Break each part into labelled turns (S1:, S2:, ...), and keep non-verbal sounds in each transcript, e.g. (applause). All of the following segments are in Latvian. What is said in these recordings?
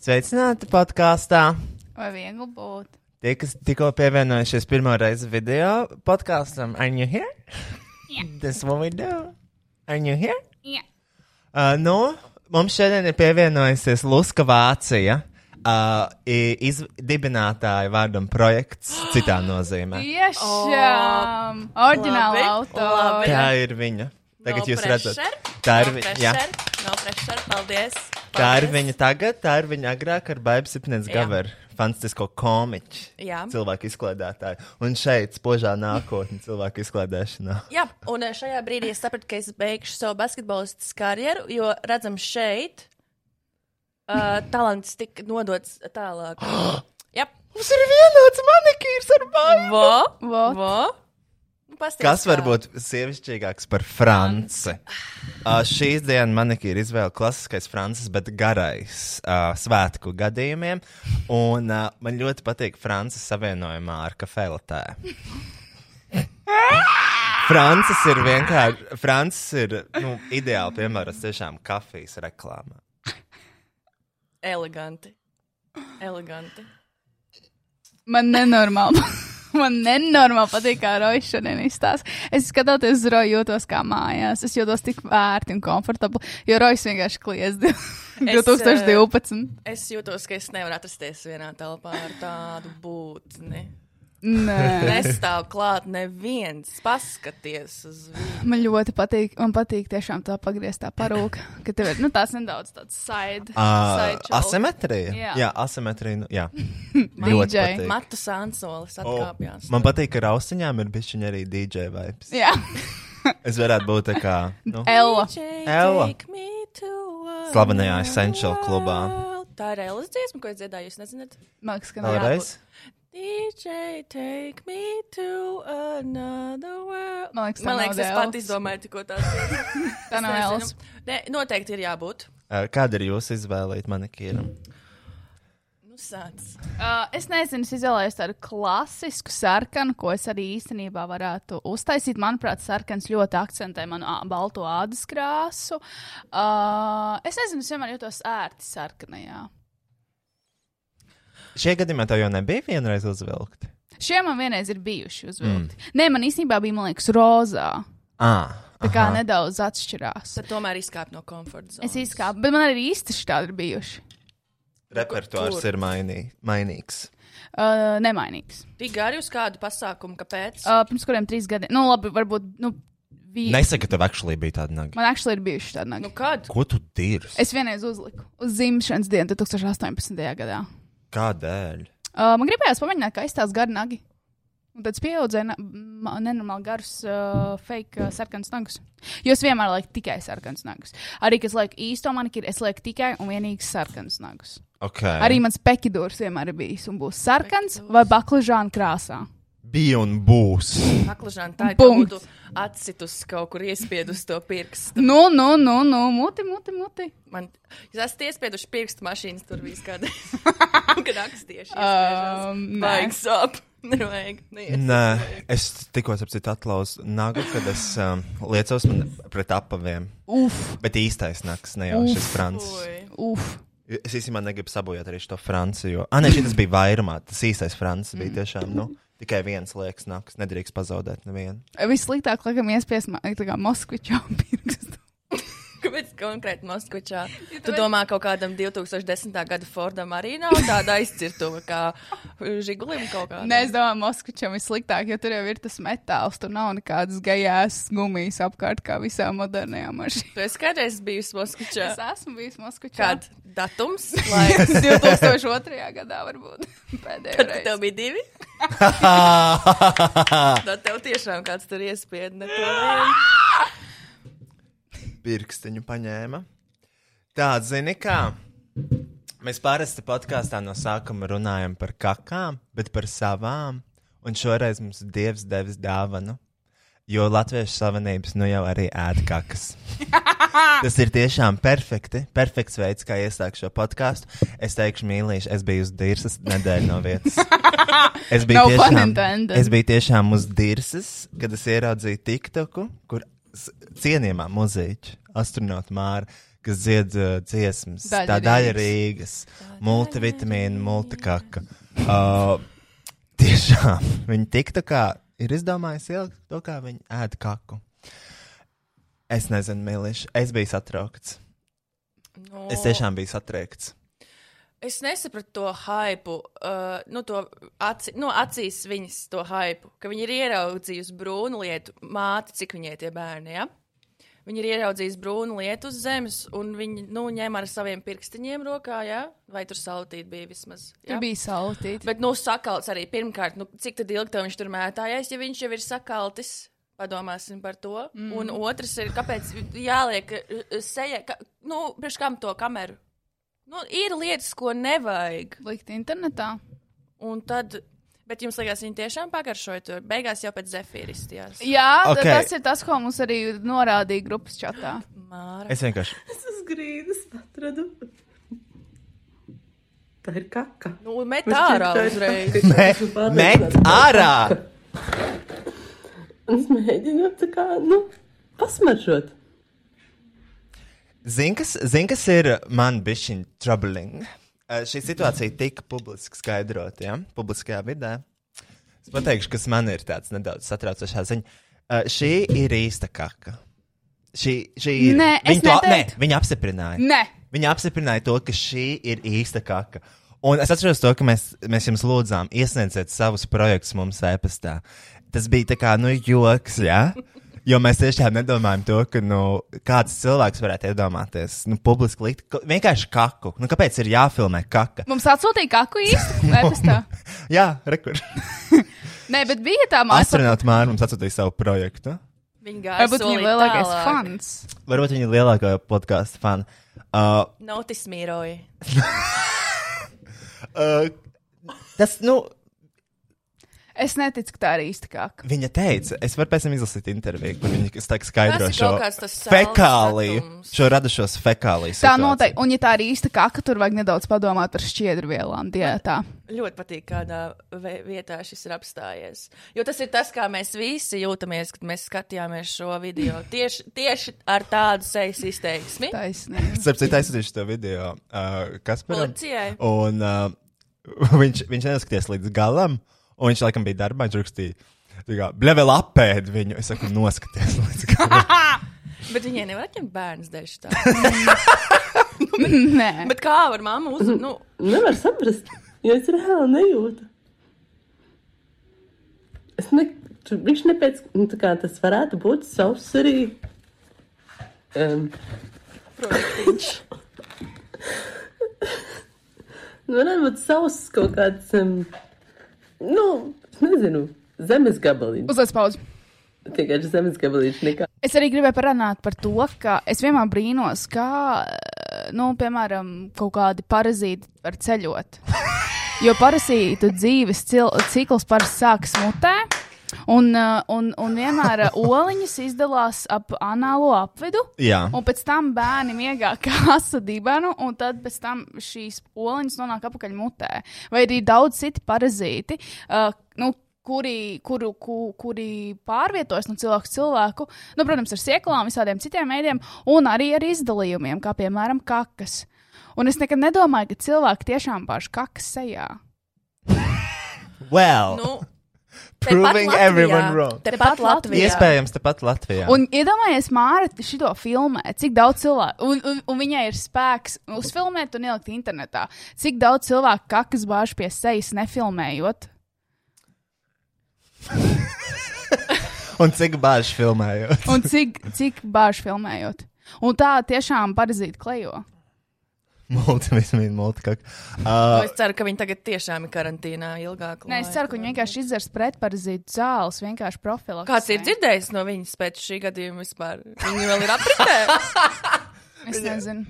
S1: Sveicināti podkāstā!
S2: Vai viegli būt?
S1: Tie, kas tikko pievienojušies pirmo reizi video podkāstam, are you here?
S2: Yeah.
S1: That's what we do. Are you here?
S2: Jā,
S1: Uh, nu, mums šodien ir pievienojusies Luska Vācija. Uh, i- iz, dibinātāja vārdam projekts citā nozīmē.
S2: tiešām! Oriģināla
S3: Labi, labi.
S2: autora.
S1: Tā ir viņa. Tagad
S3: No
S1: jūs
S3: pressure,
S1: redzat. Tā ir
S3: no
S1: viņa.
S3: pressure,
S1: Jā.
S3: No pressure, paldies.
S1: Tā ir
S3: paldies.
S1: viņa tagad, tā ir viņa agrāk ar Bābu Sipnes
S3: Jā.
S1: Gaveru, fantastisko komiķu,
S3: Jā.
S1: cilvēku izklaidētāju. Un šeit spožā nākotne cilvēku izklaidēšanā.
S3: Jā, un eh, šajā brīdī es sapratu, ka es beigšu savu basketbolistu karjeru, jo redzam šeit, uh, talants tika nodots
S1: (gasps)
S3: tālāk. Jā,
S1: Mums ir vienāds manikīrs ar Bābu!
S3: vo,
S2: What?
S3: vo. Nu, Pasties,
S1: Kas var būt sievišķīgāks par franci? Uh, šīs dienas manikīra izvēle klasiskais francis, bet garais uh, svētku gadījumiem. Un uh, man ļoti patīk francis savienojumā ar kafejnītē. Francis ir vienkārši. Francis ir nu, ideāli piemērots tiešām kafijas reklāmā.
S3: Eleganti. Eleganti.
S2: Man nenormāli. (laughs) Man nenormāli patīk, kā Rojas šodien izstāsta. Es skatoties uz Roju, jūtos kā mājās. Es jūtos tik vērti un komfortabli, jo Rojas vienkārši kliedz (laughs) div-
S3: eh,
S2: 2012.
S3: Es jūtos, ka es nevaru atrasties vienā telpā ar tādu būtni.
S2: Nē,
S3: Nestāv klāt neviens. Paskaties uz viņu.
S2: man ļoti patīk. Man patīk tiešām tā pagrieztā parūka, ka tev ir nu, tās nedaudz tāds
S1: Uh,
S2: side. side joke.
S1: asimetrija.
S2: Jā.
S1: Jā, asimetrija. Nu,
S2: (laughs)
S1: jā.
S2: Hm, DJ.
S1: patīk.
S3: Matu sānsolis
S1: O,
S3: atkāpjās.
S1: Man patīk, ka ar austiņām ir bijusi arī DJ vibes.
S2: Jā,
S1: Es varētu būt tā kā. Nu.
S2: (laughs) Ella.
S1: Ella.
S3: Ella.
S1: Slavenajā Essential klubā.
S3: Tā ir Ellas dziesma, ko es dziedāju, jūs nezināt.
S2: Man liekas, ka nē.
S1: Vēlreiz?
S3: DJ, take me to another world.
S2: Man liekas,
S3: Man
S2: tā nav
S3: liekas es
S2: Ellas.
S3: pat izdomāju, tikko tās.
S2: (laughs) Tā nav Ellas.
S3: Nē, noteikti ir jābūt.
S1: Ā, Eh, Kāda ir jūsu izvēle manikīram?
S3: Nu, sāc.
S2: Uh, es nezinu, es izvēlējos tādu klasisku sarkanu, ko es arī īstenībā varētu uztaisīt. Manuprāt, sarkans ļoti akcentē manu ā- balto ādas krāsu. Uh, es nezinu, es vienmēr jūtos ērti sarkanajā.
S1: Šie gadījumā tev jau nebija vienreiz uzvilkti.
S2: Šie man vienreiz ir bijuši uzvilkti. Mm. Nē, man īstenībā bija, man liekas, rozā.
S1: À,
S2: Tā kā Aha. nedaudz atšķirās.
S3: Tad tomēr izkāp no komforta zonas.
S2: Es izkāpu, bet man arī īsti šādi ir bijuši.
S1: Repertuārs
S3: Tur.
S1: ir mainī, mainīgs.
S2: Uh, nemainīgs.
S3: Tik gari uz kādu pasākumu, kāpēc?
S2: Uh, pirms kuriem trīs gadiem, nu labi, varbūt, nu, bija.
S1: Nesaki, ka tev actually bija tāda naga.
S2: Man actually ir bijuši tādi nagi.
S3: Nu, kad?
S1: Ko tu dirzi?
S2: Es vienreiz uzliku uz dzimšanas dienu, 2018. gadā.
S1: Kādēļ?
S2: Uh, man gribējās pamēģināt, kā izstāsta gari nagi. Un tad es pieaudzu na- ma- nenormāli garus, uh, fake uh, sarkanus nagus. Jo es vienmēr lieku tikai sarkanus nagus. Arī, kas lieku īsto manikīru, es lieku tikai un vienīgi sarkanus nagus.
S1: Okay.
S2: Arī mans pekidors vienmēr ir bijis un būs sarkans vai baklažāna krāsā.
S1: bija un būs.
S3: Paklažāna tā ir
S2: Punkts.
S3: būtu atsitus kaut kur iespiedus to pirkstu.
S2: Nu, nu, nu, nu, muti, muti, muti.
S3: Man, jūs esat iespieduši pirkstu mašīnas tur viss
S2: (laughs)
S3: kādā. Kad akstieši.
S2: Um, nē.
S3: Vajag sāp. (laughs) Nevajag. Neies.
S1: Nē, es tikko apcīt atlauzu nagu, kad es um, liecos man pret apaviem.
S2: Uf,
S1: Bet īstais naks, ne jau
S2: Uf.
S1: šis francis.
S3: Ui.
S2: uf.
S1: Es īstenībā negribu sabojāt arī šo franci, jo. Ah, nē, šis bija vairumā. Tas īstais francis bija tiešām, nu, tikai viens liekas naks. Nedrīkst pazaudēt nevienu.
S2: Vissliktāk, laikam, iespies ma- tā kā Moskvičā pirkstu.
S3: Kāpēc konkrēti Moskvičā? Tu domā, kaut kādam 2010. gada Fordam arī nav tāda aizcirtuva kā Žigulim kaut kādā?
S2: Nē, es domāju, Moskvičam ir sliktāk, jo tur jau ir tas metāls. Tur nav nekādas gajās gumijas apkārt, kā visām modernajām mašīnām.
S3: Tu esi kādreiz bijusi Moskvičā?
S2: Es esmu bijis Moskvičā.
S3: Kād
S2: (laughs)
S3: datums? (laughs) Lai...
S2: 2002. gadā varbūt (laughs) pēdējā
S3: Kad
S2: reize.
S3: tev bija divi? Tad tev tiešām kāds tur iespieda. ne to vien.
S1: pirkstiņu paņēma. Tā, zini, kā mēs parasti podkāstā no sākuma runājam par kakām, bet par savām. Un šoreiz mums dievs devis dāvanu. Jo Latviešu savienības nu jau arī ēd kakas. Tas ir tiešām perfekti. Perfekts veids, kā iesākt šo podkāstu. Es teikšu, mīlīši, es biju uz dīrsas nedēļu no vietas. Es biju,
S2: No pun
S1: tiešām,
S2: intended.
S1: es biju tiešām uz dīrsas, kad es ieraudzīju TikToku, kur s- cienījamā muzeja astronauta Māra, kas dzied uh, dziesmas.
S2: Daļa
S1: tā daļa Rīgas, multivitamīna, multikaka. Uh, tiešām (laughs) viņa tik tā kā ir izdomājusi ilgi to, kā viņa ēd kaku. Es nezinu, Mīlīši, es biju satraukts.
S3: No.
S1: Es tiešām biju satraukts.
S3: Es nesapratu to hypu, uh, nu, to aci, nu, acīs viņas to hypu, ka viņi ir ieraudzījusi brūnu lietu, māti, cik viņai tie bērni, ja? Viņi ir ieraudzījusi brūnu lietu uz zemes, un viņi, nu, ņēma ar saviem pirkstiņiem rokā, ja? Vai tur saltīt bija vismaz?
S2: Tur
S3: Ja?
S2: bija saltīti.
S3: Bet, nu, sakauts arī pirmkārt, nu, cik tad ilgi tev viņš tur mētājies, ja viņš jau ir sakautis. Padomāsim par to. Mm. Un otrs ir, kāpēc jāliek uh, seja, ka, nu, priekš kam to kameru? Nu, ir lietas, ko nevajag.
S2: Likt internetā.
S3: Un tad, bet jums liekas, viņi tiešām pagaršoja to. Beigās jau pēc zefīristijās.
S2: Jā,
S1: Ok.
S2: okay. tas ir tas, ko mums arī norādīja grupas čatā.
S3: Māra.
S1: Es vienkārši.
S4: Es grīdas atradu. Tā ir kaka.
S3: Nu, met ārā uzreiz.
S1: Me, met ārā!
S4: Es mēģinu tā kā, nu, pasmaržot.
S1: Zini, kas, zin, kas ir man bišķiņ troubling? Eh, Šī situācija tika publiski skaidrota, ja? publiskajā vidē. Es pateikšu, kas man ir tāds nedaudz satraucošā ziņa. Eh, Šī ir īsta kaka. Šī, šī ir.
S2: Nē, es
S1: viņa, to, nē,
S2: neteiktu.
S1: viņa apstiprināja.
S2: Nē,
S1: Viņa apstiprināja to, ka šī ir īsta kaka. Un es atceros to, ka mēs, mēs jums lūdzām iesniedziet savus projektus mums e-pastā. Tas bija tā kā, nu, joks, jā. Jo mēs tiešām nedomājam to, ka nu, kāds cilvēks varētu iedomāties, nu, publiski likt ka- vienkārši kaku. Nu, kāpēc ir jāfilmē kaka?
S2: mums atsūtīja kaku īstu epistā.
S1: Jā, rekur.
S2: Nē, bet bija tā māksla.
S1: Astronauts Māra mums atsūtīja savu projektu.
S3: Viņa gāja.
S2: Varbūt viņa lielākais fans.
S1: Varbūt viņa ir lielākā podkāstu fana. Uh,
S3: Notis mīroja.
S1: uh, tas, nu,
S2: Es neticu, ka tā ir īsta kaka.
S1: Viņa teica, es varu pēc tam izlasīt interviju, kur viņa kas tā skaidro
S3: Tas ir
S1: šo
S3: kaut kāds tas sāls
S1: fekāliju,
S3: datums.
S1: šo radušos fekāliju.
S2: Tā
S1: situāciju.
S2: noteikti. Un, ja tā ir īsta kaka, tur vajag nedaudz padomāt par šķiedrvielām diētā.
S3: Ļoti patīk, kādā ve- vietā šis ir apstājies. Jo tas ir tas, kā mēs visi jūtamies, kad mēs skatījāmies šo
S2: (laughs)
S3: video. Tieši, tieši ar tādu sejas izteiksmi.
S2: Taisnība.
S1: Starp citu, aizsūtīšu to video uh, Kasparam.
S3: Policijai.
S1: Un uh, (laughs) viņš, viņš neskaties līdz galam, un viņš laikam bija darbā, viņš rakstīja. tā kā, Blevel apēd viņu. Es saku, noskaties, (laughs) līdz galam.
S3: (laughs) Bet viņai nevar atņemt bērnu dēļ
S2: (laughs)
S3: tā.
S2: Nē,
S3: Nu, Bet kā var mamma uzzīmēt? Nu,
S4: Nevar saprast, jo es reāli nejūtu. Es ne, tu- viņš nepēc, nu, tā kā tas varētu būt savs arī. Um, Nu, varētu būt savs kaut kāds, um, nu, es nezinu, zemes gabaliņš.
S2: uzliec pauzi.
S4: Tikai zemes gabaliņš nekā.
S2: Es arī gribēju parunāt par to, ka es vienmēr brīnos, kā, eh, nu, piemēram, kaut kādi parazīti var ceļot. Jo parasītu dzīves cil- cikls parasti sākas mutē. Un, eh, un, un vienmēr eh, oliņas izdalās ap anālo apvidu,
S1: Jā,
S2: un pēc tam bērni miegā (laughs) kāsa dibenu, un tad pēc tam šīs oliņas nonāk apakaļ mutē. Vai arī daudz citi parazīti, eh, nu, kuri, kuru, ku, kuri pārvietojas no cilvēku uz cilvēku, nu, protams, ar sēklām, visādiem citiem veidiem, un arī ar izdalījumiem, kā piemēram kakas. Un es nekad nedomāju, ka cilvēki tiešām pārši kakas sejā.
S1: well,
S3: nu, tepat
S1: proving
S3: Latvijā.
S1: everyone wrong.
S3: Tepat Latvijā.
S1: Iespējams, tepat Latvijā.
S2: Un iedomājieties, Māra, šito filmē, cik daudz cilvēku, un, un, un viņai ir spēks uzfilmēt un ielikt internetā, cik daudz cilvēku kakas bāž pie sejas nefilmējot.
S1: un cik bāži filmējot. (laughs)
S2: Un cik, cik bāž filmējot. Un tā tiešām parazīt klejo.
S1: Multivismīna, multikaka. Uh,
S3: nu, Es ceru, ka viņi tagad tiešām ir karantīnā ilgāk.
S2: Nē, es ceru, ka viņi vienkārši izdzers pretparazītu zāles, vienkārši profilaksē.
S3: Kāds ir dzirdējis no viņas pēc šī gadījuma vispār? Viņa vēl ir apritē.
S2: (laughs) Es nezinu.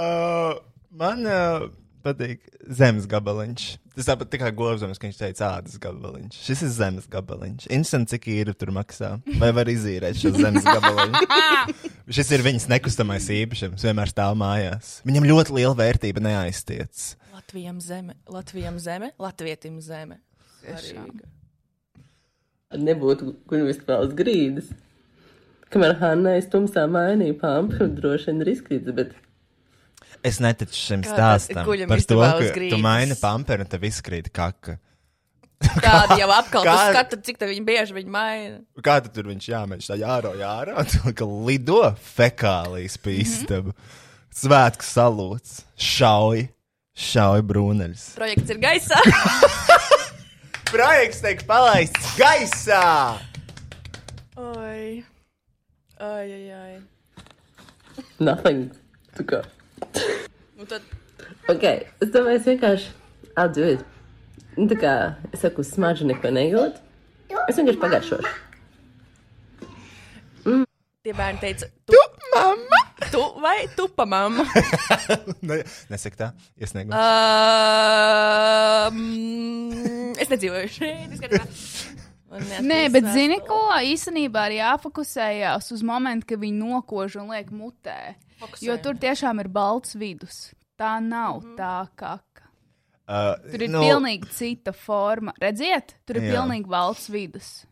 S1: Uh, man uh, patīk zemes gabaliņš. Tas tāpat tā kā gorzams, ka viņš teica, ādas gabaliņš. Šis ir zemes gabaliņš. Interesanti, cik īri tur maksā. Vai var izīrēt šo zemes
S3: (laughs)
S1: gabaliņu? Šis ir viņas nekustamais īpašums. Vienmēr stāv mājās. Viņam ļoti liela vērtība neaiztiec.
S3: Latvijam zeme, Latvijam zeme, Latvietim zeme.
S2: Tiešām.
S3: Svarīga.
S4: Nebūtu guļus vēl uz grīdas. Kamēr Hanna es tumsā mainīju pampu, droši vien ir izkrīts, bet
S1: Es neticu šim
S3: Kā tas
S1: stāstam
S3: guļam
S1: par to,
S3: istabā uz
S1: ka tu
S3: grīdas.
S1: maini pamperu un tev izkrīt kaka.
S3: Tāda jau atkal
S1: Kā-
S3: ir. Skatu, cik tā viņi bieži viņi maina.
S1: Kā tad tur viņš jāmeklē? Tā jāro, jāro, (laughs) un tā kā lido fekālijas
S3: Mhm.
S1: pa istabu. Svētku salūts, šauj, šauj brūneļus. (laughs)
S3: Projekts ir gaisā.
S1: Projekts tiek palaists gaisā!
S3: Oi, ai, ai, ai.
S4: nothing. Tā kā.
S3: Nu tad
S4: Ok, es domāju, es vienkārši atdzīvoju. Nu, tā kā es saku, smaržu neko nejūt. Es vienkārši pagaršošu.
S3: tie bērni teica, tu,
S1: Tu, mamma!
S3: tu vai tu pa
S1: (laughs)
S3: mammu?
S1: Ne- Nesaki tā, iesniegums.
S3: Um, es nedzīvoju šeit. es skatījos. Un
S2: Nē,
S3: neatceros
S2: bet
S3: vēstuli.
S2: zini, ko īstenībā ir jāfokusējas uz momentu, kad viņi nokož un liek mutē.
S3: Fokusējamies.
S2: Jo tur tiešām ir balts vidus. Tā nav
S3: Mhm.
S2: mm -hmm. tā kaka.
S1: Uh,
S2: Tur ir nu, pilnīgi cita forma. Redziet, tur ir
S1: Jā.
S2: jā. pilnīgi balts vidus.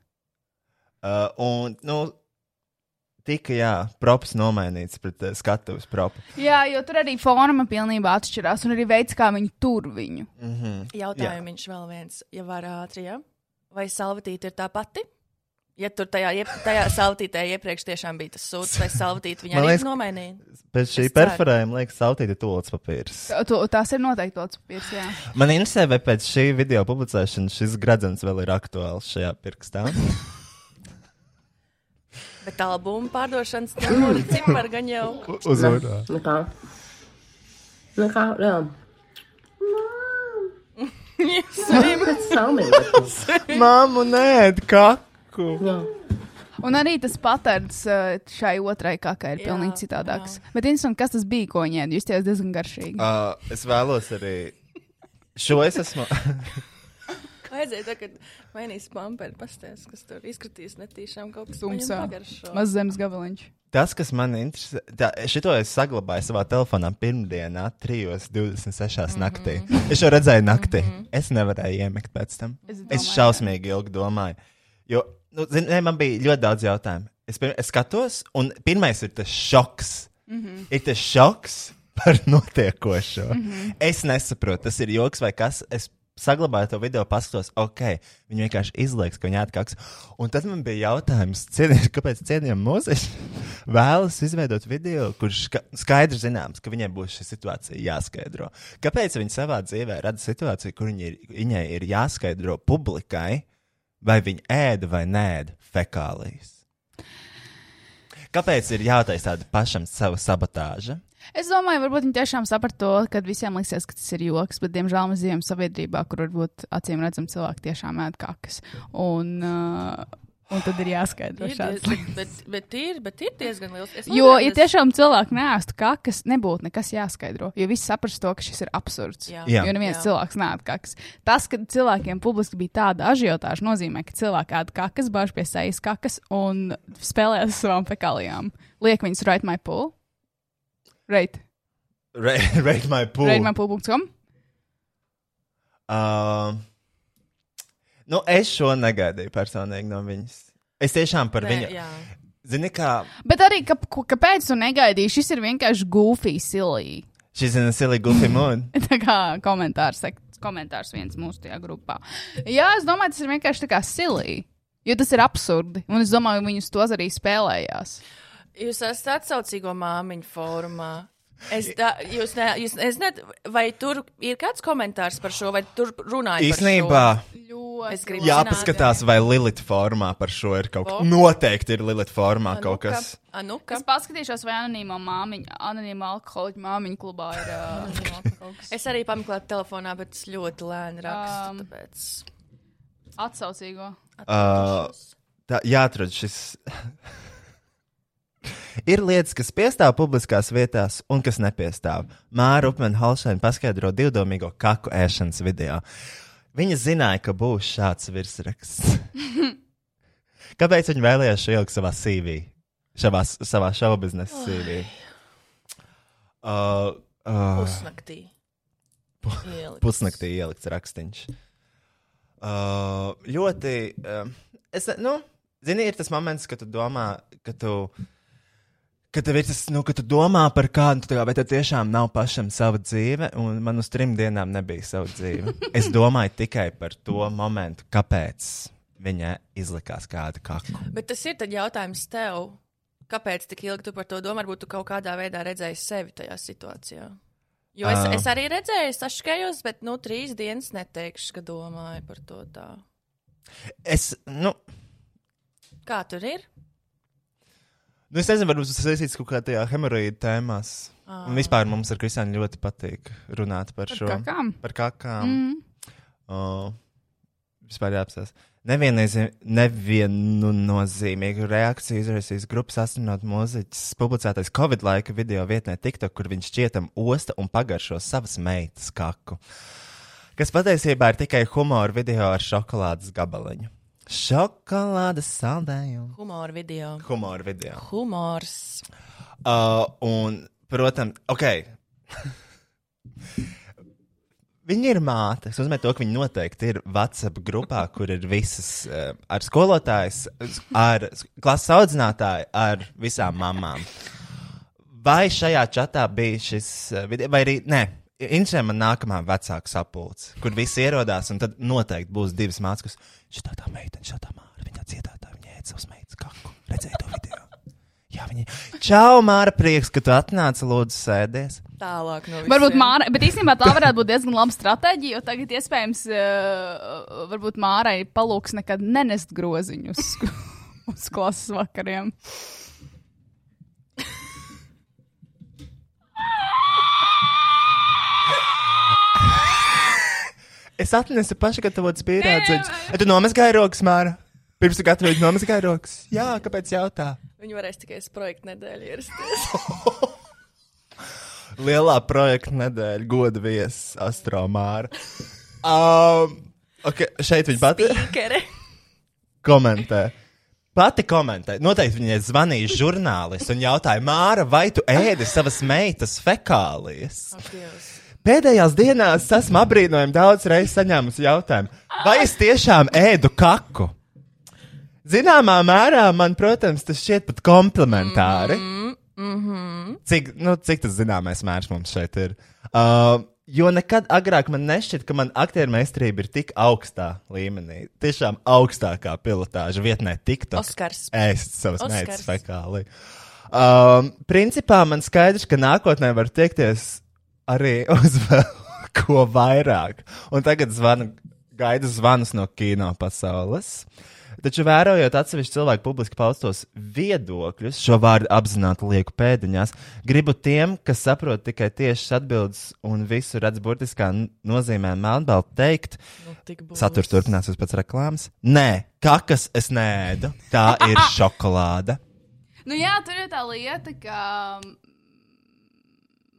S1: Uh, un, nu, tika, jā, props nomainīts pret uh, skatuves propu.
S2: Jā, jo tur arī forma pilnībā atšķirās, un arī veids, kā viņi tur viņu.
S1: Mm -hmm.
S3: Jautājums vēl viens, ja var ātri, ja? vai salvatīte ir tā pati? Ja tur tajā, iep, tajā salvatītē iepriekš tiešām bija tas sūds, vai salvatīte viņa
S1: Man
S3: arī
S1: liekas,
S3: nomainīja?
S1: Pēc šī
S3: Es ceru.
S1: perforējuma, liekas, sautīta tūlis papīrs.
S2: Tā- to- Tās ir noteikti tāds papīrs.
S3: (laughs)
S2: jā.
S1: Man interesē, vai pēc šī video publicēšanas šis gradzens vēl ir aktuāls šajā pirkstā.
S3: (laughs) Bet albumu pārdošanas (laughs) tam ir gan jau.
S1: Uzmanīgi.
S4: Nu kā. Nu kā, jā.
S3: Slim.
S4: Pēc salmīgas.
S1: Māmu, nē, kaku!
S4: Jā.
S2: Un arī tas patērns uh, šai otrai kakai ir
S3: Jā,
S2: pilnīgi citādāks. Bet, interesanti, kas tas bija, ko ņēma? Jūs tiešām diezgan garšīgi.
S1: Uh, es vēlos arī. Šo es esmu. (laughs)
S3: Aiziet, tagad mainīs pamperi, pasties, kas tur izskatīs netīšām kaut kas
S2: Tumsā.
S3: Maz...
S2: Maz zemes gabaliņš.
S1: Tas, kas man interesē, tā, šito es saglabāju savā telefonā pirmdienā, 3.26.
S2: Mhm.
S1: Mm -hmm. naktī. Es jau redzēju naktī. Mm -hmm. Es nevarēju iemigt pēc tam.
S2: Es
S1: Es
S2: domāju,
S1: šausmīgi ilgi domāju. Jo, nu, zin, ne, man bija ļoti daudz jautājumu. Es, pirm, es skatos, un pirmais ir tas šoks. Mm
S2: Mhm.
S1: -hmm. Ir tas šoks par notiekošo. Mm -hmm. Es nesaprotu, tas ir joks vai kas. Es saglabāju to video, paskatos, ok, viņi vienkārši izlaiks, ka viņi atkāps. Un tad man bija jautājums, cienīt, kāpēc cienījami mūziķi (laughs) vēlas izveidot video, kurš ska- skaidri zināms, ka viņiem būs šī situācija jāskaidro. Kāpēc viņi savā dzīvē rada situāciju, kur viņi ir, viņai ir jāskaidro publikai, vai viņi ēda vai nēda fekālijas? Kāpēc ir jātaisa tāda pašam sava sabotāža?
S2: Es domāju, varbūt viņi tiešām saprata to, kad visiem liksies, ka tas ir joks, bet, diemžēl, mēs dzīvojam sabiedrībā, kur varbūt acīm redzam, cilvēki tiešām ēd kakas. Un, uh, un tad ir jāskaidro
S3: Ir
S2: šāds.
S3: diez, bet, bet, ir, bet ir diezgan liels. Es
S2: Jo,
S3: nezinu,
S2: ja
S3: es-
S2: tiešām cilvēki nēstu kakas, nebūtu nekas jāskaidro. Jo viss saprast to, ka šis ir absurds.
S3: Jā.
S1: Jā.
S2: Jo neviens
S3: Jā.
S2: jā. cilvēks nēd kakas. Tas, ka cilvēkiem publiski bija tāda ažiotāža, nozīmē, ka cilvēki ēd kakas, bāž pie sejas kakas un spēlējas ar savām fekalijām. Liek viņus right my pool. Right.
S1: (laughs) Ra- Rate my pool.
S2: Right my pool.com.
S1: Uh, nu, es šo negaidīju personīgi no viņas. Es tiešām par
S3: Nē,
S1: Nē, viņu. Jā.
S3: jā.
S1: Zini, kā
S2: Bet arī, ka, ko- kāpēc tu negaidīji? Šis ir vienkārši gufīgi, silīgi.
S1: šis ir silly goofy moon.
S2: (laughs) Tā kā komentārs, sek- komentārs viens mūsu tajā grupā. Jā, es domāju, tas ir vienkārši tā kā silīgi. Jo tas ir absurdi. Un es domāju, viņus tos arī spēlējās.
S3: Jūs esat atsaucīgo māmiņu fórumā. Es, tā, jūs ne, jūs, es ne, vai tur ir kāds komentārs par šo, vai tur runājat?
S1: Īsnībā
S2: Ļoti.
S3: Es gribu
S1: jāpaskatās, vai Lilita formā par šo ir kaut kas. Noteikti ir Lilita formā
S3: nu,
S1: kaut kas.
S3: Anu,
S2: Es
S3: kas?
S2: paskatīšos, vai anonīmā māmiņa, anonīmā alkoholiķa māmiņa klubā ir. Uh,
S3: Es arī pameklēju telefonā, bet es ļoti lēni rakstu. Um,
S2: Um,
S3: tāpēc
S2: (laughs)
S3: (laughs)
S2: atsaucīgo.
S3: atkārtošos.
S1: Tā, jāatrod šis. (laughs) Ir lietas, kas piestāv publiskās vietās, un kas nepiestāv. Māra Upmena Halšēna paskaidro divdomīgo kaku ēšanas video. Viņa zināja, ka būs šāds virsraksts. (laughs) Kāpēc viņa vēlējās šo ielikt savā CV? Šavā, savā šova biznesa CV. Uh, uh,
S3: pusnaktī.
S5: (laughs)
S3: Ielikt.
S1: pusnaktī ielikts rakstīns. Uh, ļoti. Uh, es, ne- nu, Zini, ir tas moments, kad tu domā, ka tu. Kad tev ir tas, nu, ka tu domā par kādu, tu tā kā, bet tev tiešām nav pašam sava dzīve, un man uz trim dienām nebija sava (laughs) dzīve. Es domāju tikai par to momentu, kāpēc viņa izlikās kādu kaku.
S3: Bet tas ir tad jautājums tev. Kāpēc tik ilgi tu par to domā? Varbūt tu kaut kādā veidā redzēji sevi tajā situācijā. Jo es,
S1: Ā.
S3: uh. es arī redzēju, es aškējos, bet nu trīs dienas neteikšu, ka domāju par to tā.
S1: Es, nu,
S3: Kā tur ir?
S1: nu, es nezinu, varbūt tas saistīts kaut kā tajā hemoroīdu tēmās. Un vispār mums ar Kristiānu ļoti patīk runāt par, par šo.
S2: Kā kam?
S1: Par kakām. Mm.
S2: Mm.
S1: Uh, vispār jāapstāsta. Neviennozīm- Neviennozīmīgu reakciju izraisījis grupas astronauts mūziķis publicētais Covid laika video vietnē TikTok, kur viņš šķietam osta un pagaršo savas meitas kaku. Kas patiesībā ir tikai humora video ar šokolādes gabaliņu. Šokolādes saldējumu.
S3: Humora video.
S1: Humora video.
S3: Humors.
S1: Uh, un, protams, ok. (laughs) Viņa ir māte. Es uzmanīju to, ka viņa noteikti ir WhatsApp grupā, kur ir visas uh, ar skolotājs, ar s- klases audzinātāju, ar visām mamām. Vai šajā čatā bija šis eh, video, vai arī nē, Instagram nākamā vecāka sapulce, kur visi ierodās, un tad noteikti būs divas mācības. Šī tā meitene, šī tā māra, viņa dziedātāja, viņa ēda savus meitas kaku. Redzēju to video. Jā, viņa. Čau, Māra, prieks, ka tu atnāci, lūdzu, sēdies.
S3: Tālāk no visiem.
S2: Varbūt Māra, bet īstenībā tā varētu būt diezgan laba stratēģija, jo tagad iespējams, uh, varbūt Mārai palūks nekad nenest groziņus (laughs) uz klases vakariem.
S1: Es atnesu pašagatavotas pierādzījumus. Tu nomazgāji rokas, Māra. Pirms tu gatavoji, nomazgāji rokas. Jā, kāpēc jautā?
S3: Viņi varēs tikai uz projektu nedēļu ierasties.
S1: Lielā projekta nedēļa, goda viesis, astromāra. Um, okay, šeit viņa pati
S3: Tikere.
S1: komentē. Pati komentē. Noteikti viņai zvanīja žurnālists un jautāja, Māra, vai tu ēdi savas meitas fekālijas?
S3: (laughs) Dievs.
S1: Pēdējās dienās esmu apbrīnojami daudz reizes saņēmusi jautājumu, vai es tiešām ēdu kaku? Zināmā mērā man, protams, tas šķiet pat komplementāri. Mm
S3: mhm.
S1: -hmm. cik, nu, cik tas zināmais mērs mums šeit ir? Uh, jo nekad agrāk man nešķiet, ka man aktieru meistarība ir tik augstā līmenī. Tiešām augstākā pilotāža vietnē, TikTok.
S3: Oskars.
S1: Ēst savas meitas
S3: Oskars.
S1: fekāli. Um, principā man skaidrs, ka nākotnē var tiekties arī (laughs) uz vēl ko vairāk. Un tagad zvanu, gaidu zvanus no kino pasaules. Taču, vērojot atsevišķu cilvēku publiski paustos viedokļus, šo vārdu apzināti lieku pēdiņās, gribu tiem, kas saprot tikai tiešas atbildes un visu redz burtiskā n- nozīmē melnbalti, teikt,
S3: Nu, tik būs.
S1: Saturs turpināsies pēc reklāmas. Nē, kakas es nēdu. Tā
S3: (laughs)
S1: ir šokolāde.
S2: Nu jā, tur ir tā lieta, ka mm,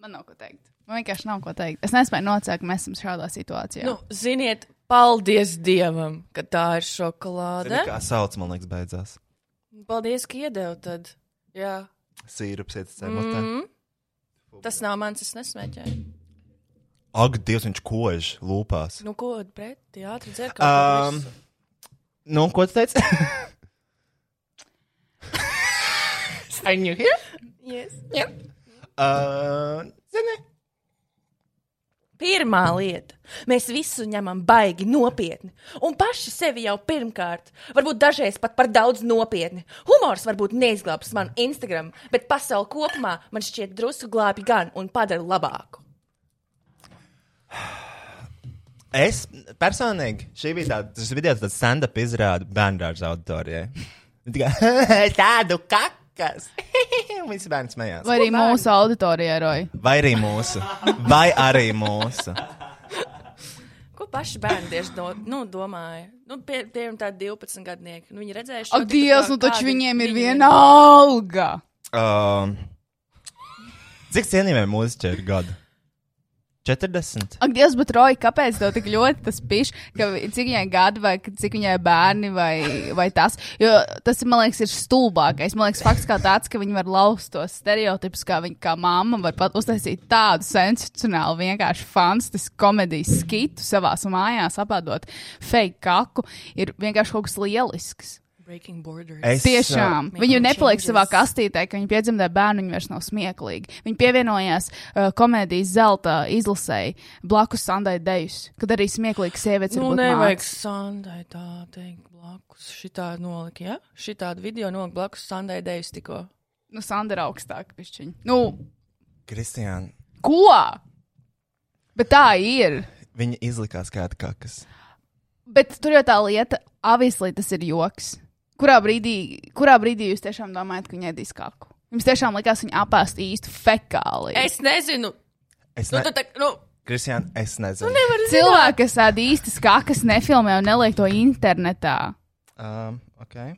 S2: man nav ko teikt. Man vienkārši nav ko teikt. Es nespēju nocēkt, ka mēs esam šādā situācijā.
S3: Nu, ziniet, paldies Dievam, ka tā ir
S1: Zini,
S3: šokolāde.
S1: Kā sauc, man liekas, beidzās.
S3: Paldies, ka iedevu tad. Jā.
S1: Sīrups iet zemotē. Mm.
S3: Mm. Tas nav mans, es nesmēķēju.
S1: Ak, Dievs, viņš kož lūpās.
S3: Nu, ko pretī ātri dzert?
S1: Um,
S3: Um,
S1: nu, ko tu teici? (laughs)
S3: yes.
S1: uh, zini,
S3: Pirmā lieta. Mēs visu ņemam baigi nopietni. Un paši sevi jau pirmkārt, varbūt dažreiz pat par daudz nopietni. Humors varbūt neizglābs manu Instagram, bet pasauli kopumā man šķiet drusku glābi gan un padara labāku.
S1: es personīgi šī bija tāda, tas video tāds stand-up izrāda bērnrāžu auditorijai. (laughs) Tikai (laughs) (laughs) tādu kakas. (laughs) Un Visi bērni smējās.
S2: Vai arī mūsu auditorijā, Roja?
S1: Vai arī mūsu. Vai arī mūsu.
S3: Ko paši bērni tieši do, nu, domāja? Nu, pie, piemēram, tādi 12 gadnieki. Nu, viņi redzēja,
S2: Ak, Dievs, nu taču viņiem ir viena
S3: Viņi...
S2: alga.
S1: Um, cik cienījami mūziķi ir gadi? 40.
S2: Ak, Dievs, bet Roja, kāpēc tev tik ļoti tas pišķi, ka vi- cik viņai gadi vai ka- cik viņai bērni vai, vai tas? Jo tas, man liekas, ir stulbākais. Man liekas, fakts kā tāds, ka viņi var lauzt tos stereotipus, kā viņa kā mamma var pat uztaisīt tādu sensacionālu, vienkārši fantastisku komēdijas skitu savās mājās, apēdot fake kaku, ir vienkārši kaut kas lielisks.
S3: Breaking borders.
S1: Es, uh,
S2: Tiešām.
S3: Make
S2: Viņa
S3: no
S2: nepaliek
S3: changes.
S2: savā kastītē, ka viņa piedzemdē bērnu, viņa vairs nav smieklīga. Viņa pievienojās uh, komēdijas zelta izlasēji blakus Sandai Dejus, kad arī smieklīga sieviete ir.
S3: Nu, nevajag Sandai tā teikt blakus. Šitā nolika, ja? Šitādu video nolika blakus Sandai Devis tikko.
S2: Nu, Sandra ir augstāka pišķiņa. Nu,
S1: Kristiāna,
S2: ko? Bet tā ir.
S1: viņa izlikās kā tāda kakas.
S2: Bet tur jau tā lieta, avislī tas ir joks. Kurā brīdī, kurā brīdī jūs tiešām domājat, ka viņa ēdīs kāku? Jums tiešām likās, viņa apēst īstu fekāli.
S3: Es nezinu.
S1: Es
S3: Nu,
S1: ne...
S3: tu tā, nu,
S1: Kristiāna, es nezinu. Nu,
S2: Cilvēki, kas ēd īstas kakas, nefilmē un neliek to internetā.
S1: um, okay.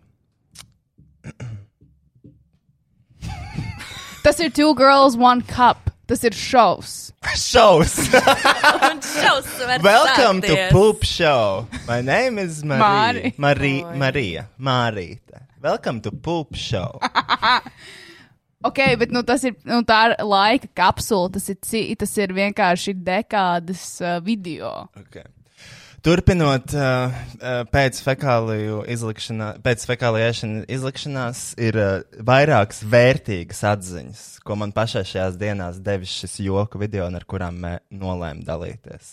S2: Tas ir Two Girls, One Cup. Tas ir šovs.
S1: Šaus!
S3: un šaus var
S1: Welcome to
S3: sākties.
S1: Poop Show. My name is Marie.
S2: Māri.
S1: Marie.
S3: Oi.
S1: Marija. Marīta. Welcome to Poop Show.
S2: (laughs) Ok, bet nu, tas ir, nu, tā ir laika kapsula. Tas ir, ci- tas ir vienkārši dekādas uh, video.
S1: Okay. Turpinot, uh, uh, pēc fekāliju izlikšanā- pēc fekāliešanas izlikšanās ir uh, vairākas vērtīgas atziņas, ko man pašai šajās dienās devis šis joku video, un ar kurām mē- nolēmu dalīties.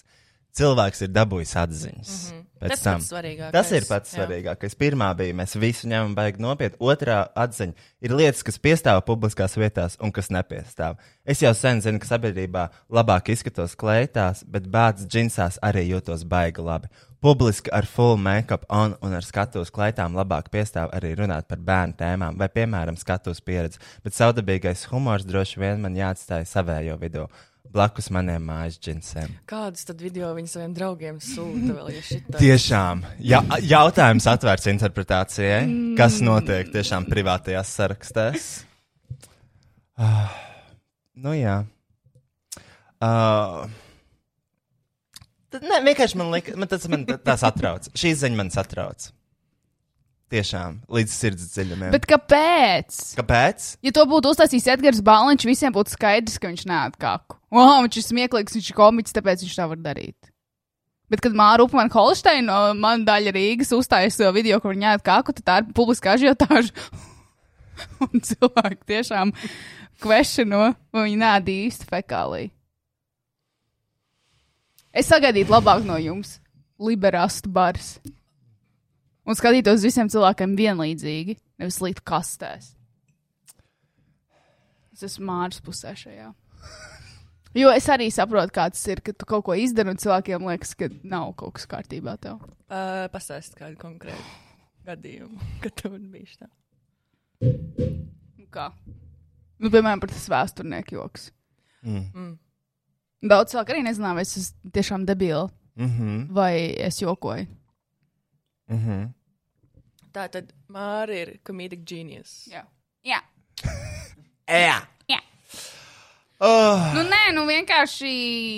S1: Cilvēks ir dabūjis atziņas. Mm -hmm. Pēc
S3: Mhm. Tas
S1: tam.
S3: pats svarīgākais.
S1: Tas ir pats
S3: Jā.
S1: svarīgākais. Pirmā bija, mēs visu ņemam baigi nopietni. Otrā atziņa ir lietas, kas piestāv publiskās vietās un kas nepiestāv. Es jau sen zinu, ka sabiedrībā labāk izskatos klētās, bet bācis džinsās arī jūtos baigi labi. Publiski ar full make-up on un ar skatuves klētām labāk piestāv arī runāt par bērnu tēmām vai, piemēram, skatuves pieredzi, bet saudabīgais humors droši vien man jāatstāja savējo vidū, blakus maniem mājas džinsiem.
S3: Kādus tad video viņi saviem draugiem sūta vēl, ja šitā?
S1: Tiešām, ja, jautājums atvērts interpretācijai. Kas notiek tiešām privātajās sarakstēs? Ah, Nu, jā. Uh, Nē, vienkārši man liekas, man tas man tā- tā satrauc. Šī ziņa man satrauc. Tiešām, līdz sirds dziļumiem.
S2: Bet kāpēc?
S1: Kāpēc?
S2: Ja to būtu uztaisījis Edgars Bāliņš, visiem būtu skaidrs, ka viņš nēd kāku. Wow, viņš ir smieklīgs, viņš ir komiķis, tāpēc viņš tā var darīt. Bet, kad Māra Upmana Holsteina, man daļa Rīgas uztaisīja video, kur viņa ēd kāku, tad tā ir publiska ažiotāža. (laughs) Un cilvēki tiešām kvešino, vai viņi nēd īsti fekālī. Es sagaidītu labāk no jums, liberāstu bars. Un skatītos uz visiem cilvēkiem vienlīdzīgi, nevis līdz kastēs. Es esmu Mārcis pusē šajā. Jo es arī saprotu, kā tas ir, kad tu kaut ko izdari un cilvēkiem liekas, ka nav kaut kas kārtībā tev.
S3: Uh, Pastāst kādu konkrētu gadījumu, (laughs) kad tev bija šitā.
S2: Nu Kā? Nu, piemēram, par tas vēsturnieku joks.
S1: Mm.
S3: Mm.
S2: Daudz cilvēku arī nezināja, vai es esmu tiešām debila
S1: Mhm,
S2: vai es jokoju.
S1: mhm.
S3: Tā tad Māra ir comedic genius.
S2: Jā. Jā.
S1: Ejā!
S2: Jā.
S1: Oh,
S2: Nu, nē, nu vienkārši,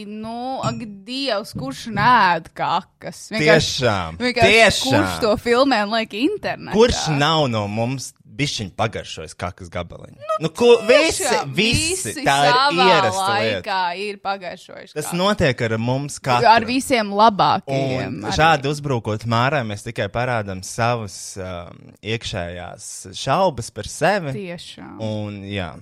S2: nu, ak, Dievs, kurš nēd kakas? Vienkārši,
S1: tiešām!
S2: vienkārši
S1: tiešām.
S2: kurš to filmē un liek internetā?
S1: Kurš nav no mums bišķiņu pagaršojis kakas gabaliņu? Nu, nu, ko, visi,
S2: Tiešām,
S1: visi, visi tā ir
S2: savā
S1: ierasta lieta.
S2: laikā ir pagājušojuši.
S1: Tas notiek ar mums kā
S2: ar visiem labākajiem.
S1: Un
S2: arī.
S1: šādi uzbrukot mārai, mēs tikai parādām savas um, iekšējās šaubas par sevi.
S2: Tiešām.
S1: Un, jā,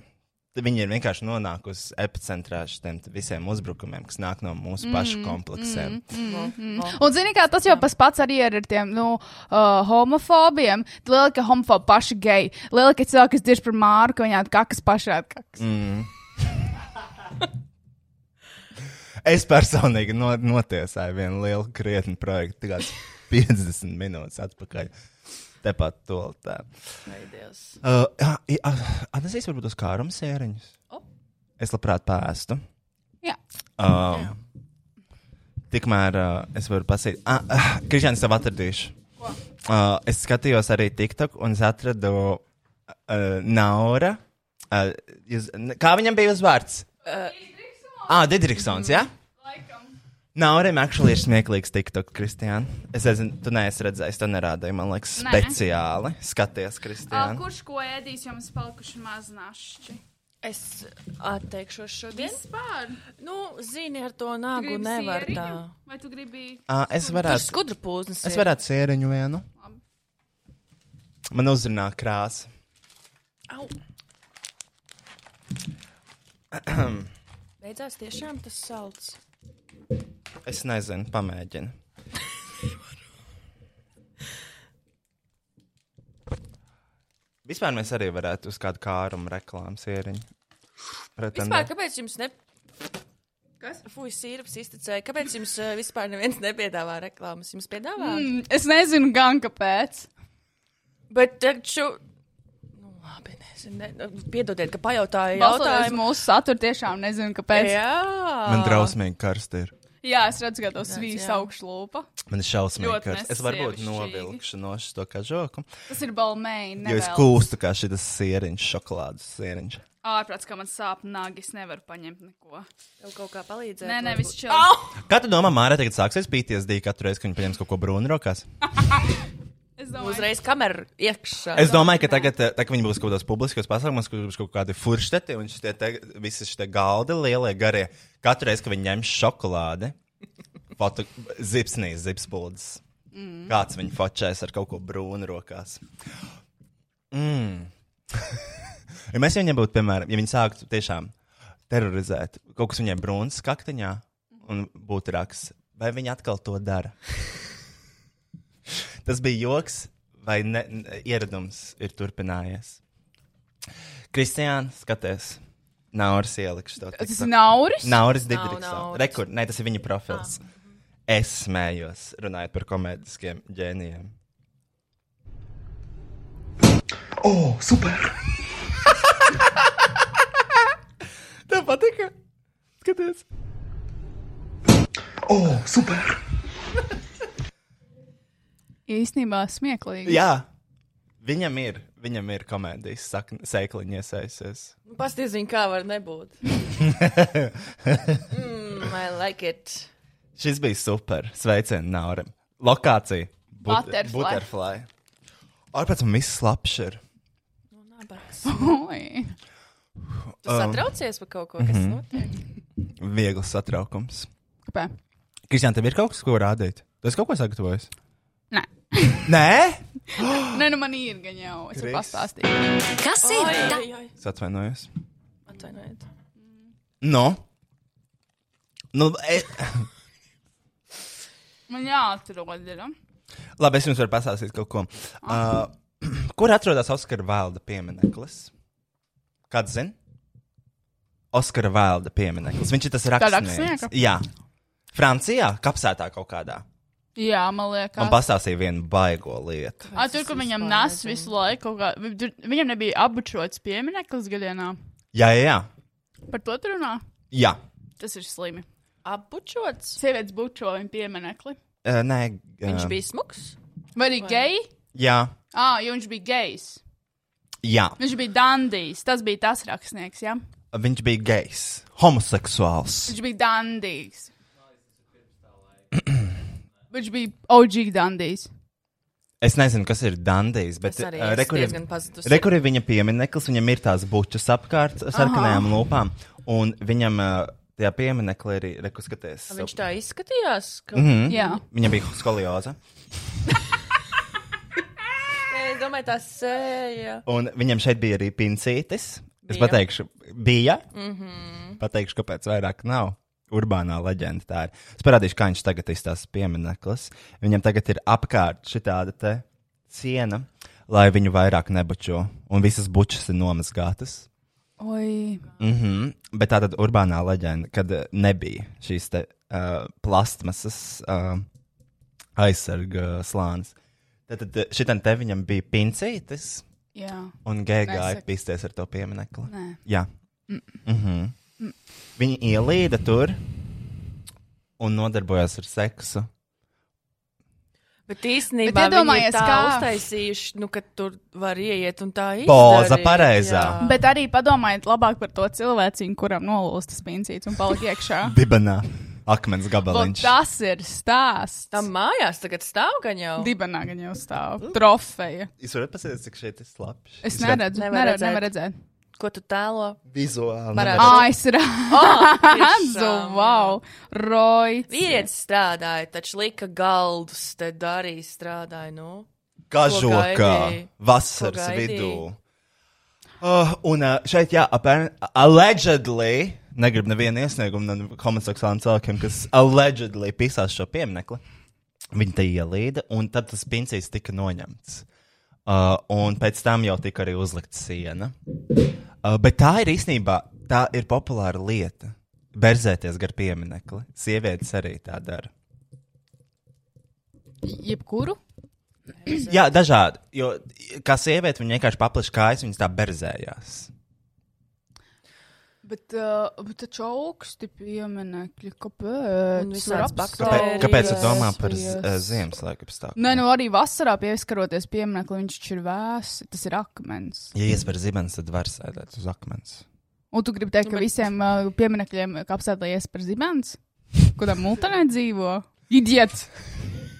S1: tad viņi ir vienkārši nonākusi epicentrā šiem te visiem uzbrukumiem, kas nāk no mūsu pašu kompleksiem.
S3: Mm
S1: Oh.
S3: -hmm.
S2: Un, zini, kā tas jau pats pats arī ir ar tiem, nu, uh, homofobiem. Lielākie homofobi paši geji. Lielākie cilvēki, kas dzird par māru, ka viņām kakas pašā atkakas. Mm.
S1: (laughs) Es personīgi no, notiesāju vienu lielu krietnu projektu, tikai 50 minūtes atpakaļ. Tepat toltā. Uh, Atnesīs varbūt uz kārumu sēriņus.
S3: O.
S1: Es labprāt pēstu.
S2: Jā.
S1: Uh, tikmēr uh, es varu pasīt. Ah, uh, Krišņā es tev atradīšu. Uh, es skatījos arī TikTok un es atradu uh, Naura. Uh, jūs, kā viņam bija uzvārds? Ah, Digriksons, jā? Nav arī actually ir smieklīgs TikTok, Kristiāna. Es nezinu, tu neesi redzējis, to nerādīju. Man liekas,
S2: Nē.
S1: speciāli. Skaties, Kristiāna.
S2: kurš ko ēdīs, jums palikuši maznašķi?
S3: Es atteikšos šodien.
S2: Vispār.
S3: Nu, zini, ar to nāgu nevar tā.
S2: Vai tu gribi?
S1: Uh, es
S3: Tur
S1: varētu,
S3: skudra pūznes.
S1: es varētu sēriņu vienu. Man uzrunā krāsa.
S3: Au! Beidzās tiešām tas salds.
S1: (clears throat) Es nezinu, pamēģinu. Vispār mēs arī varētu uz kādu kārumu reklāmas ieriņu.
S3: Vispār,
S1: pretendēt.
S3: kāpēc jums ne... Kas? Fuj, sīrups izticēja. Kāpēc jums eh, vispār neviens nepiedāvā reklāmas? Jums piedāvā? Mm.
S2: Mm, Es nezinu, gan kāpēc.
S3: Bet taču... Nu, labi, nezinu. Ne... nu, Piedodiet, ka pajautāju
S2: Balstoties
S3: jautājumu.
S2: mūsu saturu, tiešām nezinu, kāpēc. Jā,
S3: Jā.
S1: Man drausmīgi karsti ir.
S2: jā es redzu, ka tas
S3: Redz,
S2: vīrs
S3: jā.
S2: augšlūpa.
S1: Man ir šausmīgi
S2: Ļoti
S1: karsti. Es varbūt
S2: nesievišķīgi.
S1: novilkšu no šo kažoku.
S2: Tas ir balmeini.
S1: Jo es kūstu kā šis sieriņš, šokolādes sieriņš.
S2: Ārprāts, ka man sāp nagi, es nevaru paņemt neko.
S3: Tev kaut kā palīdzēt.
S2: Nē, nē,
S3: varbūt.
S2: viss čau.
S1: Kā tu domā, Mārā tagad sāksies PTSD katru reizi, kad viņa paņems kaut ko brūnu rokās?
S2: Es domāju,
S3: Uzreiz kamerā iekšā.
S1: Es domāju, ka tagad, eh, tā, kad viņi būs kaut kādos publiskos pasākumos, kur būs kaut kādi furšteti un šitie te, visi šie galdi, lielie, garie. Katru reizi, kad viņi ņem šokolādi, foto, zipsnīs, zipspūdzes. Mm. Kāds viņu fočēs ar kaut ko brūnu rokās. Mm. (laughs) ja mēs viņiem būtu, piemēram, ja viņi sāktu tiešām terorizēt kaut kas viņiem brūns kaktiņā un būtu raksts, vai viņi atkal to (laughs) dara? Tas bija joks, vai ne, ne, ieradums ir turpinājies. Kristiāna, skaties, Nauris ielikšu to.
S2: tas ir nauris.
S1: Nauris
S3: Nav
S1: Digriks.
S3: Nauris.
S1: Rekord, nē, tas ir viņa profils. Es smējos, runājot par komēdiskiem ģēnijiem.
S6: Oh, super!
S1: Tev patika? Skaties.
S6: Oh, super!
S2: Īsnībā smieklīgi.
S1: Jā, viņam ir, viņam ir komēdijas sakne- sēkliņa iesaistīsies.
S3: Pastāstīju, zinu, Nu, kā var
S1: (laughs)
S3: nebūt. mm, I like it.
S1: Šis bija super. Sveicieni Naurim. Lokācija. But-
S2: Butterfly.
S1: Butterfly. Arpēc man viss slapš ir.
S3: Nu, nabaks.
S2: Oi.
S3: Tu satraucies par kaut ko, kas
S1: Mhm.
S3: notiek?
S1: Viegls satraukums.
S2: Kāpēc?
S1: Kristiāna, tev ir kaut kas, ko rādīt? Tu esi kaut ko sagatavojis?
S2: Nē.
S1: (laughs) Nē?
S2: Nē, nu man ir gan jau. Es varu
S1: Kris.
S2: pastāstīt.
S4: Kas ir?
S3: Ai, ai, ai.
S1: Es atvainojos.
S3: Atvainojiet.
S1: No. Nu, e...
S2: Man jāatrod ir.
S1: Labi, es jums varu pastāstīt kaut ko. Uh, (clears throat) kur atrodas Oskara Vailda piemineklis? Kāds zina? Oskara Vailda piemineklis. Viņš ir tas rakstnieks.
S2: rakstnieka?
S1: Jā, Francijā, kapsētā kaut kādā.
S2: Jā, man
S1: Man
S2: liekas.
S1: pastāstīja vienu baigo lietu.
S2: A, tur, kur viņam nes visu laiku, kaut kā, vi- tur- viņam nebija abučots piemineklis gadienā.
S1: Jā, jā, jā.
S2: Par to tur runā.
S1: jā.
S2: Tas ir slimi.
S3: Apučots.
S2: Sievietes bučo viņam pieminekli.
S1: Uh, nē,
S3: Viņš
S1: uh,
S3: bija smags.
S2: Vai arī geji?
S1: Jā,
S2: Ah, jo viņš bija gejs.
S1: jā.
S2: Viņš bija dandijs. Tas bija tas rakstnieks, jā. Ja?
S1: Viņš bija gejs, homoseksuāls.
S2: Viņš bija dandijs. (clears throat) viņš bija OG dandijs.
S1: Es nezinu, kas ir Dandijs, bet
S3: Es arī
S1: ā,
S3: esmu
S1: re, kur ir-
S3: diezgan pazudusi.
S1: re, kur ir viņa piemineklis, viņam ir tās bučas apkārt ar sarkanajām lūpām, un viņam ā, tajā pieminekli arī rekuskaties.
S3: Viņš tā izskatījās. Ka...
S1: Mm.
S2: Jā.
S1: Viņam bija skolioza,
S3: Nē, Es domāju, tā sēja.
S1: un viņam šeit bija arī pincītis. Es
S3: Bija. Mhm.
S1: pateikšu, bija. Mm -hmm. Pateikšu, kāpēc vairāk nav. Urbānā leģenda tā ir. Es parādīšu, kā viņš tagad izstāsta piemineklis. Viņam tagad ir apkārt šī tāda ciena, lai viņu vairāk nebučo, un visas bučas ir nomazgātas.
S2: Oi.
S1: Mm -hmm. Bet tā tad urbānā leģenda, kad eh, nebija šīs te, uh, plastmasas uh, aizsarga slānis. Tad, tad eh, šitam te viņam bija pincītis,
S2: Jā.
S1: un gēja gāja
S2: Nesaki.
S1: pisties ar to pieminekli.
S2: Nē.
S1: Jā. Mm -hmm. Viņi ielīda tur un nodarbojās ar seksu.
S3: Bet īstenībā
S2: Bet
S3: Bet
S2: iedomājies,
S3: iedomājies, tā
S2: kā-
S3: kā uztaisījuši, nu, ka tur var ieiet un tā ir.
S1: Poza pareizā.
S2: Bet arī padomājiet labāk par to cilvēciņu, kuram nolūst tas pincīts un paliek iekšā.
S1: (laughs) Dibanā akmens
S2: Vot
S1: gabaliņš.
S2: tas ir stāsts.
S3: Tam mājās tagad stāv gan jau. Mm.
S2: dibenā gan jau stāv. Trofeja.
S1: Jūs varat pasakāt, cik šeit ir slapjš?
S2: Es neredzu.
S3: nevar
S2: Neredzu.
S3: redzēt.
S2: Nevar redzēt.
S3: Ko tu tēlo?
S1: Vizuāli.
S3: Varētu. Oh,
S1: nevarat.
S2: Ai, Ah, es (laughs) redzu.
S3: tiešām, jā.
S2: Wow. Roy.
S3: Vīrietis strādāja, taču lika galdus, te darīja, strādāja. Nu.
S1: Kā
S3: Ko
S1: žokā,
S3: gaidīji?
S1: vasaras
S3: Ko gaidīji?
S1: vidū. Uh, un uh, šeit, jā, apēr, allegedly, negribu nevienu iesniegumu no homoseksuāliem cilvēkiem, kas allegedly pisās šo pieminekli. Viņa te ielīda, un tad tas pincīs tika noņemts. Uh, un pēc tam jau tika arī uzlikta siena. Uh, bet tā ir īstenībā, tā ir populāra lieta. Berzēties gar pieminekli. Sievietes arī tā dara.
S2: Jebkuru?
S1: Jā, dažādi. Jo kā sieviete, viņa vienkārši paplašina kājas, viņas tā berzējās.
S2: Bet, uh, bet taču augsti pieminekļi, kāpēc?
S3: Un visādas
S2: Var apsaukt.
S1: Kāpēc,
S3: baktērijas.
S1: kāpēc es domāju par
S2: Yes.
S1: uh, Ziemassvētku apstākļiem?
S2: Nē, nu arī vasarā pieskaroties piemineklim, viņš taču ir vēss, tas ir akmens.
S1: Ja iesver zibens, tad var sēdēt uz akmens.
S2: Un tu gribi teikt, ka
S3: Nu, bet-
S2: visiem uh, pieminekļiem apsēdājies par zibens, kurā multanē dzīvo? Idiot!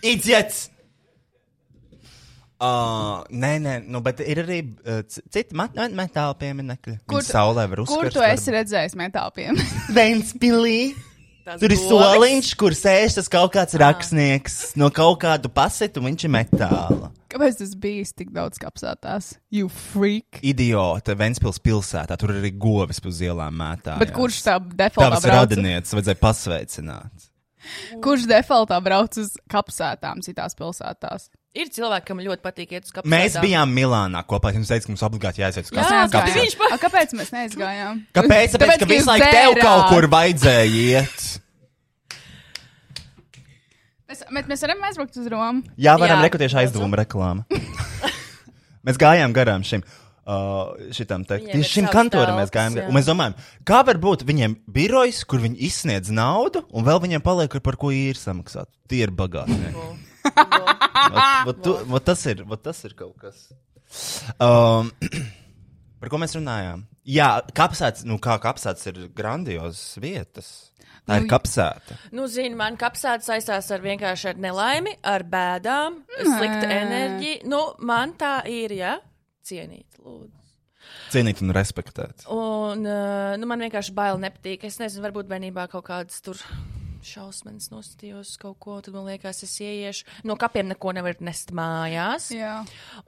S1: Idiets! Uh, nē, nē, nu, bet ir arī uh, c- citi mat- met- metāla pieminekļi.
S2: Kur
S1: Kur
S2: tu-
S1: saulē var
S2: Kur
S1: uzsākt?
S2: tu esi redzējis metāla pieminekļus?
S1: Ventspīlī!
S3: Tas
S1: Tur ir
S3: golis.
S1: soliņš, kur sēž tas kaut kāds
S2: Ah.
S1: rakstnieks no kaut kādu pasetu, un viņš ir metāla.
S2: Kāpēc tas bija tik daudz kapsētās? You freak!
S1: Idiota Ventspils pilsētā, tur ir arī govis uz ielām mētā.
S2: Bet kurš tā defaultā
S1: Tavs
S2: brauc?
S1: radinieks vajadzēja pasveicināt.
S2: Kurš defaultā brauc uz kapsētām citās pilsētās?
S3: Ir cilvēki, kam ļoti patīk iet uz kapsētu.
S1: Mēs bijām Milānā kopā. Viņš teica, ka mums obligāti jāiziet uz
S3: Jā,
S1: kāpēc-
S3: tas
S1: kāpēc-
S3: bija viņš pa-
S2: A, kāpēc mēs neizgājām?
S1: Kāpēc? Tāpēc, ka visu
S2: jūs
S1: laiku tev
S2: dzērāt.
S1: kaut kur vajadzēja iet.
S2: Mēs, mēs, mēs varam aizbraukt uz Romu.
S1: Jā, varam
S3: Jā.
S1: rekrutēt aizdevumu reklāmu. (laughs) mēs gājām garām šim. Uh, šitam te,
S3: Viņiem ir
S1: tieši šim
S3: savs
S1: kantoram mēs
S3: telpas,
S1: gājām.
S3: jā.
S1: gar- Un mēs domājam, kā var būt viņiem birojs, kur viņi izsniedz naudu, un vēl viņiem paliek, par ko ir samaksāt. Tie ir bagātnieki. Vat- vat tu- vat tas, ir- vat tas ir kaut kas. Um, (clears throat) par ko mēs runājām? Jā, kapsēta nu, kā kapsēta ir grandiozas vietas. Tā ir
S2: Nu,
S1: kapsēta.
S3: Nu, zini, man kapsēta saistās ar vienkārši ar nelaimi, ar bēdām, sliktu enerģiju. Nu, man tā ir, ja? Cienīt, lūdzu.
S1: Cienīt un respektēt.
S3: Un, eh, nu, man vienkārši bail nepatīk. Es nezinu, varbūt bērnībā kaut kādas tur šausmas nostījos kaut ko, tad man liekas, es ieiešu. No kapiem neko nevar nest mājās.
S2: Jā.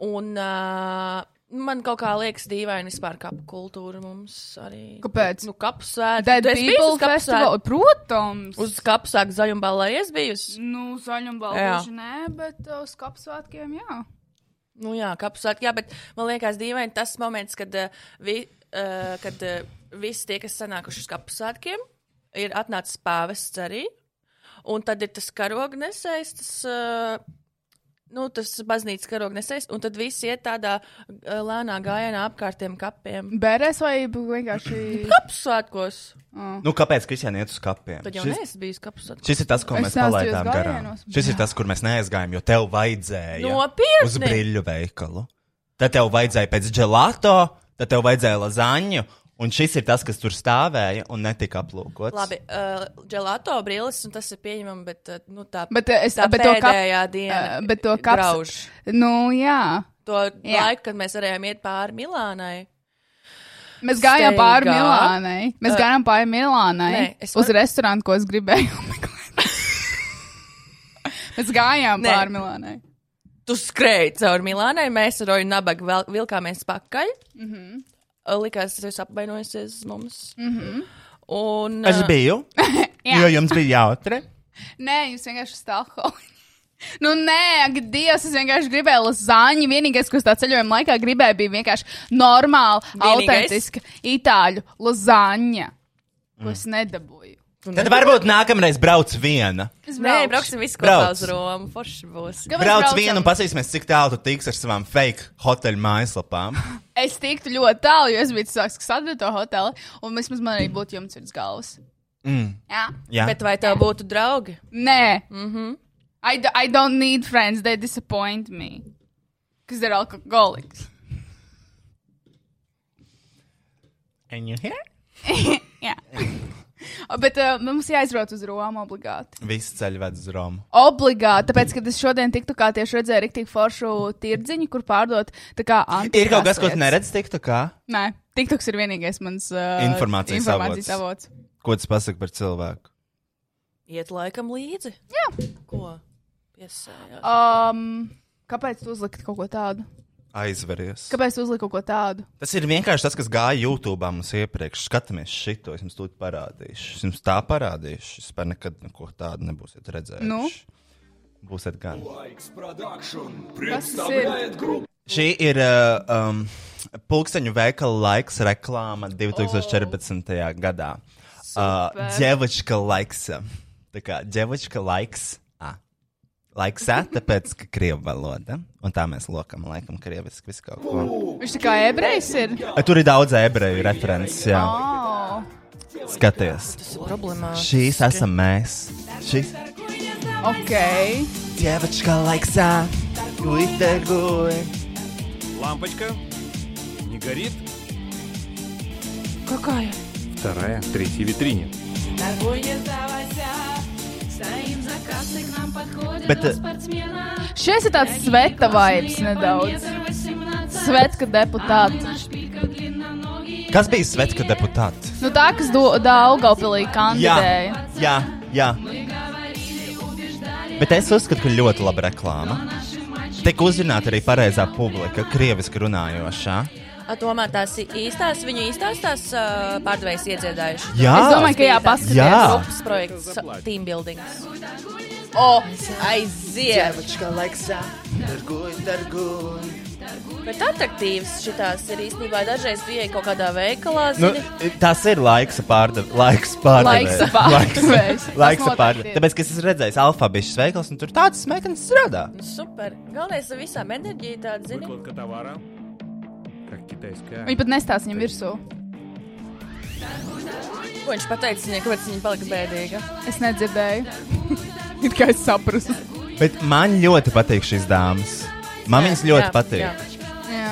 S3: Un uh, man kaut kā liekas dīvaini vispār kapu kultūra mums arī.
S2: Kāpēc?
S3: Nu, kapsēta.
S2: Dead
S3: Tu esi bijusi
S2: People
S3: uz kapu
S2: Festival.
S3: svētku?
S2: Protams.
S3: Uz kapsēta zaļumbalā es bijusi.
S2: Nu,
S3: Jā.
S2: zaļumbalūži nē, bet uh, uz kapsvētkiem jā.
S3: Nu, jā, kapsēta, jā, bet man liekas, dīvaini tas moments, kad, eh, vi, uh, kad uh, visi tie, kas sanākuši uz kapsētkiem, ir atnācis pāvests arī. Un tad ir tas karognesējs, tas, uh, nu, tas baznīcas karognesējs, un tad visi iet tādā eh, lēnā gājienā apkārt tiem kapiem.
S2: Bērēs vai bu-
S3: (laughs)
S2: vienkārši. Ah.
S3: Kapsētkos!
S1: Nu, kāpēc Kristiāna iet uz kapiem?
S3: Tad jau
S1: Šis-
S3: neesmu bijis kapsētkos.
S1: Šis ir tas, ko
S2: Es
S1: mēs
S2: neesmu
S1: palaidām
S2: tajos
S1: garām.
S2: gājienos.
S1: Šis ir tas, kur mēs neaizgājām, jo tev vajadzēja
S3: Nopietni?
S1: uz brīļu veikalu. Tad tev vajadzēja pēc gelato, tad tev vajadzēja lazaņu, un šis ir tas, kas tur stāvēja un netika aplūkots.
S3: Labi, uh, gelato brīlis, un tas ir pieņemami, bet uh, nu, tā,
S2: Bet, eh, es-
S3: tā
S2: bet to kap-
S3: pēdējā diena,
S2: eh, bet to kaps-
S3: grauž.
S2: Nu, jā.
S3: To
S2: Jā.
S3: jā. laiku, kad mēs varējām iet pāri Milānai.
S2: Mēs gājām
S3: Steigā.
S2: pāri Milānai. Mēs
S3: Eh,
S2: gājām pāri Milānai.
S3: nē, es
S2: Uz
S3: varu-
S2: restorānu, ko es gribēju. (laughs) meklēt. Mēs gājām
S3: Nē.
S2: pāri Milānai.
S3: Tu skrēji cauri Milānai, mēs ar Roju Nabagu vēl- vilkāmies pakaļ. Mm -hmm. Likās, ka es apvainojusies mums. Mm -hmm. Un,
S1: Es
S3: eh,
S1: biju,
S3: (laughs)
S2: Jā.
S1: jo jums bija jautri.
S2: Nē, jūs vienkārši stāvholi. Nu, nē, ak, Dievs, es vienkārši gribēju lasaņu. Vienīgais, ko es tā ceļojuma laikā gribēju, bija vienkārši normāla,
S3: Vienīgais?
S2: autentiska itāļu lasaņa, ko es nedabūju.
S1: Tad
S2: Nu,
S1: varbūt nākamreiz brauc viena.
S2: Es
S3: Nē,
S2: braucu.
S3: brauksim visi
S1: Brauc.
S3: kopā uz Romu. Forši būs.
S2: Kāpēc
S1: Brauc
S2: braucam?
S1: viena un paskatīsimies, cik tālu tu tiks ar savām fake hoteļu
S2: (gasps)
S1: mājaslapām.
S2: Es tiktu ļoti tālu, jo es biju cilvēks, kas atveda to hoteli, un vismaz man arī būtu jumts virs galvas.
S1: Mm.
S2: Jā.
S1: Jā,
S3: Bet vai tev būtu draugi? Mhm.
S2: Nē. Mm -hmm. I, do, I don't need friends, they disappoint me. Because they're alcoholics. (laughs)
S1: And you here? (laughs)
S2: Jā. Bet uh, mums jāizbrauc uz Romu obligāti.
S1: Visi ceļi ved uz Romu.
S2: Obligāti, tāpēc, kad es šodien tiktu kā tieši redzēju rīktīvu foršu tirdziņu, kur pārdot tā kā antikās
S1: Ir kaut kas, ko tu
S2: lietas.
S1: neredz tiktu, kā?
S2: Nē, tiktoks ir vienīgais mans uh,
S1: Informācijas
S2: informācijas
S1: avots.
S2: avots.
S1: Ko tas pasaka par cilvēku?
S3: Iet laikam līdzi.
S2: Jā.
S3: Ko? Piesējās.
S2: Um, Kāpēc tu uzliki kaut ko tādu?
S1: Aizveries.
S2: Kāpēc tu uzliki kaut ko tādu?
S1: Tas ir vienkārši tas, kas gāja YouTube mums iepriekš. Skatāmies šito, es jums to parādīšu. Es jums tā parādīšu. Es pat nekad neko tādu nebūsiet redzējuši.
S2: Nu?
S1: Būsiet gan.
S2: Kas tas ir?
S1: Šī ir uh, um, pulksteņu veikala laiks reklāma 2014. Oh. gadā. Uh, Dievačka laiks. Tā kā dievačka laiks. A. Laiks, A, tāpēc, ka krievu valoda. Un tā mēs lokam, laikam, krieviski visu kaut ko.
S2: Viņš tā kā ebrejs ir.
S1: Tur ir daudz ebreju references, jā.
S2: Oh.
S1: Skaties.
S3: Tas ir problēmas.
S1: Šīs esam mēs. Šīs
S2: Ok.
S1: dievačka laiks. Guiteguj.
S7: Лампочка не горит.
S3: Какая?
S7: Вторая, в третьей витрине.
S1: Bet uh,
S2: Šis ir tāds sveta vibes nedaudz. Svetska deputāta.
S1: kas bija svetska deputāts?
S2: Nu tā, kas Daugaupilī kandidēja.
S1: jā, jā. Bet es uzskatu, ka ļoti laba reklāma. Tik uzzināta arī pareizā publika, krieviski runājošā.
S3: A, tomēr tās i- īstās, viņu īstās tās uh, pārdevējas iedziedājuši.
S1: Jā,
S2: Es domāju, ka jā,
S1: Jā.
S2: paskatieties.
S3: Grupas projekts, sa- team buildings. O, aiziet! Bet attraktīvs šitās ir īstenībā dažreiz pieeja kaut kādā veikalā.
S1: Nu,
S3: zini.
S1: tas ir laiks pārdevējs. Laiks pārdevējs.
S2: Laiksa (laughs) pārdevējs. Tas
S1: Laiks
S2: noteikti
S1: pārdevējs.
S2: ir.
S1: Tāpēc, ka es esmu redzējis alfabēta veikals, un tur tāds smēķis strādā.
S3: Nu, Super. Galvenais ar visām enerģiju tādu zini.
S7: Выкладка товара. Как китайская.
S2: Viņa pat nestāsta viņam virsū.
S3: Ko viņš pateica viņai, kāpēc viņa palika bēdīga?
S2: Es nedzirdēju. (laughs) It kā es saprastu.
S1: Bet man ļoti patīk šīs dāmas. Man viņas ļoti patīk.
S2: Jā.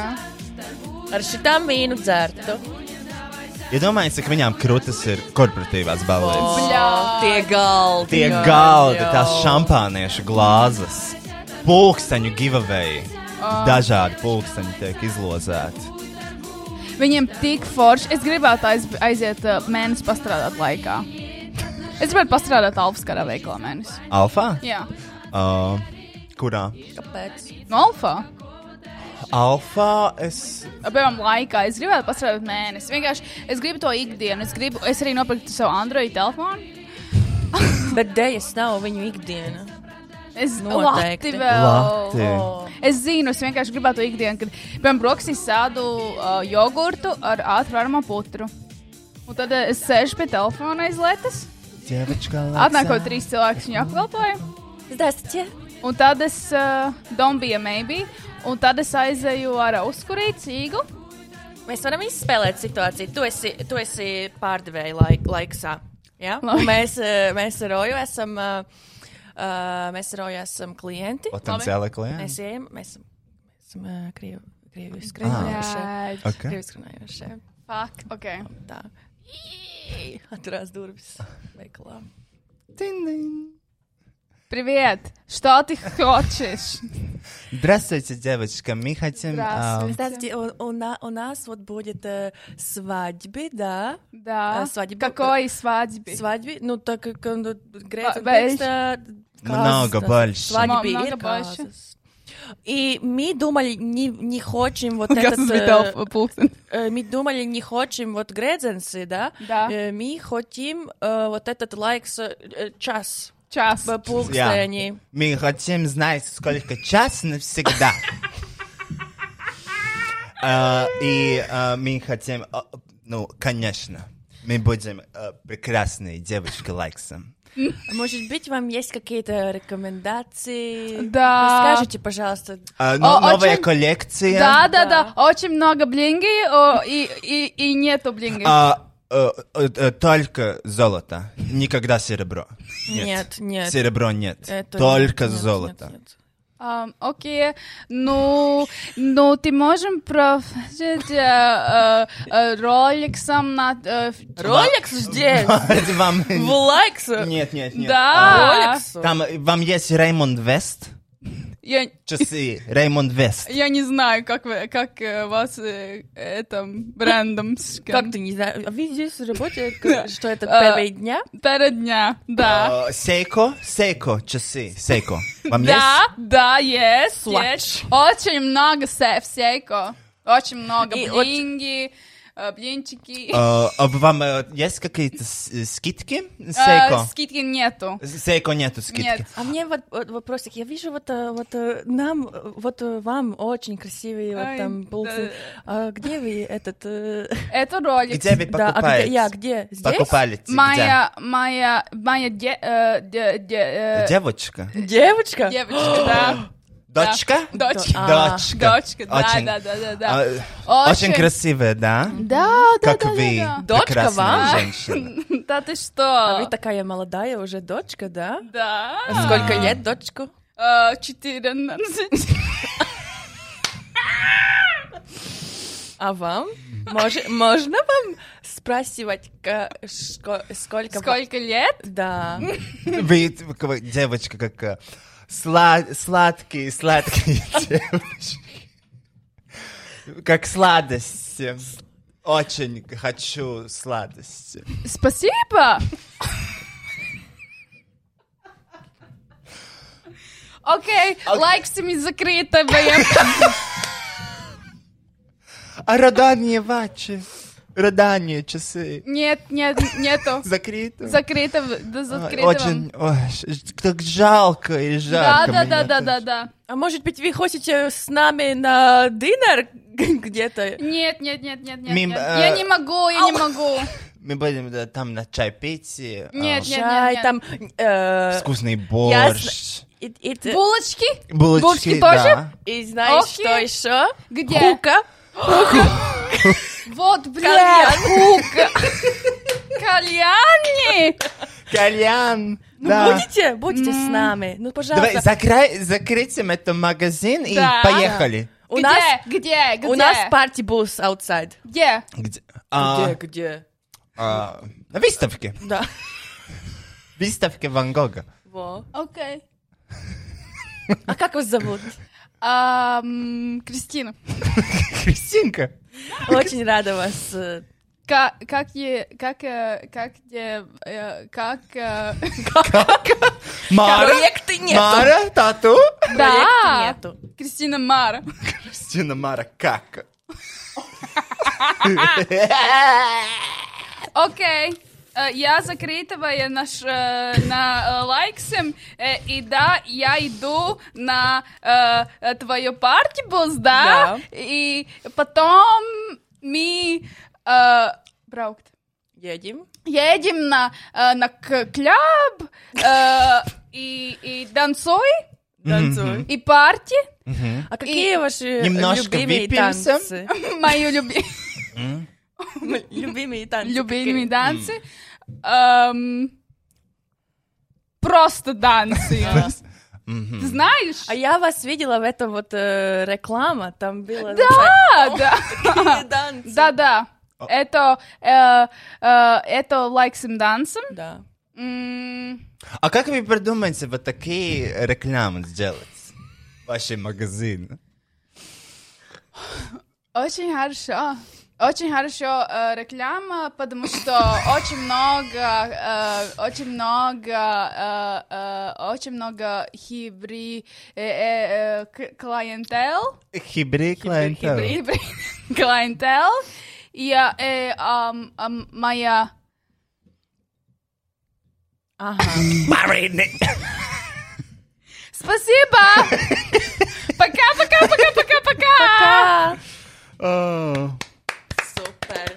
S3: Ar šitām vīnu dzērtu.
S1: Iedomājieties, cik viņām krūtis ir korporatīvās balīdzes.
S2: Bļā.
S3: Tie galdi.
S1: Tie
S3: jā,
S1: galdi,
S3: jā.
S1: tās šampāniešu glāzes, pulksteņu giveaway.
S2: Uh,
S1: Dažādi pulksteņi tiek izlozēti.
S2: Viņiem tik forši. Es gribētu aiz, aiziet uh, mēnesi pastrādāt laikā. Es gribētu pastrādāt Alfas kara veiklā mēnesi.
S1: Alfa?
S2: Jā.
S1: Uh, kurā?
S3: Kāpēc?
S2: No Alfa.
S1: Alfa es.
S2: Piemēram, laikā es gribētu pastrādāt mēnesi. Vienkārši es gribu to ikdienu. Es, gribu, es arī nopirku savu Android telefonu.
S3: (laughs) Bet dēļas nav viņu ikdiena.
S2: Es
S3: Nu, Noteikti.
S2: Lati vēl.
S1: Lati.
S3: O,
S2: Es zinu, es vienkārši gribētu ikdienu, kad, piemēram, brokastīs sādu uh, jogurtu ar ātrumu putru. Un tad uh, es sēžu pie telefona aiz lietas.
S1: Dievička
S2: Atnākot trīs cilvēkus, viņu apkalpoju.
S3: Zdrastie!
S2: Un tad es uh, dombiju mēbī, un tad es aizeju ar uzkurīt cīgu.
S3: Mēs varam izspēlēt situāciju. Tu esi, tu esi pārdevēja laik, laiksā. Ja?
S2: Labi.
S3: Mēs, eh, mēs ar Roju esam, eh, eh, mēs ar Roju esam klienti.
S1: Potenciāli
S3: Mēs
S1: klienti.
S3: ejam, mēs esam, mēs esam eh, krievi, krievi
S1: Ah.
S3: skrējušie.
S1: Okay.
S3: Krievi skrējušie.
S2: Fuck, ok.
S3: Tā. Ī, Atturās durvis veikalā.
S2: Priviet! Что ты хочешь?
S1: Здравствуйте, девочка. Мы хотим... um, А,
S2: Здравствуйте.
S3: Здравствуйте, Э, у, у, на, у нас вот будет э, свадьбы, да?
S2: Да.
S3: А, свадьба-
S2: Какой свадьбе?
S3: Свадьбы, ну так как он
S2: Ба- больше.
S1: Много больше.
S3: Свадьбы
S2: М-
S3: и
S2: много больше.
S3: казус. И мы думали, не, не хотим вот
S2: Kas
S3: этот...
S2: tas
S3: э,
S2: bija tev pulksten?
S3: э, мы думали, не хотим вот грезенсы, да?
S2: Да.
S3: Э, мы хотим э, вот этот лайк с, э, час.
S2: Čas.
S3: Б- Пулкстени.
S1: Мы хотим знать, сколько час навсегда. А, И а, мы хотим, а, ну, конечно, мы будем а, прекрасные девочки лайксом.
S3: (laughs) Может быть, вам есть какие-то рекомендации?
S2: Да.
S3: Скажите, пожалуйста.
S1: А, ну,
S2: О, очень-
S1: Новая коллекция.
S2: Да, да, да. Очень много блинги о, и, и, и нету блинги.
S1: А, э, э, э, Только золото, никогда серебро.
S3: Нет, нет.
S1: Серебро нет,
S3: Это-
S1: только
S3: нет, нет,
S1: золото.
S3: нет.
S2: Ам, окей, ну, ну ты можем профить роликсом на... э, в-
S1: (laughs)
S3: Ролекс здесь!
S1: Это вам-
S3: В лайкс!
S1: Нет, А, нет, нет.
S2: Да.
S3: Ролекс?
S1: Там э, вам есть Реймонд Вест
S2: Я, (laughs)
S1: Часы. Реймонд Вест.
S2: я не знаю, как, вы, как э, вас э, это брендом... с-
S3: Как ты не знаешь? Вы здесь работаете,
S2: Да.
S3: как- что это
S2: А,
S3: первые дня?
S2: Пера дня, да.
S1: Э, Сейко. Сейко. Часы. Сейко. Вам
S2: Да, да, есть,
S3: Слач.
S2: есть. Очень много сев, сейко. Очень много
S3: И вот-
S2: блинги, э, блинчики.
S1: есть? Э, а Вам э, есть какие-то с- скидки?
S2: Э,
S1: Сейко.
S2: Скидки нету.
S1: Сейко нету скидки.
S2: Нет.
S3: А мне вот, вот вопросик. Я вижу вот, э, вот э, нам, э, вот э, вам очень красивые вот
S2: Ай,
S3: там пулсы. А где вы
S2: (laughs)
S3: этот... э,
S2: Это ролик.
S1: Где вы
S3: Да, а где-
S1: покупаете?
S3: я где? Здесь?
S1: Покупали.
S2: Моя, моя, моя де- э, де- де- э,
S1: Девочка.
S3: Девочка?
S2: девочка, да.
S1: Дочка?
S2: Дочка.
S3: А,
S1: Дочка.
S2: Дочка, да,
S1: Очень.
S2: да, да, да, да.
S1: А, Очень красивая, да?
S2: Да, да,
S1: Как
S2: да,
S1: вы,
S2: да,
S3: Дочка
S1: прекрасная
S3: вам?
S1: женщина.
S2: да.
S1: (laughs)
S2: Да ты
S3: А вы
S2: что?
S3: такая молодая уже дочка, да?
S2: Да.
S3: А сколько лет дочку?
S2: Э, 14.
S3: А вам? Мож- можно вам спрашивать, ка- шко- сколько... вам-
S2: Сколько лет?
S3: Да.
S2: (laughs)
S1: Вы такой девочка как э, сла- сладкие, сладкие (laughs) девочки. Как сладости. Очень хочу сладости.
S2: Спасибо. Окей, лайк с ними закрыто, блин.
S1: А родание вачи. Родание часы.
S2: Нет, нет, нету.
S1: Закрыто.
S2: Закрыто, в- да,
S1: Ой,
S2: закрыто. вам.
S1: Очень, ой, ш- ш- так жалко и
S2: Да,
S1: жалко меня
S2: да, да, да,
S1: тоже.
S2: да, да.
S3: А может быть, вы хотите с нами на динер (laughs) где-то?
S2: Нет, нет, нет, нет, нет.
S1: Мим,
S2: нет.
S1: э,
S2: Я не могу, я не могу.
S1: Мы будем да, там на чай пить. и, а,
S2: Нет, нет, нет,
S3: Чай
S2: нет.
S3: там... э,
S1: Вкусный борщ.
S3: и- и ты-
S2: Булочки?
S1: Булочки,
S2: Булочки
S1: да.
S3: И знаешь,
S2: Окей.
S3: что еще?
S2: Где?
S3: Хука.
S2: Вот, бля,
S3: Кальян.
S2: кальянни.
S1: Кальян.
S3: Ну,
S1: да.
S3: будете? Будете с нами.
S1: (laughs) Давай
S3: Ну, пожалуйста.
S1: закрой, закрытим этот магазин и
S2: Да.
S1: поехали.
S3: У
S2: где,
S3: нас...
S2: где, где?
S3: У нас парти-бус outside.
S2: Где?
S1: Где?
S3: Ah.
S1: А,
S3: Где, где?
S1: а, на выставке.
S3: (laughs) Да.
S1: Выставке Ван Гога.
S3: Во.
S2: Окей.
S3: А как вас зовут?
S2: Ам, Кристина.
S1: Кристинка.
S3: Очень рада вас. э,
S2: Как, как, е, как, э, как, е, э, как, э, (laughs)
S1: Мара.
S3: Проекты нету.
S1: Мара, тату.
S2: да,
S3: Проекта нету. (laughs)
S2: Кристина Мара.
S1: Кристина Мара, как?
S2: Окей. Э, Я закрытываю наш э, на э, лайксем, э, и да, я иду на э, э, твою партию, босс, да?
S3: Да.
S2: И потом мы э, браук.
S3: Едем.
S2: едем на, э, на к- клуб э, и, и танцуй,
S1: Mhm.
S3: Танцуй.
S2: и парти,
S3: А какие ваши
S1: Немножко
S3: любимые
S1: выпьемся.
S3: танцы?
S2: (laughs) мои люби-
S1: Mhm.
S3: Любимые танцы.
S2: любимые танцы. Эм, просто танцы.
S1: Mhm.
S2: Ты знаешь?
S3: А я вас видела в этом вот э, реклама, там было
S2: Да, а, да. (laughs)
S3: такие танцы.
S2: Да, да. Это, э, э, это лайк с дансом.
S3: Да.
S2: М,
S1: А как вы придумаете вот такие рекламы сделать? Ваш магазин.
S2: Очень хорошо. Очень хорошо э, реклама, потому что очень много, э, очень много, э, э, очень много хибри э, э, э, к- клиентел,
S1: Хибри клиентел.
S2: (laughs) хибри клиентел, и э, э, ам, ам, моя
S3: Ага.
S2: спасибо, пока, пока, пока, пока, пока.
S3: А,
S1: О,
S3: Супер.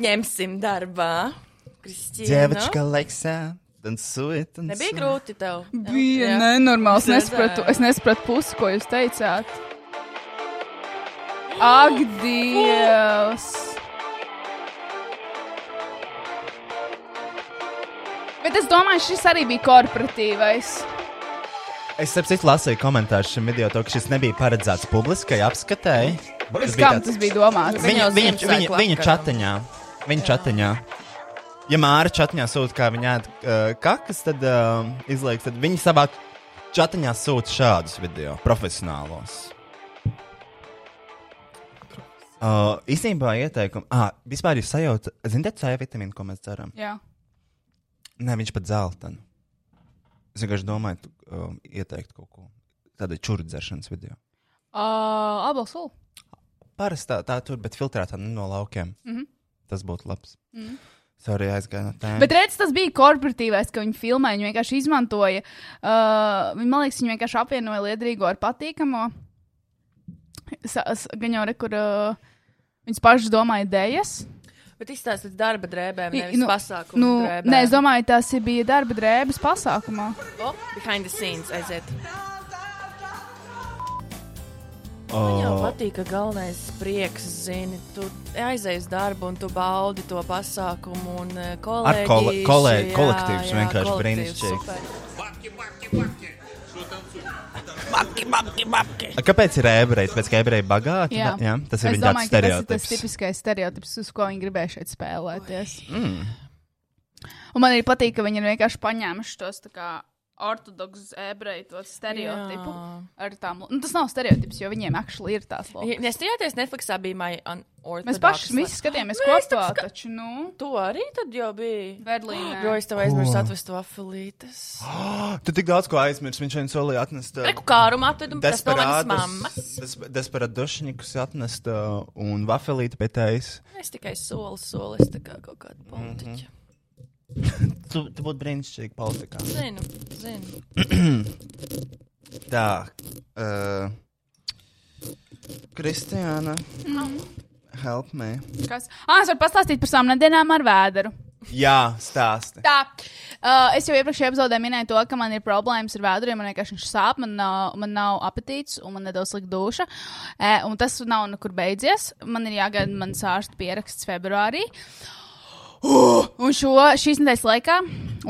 S3: Немцем дарба. Кристина.
S1: Девочка
S3: ну?
S1: Лекса танцует,
S3: Не
S1: танцует.
S3: bija grūti tev.
S2: Bija
S3: Jā.
S2: nenormāls.
S3: Es
S2: Nespratu,
S3: redzēju.
S2: es nesapratu pusi, ko jūs teicāt. Ak, Dievs! Bet es domāju, šis arī bija korporatīvais.
S1: Es saprotu, lasīju komentārus šim video, to, ka šis nebija paredzēts publiskai apskatēji. Tas bija
S2: Kam
S1: tāds-
S2: tas bija domāts?
S3: Viņa
S1: Viņa,
S3: jau
S1: viņa,
S3: Ziemassvētku
S1: viņa, viņa
S3: vakarā.
S1: čatiņā. Viņa čatiņā. eh, Ja Māra čatņā sūta, kā viņa ēd uh, kakas, tad uh, izlaiks, tad viņa savā Čatiņā sūta šādus video, profesionālos. Uh, īstenībā ieteikumu, ah, vispār jūs sajaucat, zināt, tā ir vitamīna, ko mēs dzeram.
S2: Jā.
S1: Nē, viņš pat zeltains. Es vienkārši domāju, tu, uh, ieteikt kaut ko tādu čūru dzeršanas video.
S2: Uh, Abels Ulu.
S1: Parasti tā, tā tur, bet filtrētā nu, no laukiem. Mm -hmm. Tas būtu labs. Mm -hmm. Sorry, aizgāju no tēmas.
S2: Bet redz, tas bija korporatīvais, ka viņi filmēja, viņi vienkārši izmantoja. Uh, viņi, man liekas, viņi vienkārši apvienoja liederīgo ar patīkamu. Gan jau rekur, uh, viņas pašas domāja idejas.
S3: Bet izstāstiet darba drēbēm,
S2: I-
S3: nevis nu,
S2: nu,
S3: pasākumu
S2: Nu,
S3: drēbēm.
S2: nē, es domāju, tas ir- bija darba drēbes pasākumā.
S3: O, Oh, behind the scenes aiziet. Man jau
S1: O,
S3: patīk, ka galvenais prieks, zini, tu aizies darbu un tu baudi to pasākumu un eh, kolēģi.
S1: kole- kolē-
S3: jā,
S1: kolektīvs
S3: jā,
S1: vienkārši
S3: kolektīvs,
S1: brīnišķīgs.
S3: super.
S1: Kāpēc ir ebreji? Tāpēc, ka ebreji ir bagāti.
S2: Jā.
S1: jā tas ir
S2: Es
S1: viņa tāds
S2: domāju, ka Tas
S1: stereotips.
S2: ir tas tipiskais stereotips, uz ko viņi gribēja šeit spēlēties. Mm. Un man arī patīk, ka viņi ir vienkārši paņēmuši tos tā kā ortodoksus ebreju to stereotipu.
S3: Jā.
S2: Ar tām, nu, tas nav stereotips, jo viņiem actually ir tās
S3: Ja-
S2: logs.
S3: Nestījāties Netflixā bija My Unorthodox.
S2: Mēs paši visi skatījāmies
S3: Mēs
S2: kopā, taču, nu,
S3: To arī tad jau bija.
S2: Berlīnē.
S3: Jo es tev aizmirsu atvest vafelītes.
S1: (gasps)
S3: (gasps)
S1: Ah, Tu tik daudz ko aizmirsti. Viņš šodien solīja atnest. ā,
S3: Reku kārumu atvedu, tas no manas mammas.
S1: Desperados- des- Desperadošņikus atnest ā, un vafelīti pētējis.
S3: Es tikai soli, soli, es tā kā kaut kādu politiķu.
S1: Mm. (laughs) Tu, tu būtu brīnišķīgi politikā.
S3: Zinu, zinu.
S1: (clears throat) Tā. Uh, Kristiāna. Help me.
S2: Nu, Kas? Ah, es varu pastāstīt par savām nedēļām ar vēderu.
S1: Jā, stāsti.
S2: Tā, uh, es jau iepriekšējā epizodē minēju to, ka man ir problēmas ar vēdru, jo man vienkārši viņš sāp, man nav, man nav apetīts un man nedaudz slikta duša. E, un tas nav nekur beidzies. Man ir jāgaida mans ārsta pieraksts februārī. Uh, un šo, šīs nedēļas laikā,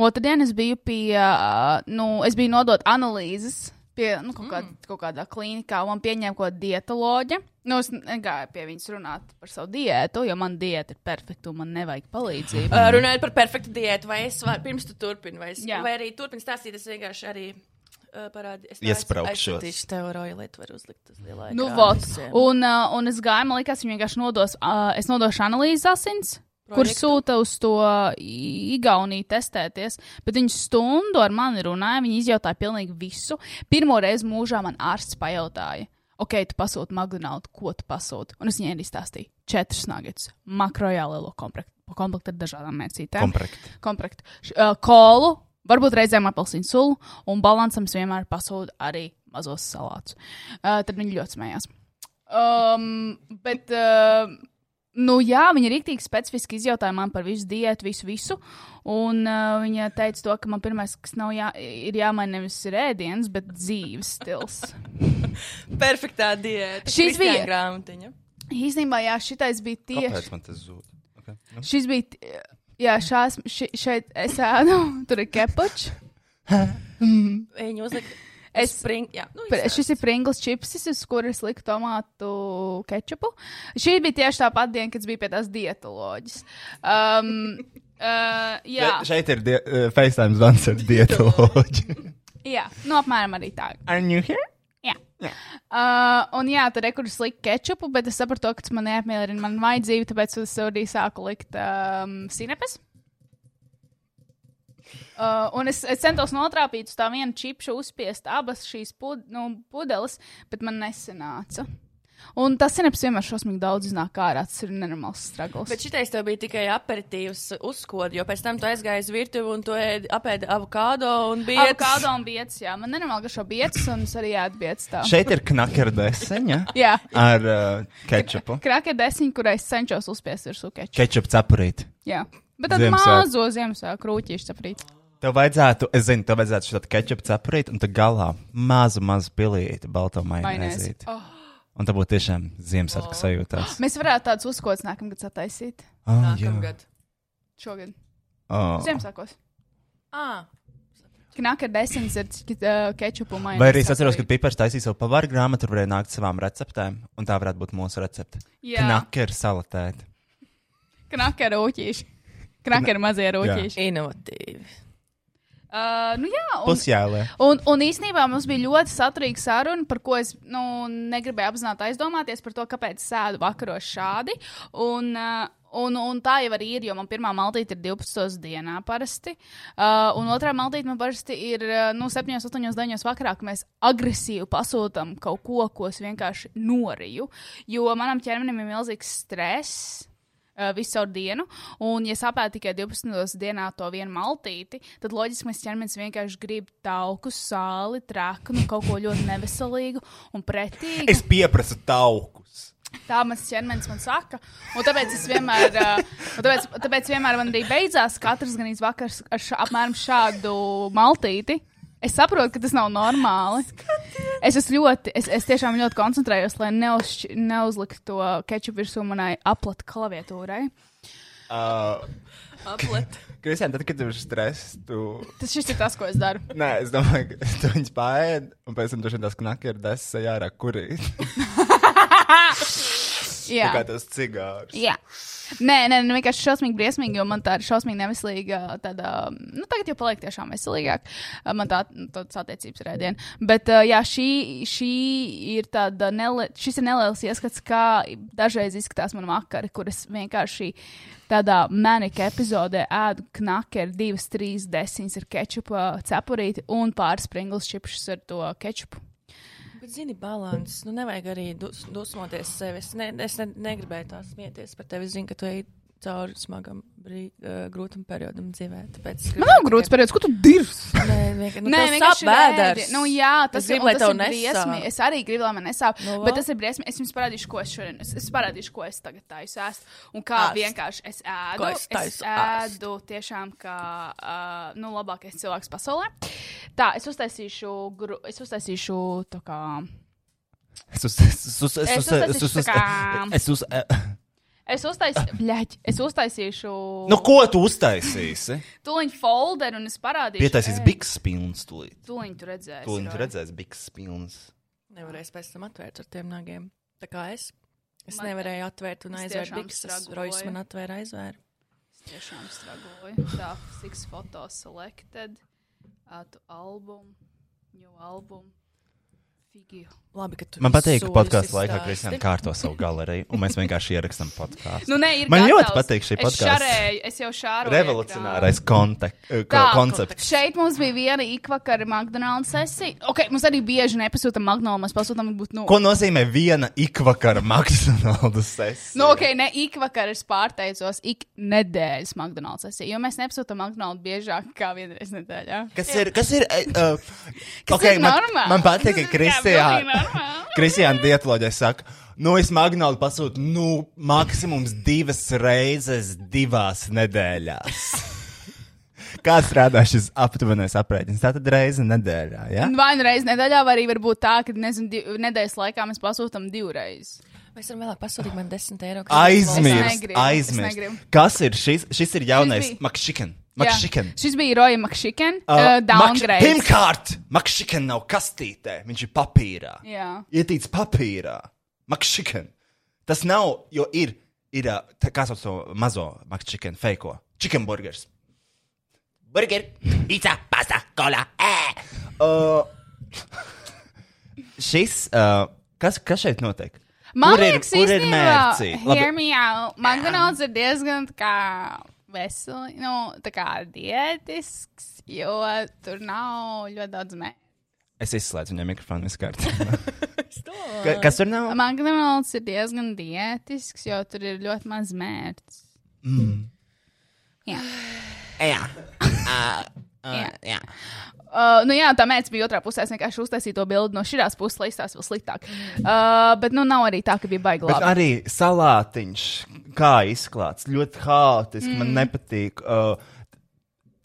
S2: otrdien, es biju pie, uh, nu, es biju nodot analīzes pie nu, kaut, kād, kaut kādā klīnikā, un man pieņēma kaut kāda dietoloģija. Nu, es negāju pie viņas runāt par savu diētu, jo man diēta ir perfekta un man nevajag palīdzību.
S3: Uh, runājot par perfektu diētu, vai es varu, pirms tu turpini, vai, es,
S2: Jā.
S3: vai arī turpini stāstīt, es vienkārši arī uh, parādīju. Es
S1: Iespraukšos.
S3: Tieši tev roilietu var uzlikt uz lielā.
S2: Nu,
S3: ekrāna
S2: vot.
S3: visiem.
S2: Un, uh, un es gāju, man liekas, viņi vienkārši nodos, uh, es nodošu analīzes asins, kur
S3: Projektu?
S2: sūta uz to Igauniju testēties. Bet viņi stundu ar mani runāja, viņi izjautāja pilnīgi visu. Pirmo reizi mūžā man ārsts pajautāja. Ok, tu pasūti McDonald's, ko tu pasūti? Un es viņai arī stāstīju četrus nagets, makrojālo komplektu, komplektu ar dažādām mērcītēm.
S1: Komplekti.
S2: Komplektu. Š- Uh, kolu, varbūt reizēm apelsīnu sulu, un balansam es vienmēr pasūtu arī mazos salātus. Uh, tad viņi ļoti smējās. Um, bet, uh, nu, jā, viņa rīktīgi specifiski izjautāja man par visu diētu, visu, visu. Un uh, viņa teica, to, ka man pirmais, kas nav jā, ir jāmaina, nevis ir ēdiens, bet dzīves
S3: (laughs)
S2: stils.
S3: Perfektā diēta.
S2: Šis
S3: Kristiāna
S2: bija-
S3: grāmatiņa.
S2: Īsnībā, jā, šitais bija tieši.
S1: Kāpēc man tas zūd? Okay. Nu.
S2: Šis bija. t- Jā, šās, ši, šeit es ēdu, (laughs) tur ir kepučs.
S3: Viņa uzlika.
S2: Es-
S3: Es springu. Jā, nu,
S2: Pr- Šis ir Pringls čips, uz kuras liku tomātu kečupu. Šī bija tieši tā pati diena, kad es biju pie tās dietoloģijas. Um,
S3: (laughs)
S2: uh, jā,
S1: Šeit- Šeit ir die- uh, FaceTime zvans ar
S2: (laughs)
S1: dietoloģiju.
S2: jā, nu apmēram arī tā.
S1: Are you here?
S2: Jā. Uh, un jā, tur ir kur es liku kečupu, bet es sapratu, to, ka tas man neapmierina man vajadzību, tāpēc es arī sāku likt um, sinepes. Uh, un es, es centos notrāpīt uz tā viena čipša, uzspiest abas šīs pud, nu, pudeles, bet man nesanāca. Un tas sinepes vienmēr šausmīgi daudz iznāk ārā. Tas ir nenormāls stragls.
S3: Bet šitais tev bija tikai aperitīvs uzkods, jo pēc tam tu aizgāji uz virtuvi un tu ēdi- apēdi avokado un bija.
S2: Avokado un biets, jā. Man nenormāli garšo biets, un es arī ēdu biets tā.
S1: Šeit ir knakera deseņa
S2: Jā.
S1: ar uh, kečupu.
S2: Krāke desiņa, kurai es cenšos uzspiest virsū kečupu.
S1: Kečupu cepurīt.
S2: Jā, bet tad
S1: Ziemassvētku.
S2: mazo Ziemassvētku krūtīšu saprīt.
S1: Tev vajadzētu, es zinu, tev vajadzētu šo kečupu cepurīt, un tad galā mazu, mazu pilīti, balto
S2: Mainēs.
S1: maināzīti.
S2: Oh.
S1: Un tā būtu tiešām Ziemassvētku
S2: (gasps)
S1: sajūtās.
S2: Mēs varētu tādus uzkots nākamgad sataisīt.
S1: Ah, jā.
S3: Nākamgad.
S2: Šogad.
S1: Ah.
S2: Ziemassvētkos.
S3: Ā,
S2: Knaka desmit ir uh, kečupu maiņa.
S1: Vai arī es atceros, ka Pipers taisīja savu pavāru grāmatu, tur varēja nākt savām receptēm, un tā varētu būt mūsu recepte.
S2: Jā.
S1: Knakera salatēta.
S2: Knaka rūtīši. Knaka mazie rūtīši.
S3: inovatīvi.
S2: Uh, nu jā, un,
S8: Pusjēlē.
S2: Un, un īsnībā mums bija ļoti saturīga saruna, par ko es nu, negribēju apzināti aizdomāties par to, kāpēc sēdu vakaros šādi. Un, uh, un, un tā jau arī ir, jo man pirmā maltīte ir 12. dienā parasti, uh, un otrā maltīte man parasti ir uh, nu, 7, 8, 9 vakarā, ka mēs agresīvi pasūtām kaut ko, ko es vienkārši noriju. Jo manam ķermenim ir milzīgs stress uh, visu savu dienu, un, ja sapēta tikai 12. dienā to vienu maltīti, tad loģiski mans ķermenis vienkārši grib tauku, sāli, traknu, kaut ko ļoti neveselīgu un pretīgu.
S8: Es pieprasu taukus.
S2: Tā mans ķermenis man saka. Un tāpēc es vienmēr, uh, un tāpēc, tāpēc vienmēr man arī beidzās katrs gan izvakars ar šā, apmēram šādu maltīti. Es saprotu, ka tas nav normāli. Es, esmu ļoti, es, es tiešām ļoti koncentrējos, lai neuzšķi- neuzliktu to kečupu virsū manai aplata klaviatūrai.
S1: Ah.
S8: Uh,
S1: (laughs)
S3: Aplet.
S8: Kristian, tad, kad tev ir stress, tu.
S2: Tas šis ir tas, ko es
S1: (laughs)
S2: daru.
S8: Nē, es domāju, ka tu viņus pāriet, un pēc tam tur šodien tas knakri ir desa jārā, kur ir.
S1: (laughs)
S2: Jā,
S8: Kā tas cigārs.
S2: jā. Nē, nē, nē, vienkārši šausmīgi briesmīgi, jo man tā ir šausmīgi neveselīga. Tāda, nu, tagad jau paliek tiešām veselīgāk. uh, Man tā, nu, tāds attiecības rēdiena. Bet, uh, jā, šī, šī ir tāda, nele, šis ir neliels ieskats, kā dažreiz izskatās man vakari, kur es vienkārši tādā manika epizodē ēdu knakeri, divas, trīs desiņas ar kečupu cepurīti un pāris pringles čipšus ar to kečupu.
S3: Bet, zini, balans. Nu, nevajag arī dus, dusmoties sevi. Es, ne, es ne, negribēju tā smieties par tevi. Es zinu, ka tu ej cauri smagam, brī, uh, grūtam periodam dzīvē. Tāpēc
S2: Man nav grūts periods, ko tu dirzi?
S3: Nē, vienkārši nu,
S2: Nē,
S3: tas
S2: vienkārši
S3: apbēdars.
S2: bēdars. Nu, jā, tas
S3: Es
S2: ir,
S3: gribu,
S2: un
S3: lai
S2: tas
S3: tev
S2: ir
S3: nesāp.
S2: briesmi. Es arī gribu, lai man nesāp.
S3: Nu,
S2: No,
S3: va.
S2: bet tas ir briesmi. Es jums parādīšu, ko es šodien. Es, es parādīšu, ko es tagad taisu ēst. Un kā
S3: Ēst.
S2: Ast. vienkārši es ēdu.
S3: Ko es taisu ēst.
S2: ēdu tiešām kā uh, nu, labākais cilvēks pasaulē. Tā, es uztaisīšu, gru, es uztaisīšu to kā.
S1: Es uz- es uz- es
S2: Es
S1: uz-
S2: uztaisīšu
S1: es uz-
S2: tā kā-
S1: es uz-
S2: Es
S3: (coughs)
S2: uztaisīšu, bļaģ, es uztaisīšu.
S1: Nu, ko tu uztaisīsi?
S2: Tūliņ folderu un es parādīšu.
S1: Pietaisīs
S2: Ē,
S1: biks pilns tūlīt.
S2: Tūliņ tu redzēsi.
S1: Tūlīt
S2: Roja.
S1: redzēs biks pilns.
S3: Nevarēs pēc tam atvērt ar tiem nagiem. Tā kā es. Es
S2: Man-
S3: nevarēju atvērt un
S2: Es
S3: aizvērt
S2: tiešām
S3: bikses.
S2: stragoju.
S3: Rojas man atvēra aizvēra.
S2: tiešām stragoju. Tā, six photo selected, ātu albumu, new albumu, figiju.
S3: Labi, ka tu
S1: Man patīk, ka
S3: soļus
S1: podkāstu laikā
S3: izstāsti.
S1: Kristiāna kārto savu galeriju, un mēs vienkārši ierakstām podkāstu.
S2: Nu, nē, ir
S1: Man
S2: gatavs.
S1: ļoti patīk šī
S2: Es
S1: podkāsta.
S2: šarēju, Es jau šādu
S1: Revolucionārais kontek- eh, ko-
S2: Tā,
S1: koncepts.
S2: Šeit mums bija viena ikvakara McDonald's sesija. Okay, mums arī bieži nepasūta McDonald's, mēs pasūtām, būtu nu.
S1: Ko nozīmē viena ikvakara McDonald's sesija?
S2: Nu, ok, ne ikvakar es pārteicos, ik nedēļas McDonald's sesija, jo mēs nepasūtām McDonald's biežāk kā vienreiz nedēļā.
S1: Kas ir? Kas ir? eh, eh,
S2: Kas
S1: okay,
S2: ir
S1: man,
S2: normāli?
S1: man patīk, ka
S2: Jā, pilnīgi
S1: Kristiāna.
S2: normāli.
S1: Kristiāna dietoloģija saka, nu es magnāli pasūtu, nu, maksimums divas reizes divās
S2: (laughs)
S1: nedēļās. Kā strādā šis aptuvenais aprēķins? Tā tad reize nedēļā, ja?
S2: Vai nu reizē nedēļā, vai arī varbūt tā, ka nezinu, div, nedēļas laikā mēs pasūtām divreiz.
S3: Mēs varam vēlāk pasūtīt man 10 eiro. kas
S2: Es
S1: Aizmirst,
S2: negribu, es
S1: aizmirst.
S2: negribu.
S1: Kas ir šis? Šis ir jaunais
S2: Šis bija-
S1: McChicken.
S2: Jā.
S1: McChicken.
S2: Šis bija Roja Makšiken. Uh, uh, downgrade.
S1: Pirmkārt, McChicken nav kastītē, viņš ir papīrā.
S2: Jā.
S1: Ietīts papīrā. McChicken. Tas nav, jo ir, ir ā, tā kā sauc to mazo McChicken, feiko. Chicken burgers. (laughs) Burger, pizza, pasta, kola. ē! Uh, šis, uh, kas, kas šeit notiek?
S2: Man
S1: Kur ir-
S2: liekas,
S1: kur ir mērci?
S2: īstenībā,
S1: Labi.
S2: hear me out. McDonald's ir diezgan tā kā veseli, nu, tā kā dietisks, jo tur nav ļoti daudz mērķu.
S1: Es izslēdzu viņam mikrofonu vispār. (laughs)
S2: (laughs)
S1: kas tur nav?
S2: McDonald's ir diezgan dietisks, jo tur ir ļoti maz mērķis.
S1: Jā.
S3: Ah,
S2: Jā. Jā. Uh, nu jā, tā mērķis bija otrā pusē. Es vienkārši uztaisīju to bildi no šīs puses, lai izstāstītu vēl sliktāk. Uh, bet nu nav arī tā, ka bija baigta
S1: Bet
S2: labi.
S1: arī salātiņš, kā izklāts, ļoti haotiski. Mm. Man nepatīk. Uh,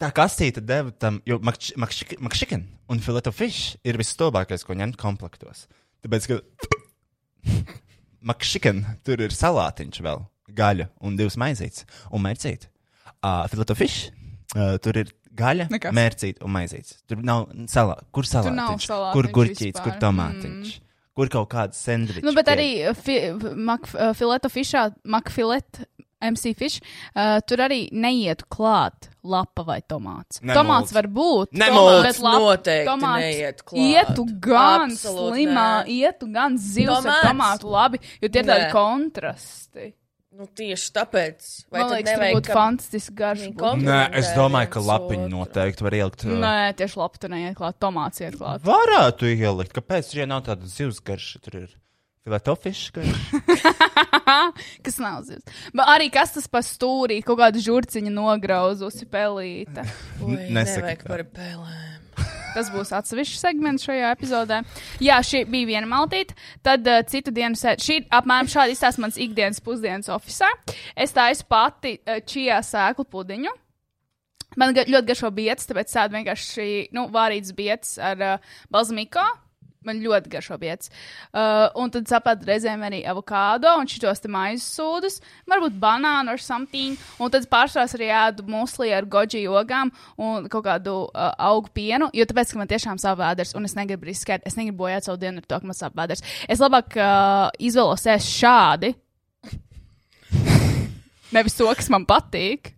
S1: tā kastīte deva tam, jo makšķikan un fileto fish ir visstobākais, ko ņemt komplektos. Tāpēc, ka (laughs) makšķikan tur ir salātiņš vēl, gaļa un divas maizītes un mērcītes. Uh, fileto fish uh, tur ir. Gaļa,
S2: Nekas.
S1: mērcīte un maizītes. Tur nav salā, kur salātiņš,
S2: nav
S1: kur
S2: salātiņš
S1: gurķīts,
S2: vispār.
S1: kur tomātiņš, mm. kur kaut kāds sandvičs.
S2: eh, Nu, bet arī uh, fi, uh, mak- uh, fileto fišā, makfilet. MC Fish, uh, tur arī neiet klāt lapa vai tomāts.
S1: Nemūc.
S2: Tomāts var būt.
S1: Nemūc.
S2: bet lapa-
S3: Noteikti
S2: tomāts
S3: neiet klāt.
S2: Ietu gan
S3: Absolūti
S2: slimā,
S3: nē.
S2: ietu gan zivs ar
S3: Tomāts?
S2: tomātu labi, jo tie ir tādi
S3: Nē.
S2: kontrasti.
S3: Nu, tieši tāpēc. Vai
S2: Man
S3: tad
S2: liekas, tur
S3: nevajag,
S2: būtu fantastiski garš.
S3: viņi
S2: būtu.
S1: Nē, es domāju, ka
S3: viens
S1: lapiņu
S3: otru.
S1: noteikti var ielikt. uh,
S2: Nē, tieši labi, tur neiet klāt, tomāts iet klāt.
S1: Varētu ielikt, kāpēc tur ja nav tāda zivs garša, tur ir filetofisks garš.
S2: (laughs) kas nav zivs. Bet arī kas tas par stūrī, kaut kāda žurciņa nograuzusi pelīte.
S3: Ui,
S1: nesaki
S3: Nevajag
S1: tā.
S3: par pēlēm.
S2: Tas būs atsevišķs segments šajā epizodē. Jā, šī bija viena maltīte, tad uh, citu dienu sēž. Šī apmēram šāda izstāsta mans ikdienas pusdienas oficā. Es taisu pati uh, čijā sēklu pudiņu. Man ga ļoti garšo biets, tāpēc tāda vienkārši nu, vārīts biets ar uh, balzamiko. Man ļoti garšo biets. Uh, un tad sapratu reizēm arī avokado un šitos te maizes sūdus, varbūt banānu or something. Un tad pārsvarās arī ēdu muslī ar goji jogām un kaut kādu uh, augu pienu, jo tāpēc, ka man tiešām sāp vēders un es negribu riskēt, es negribu bojāt savu dienu ar to, ka man sāp vēders. Es labāk uh, izvēlos ēst šādi, nevis to, kas man patīk,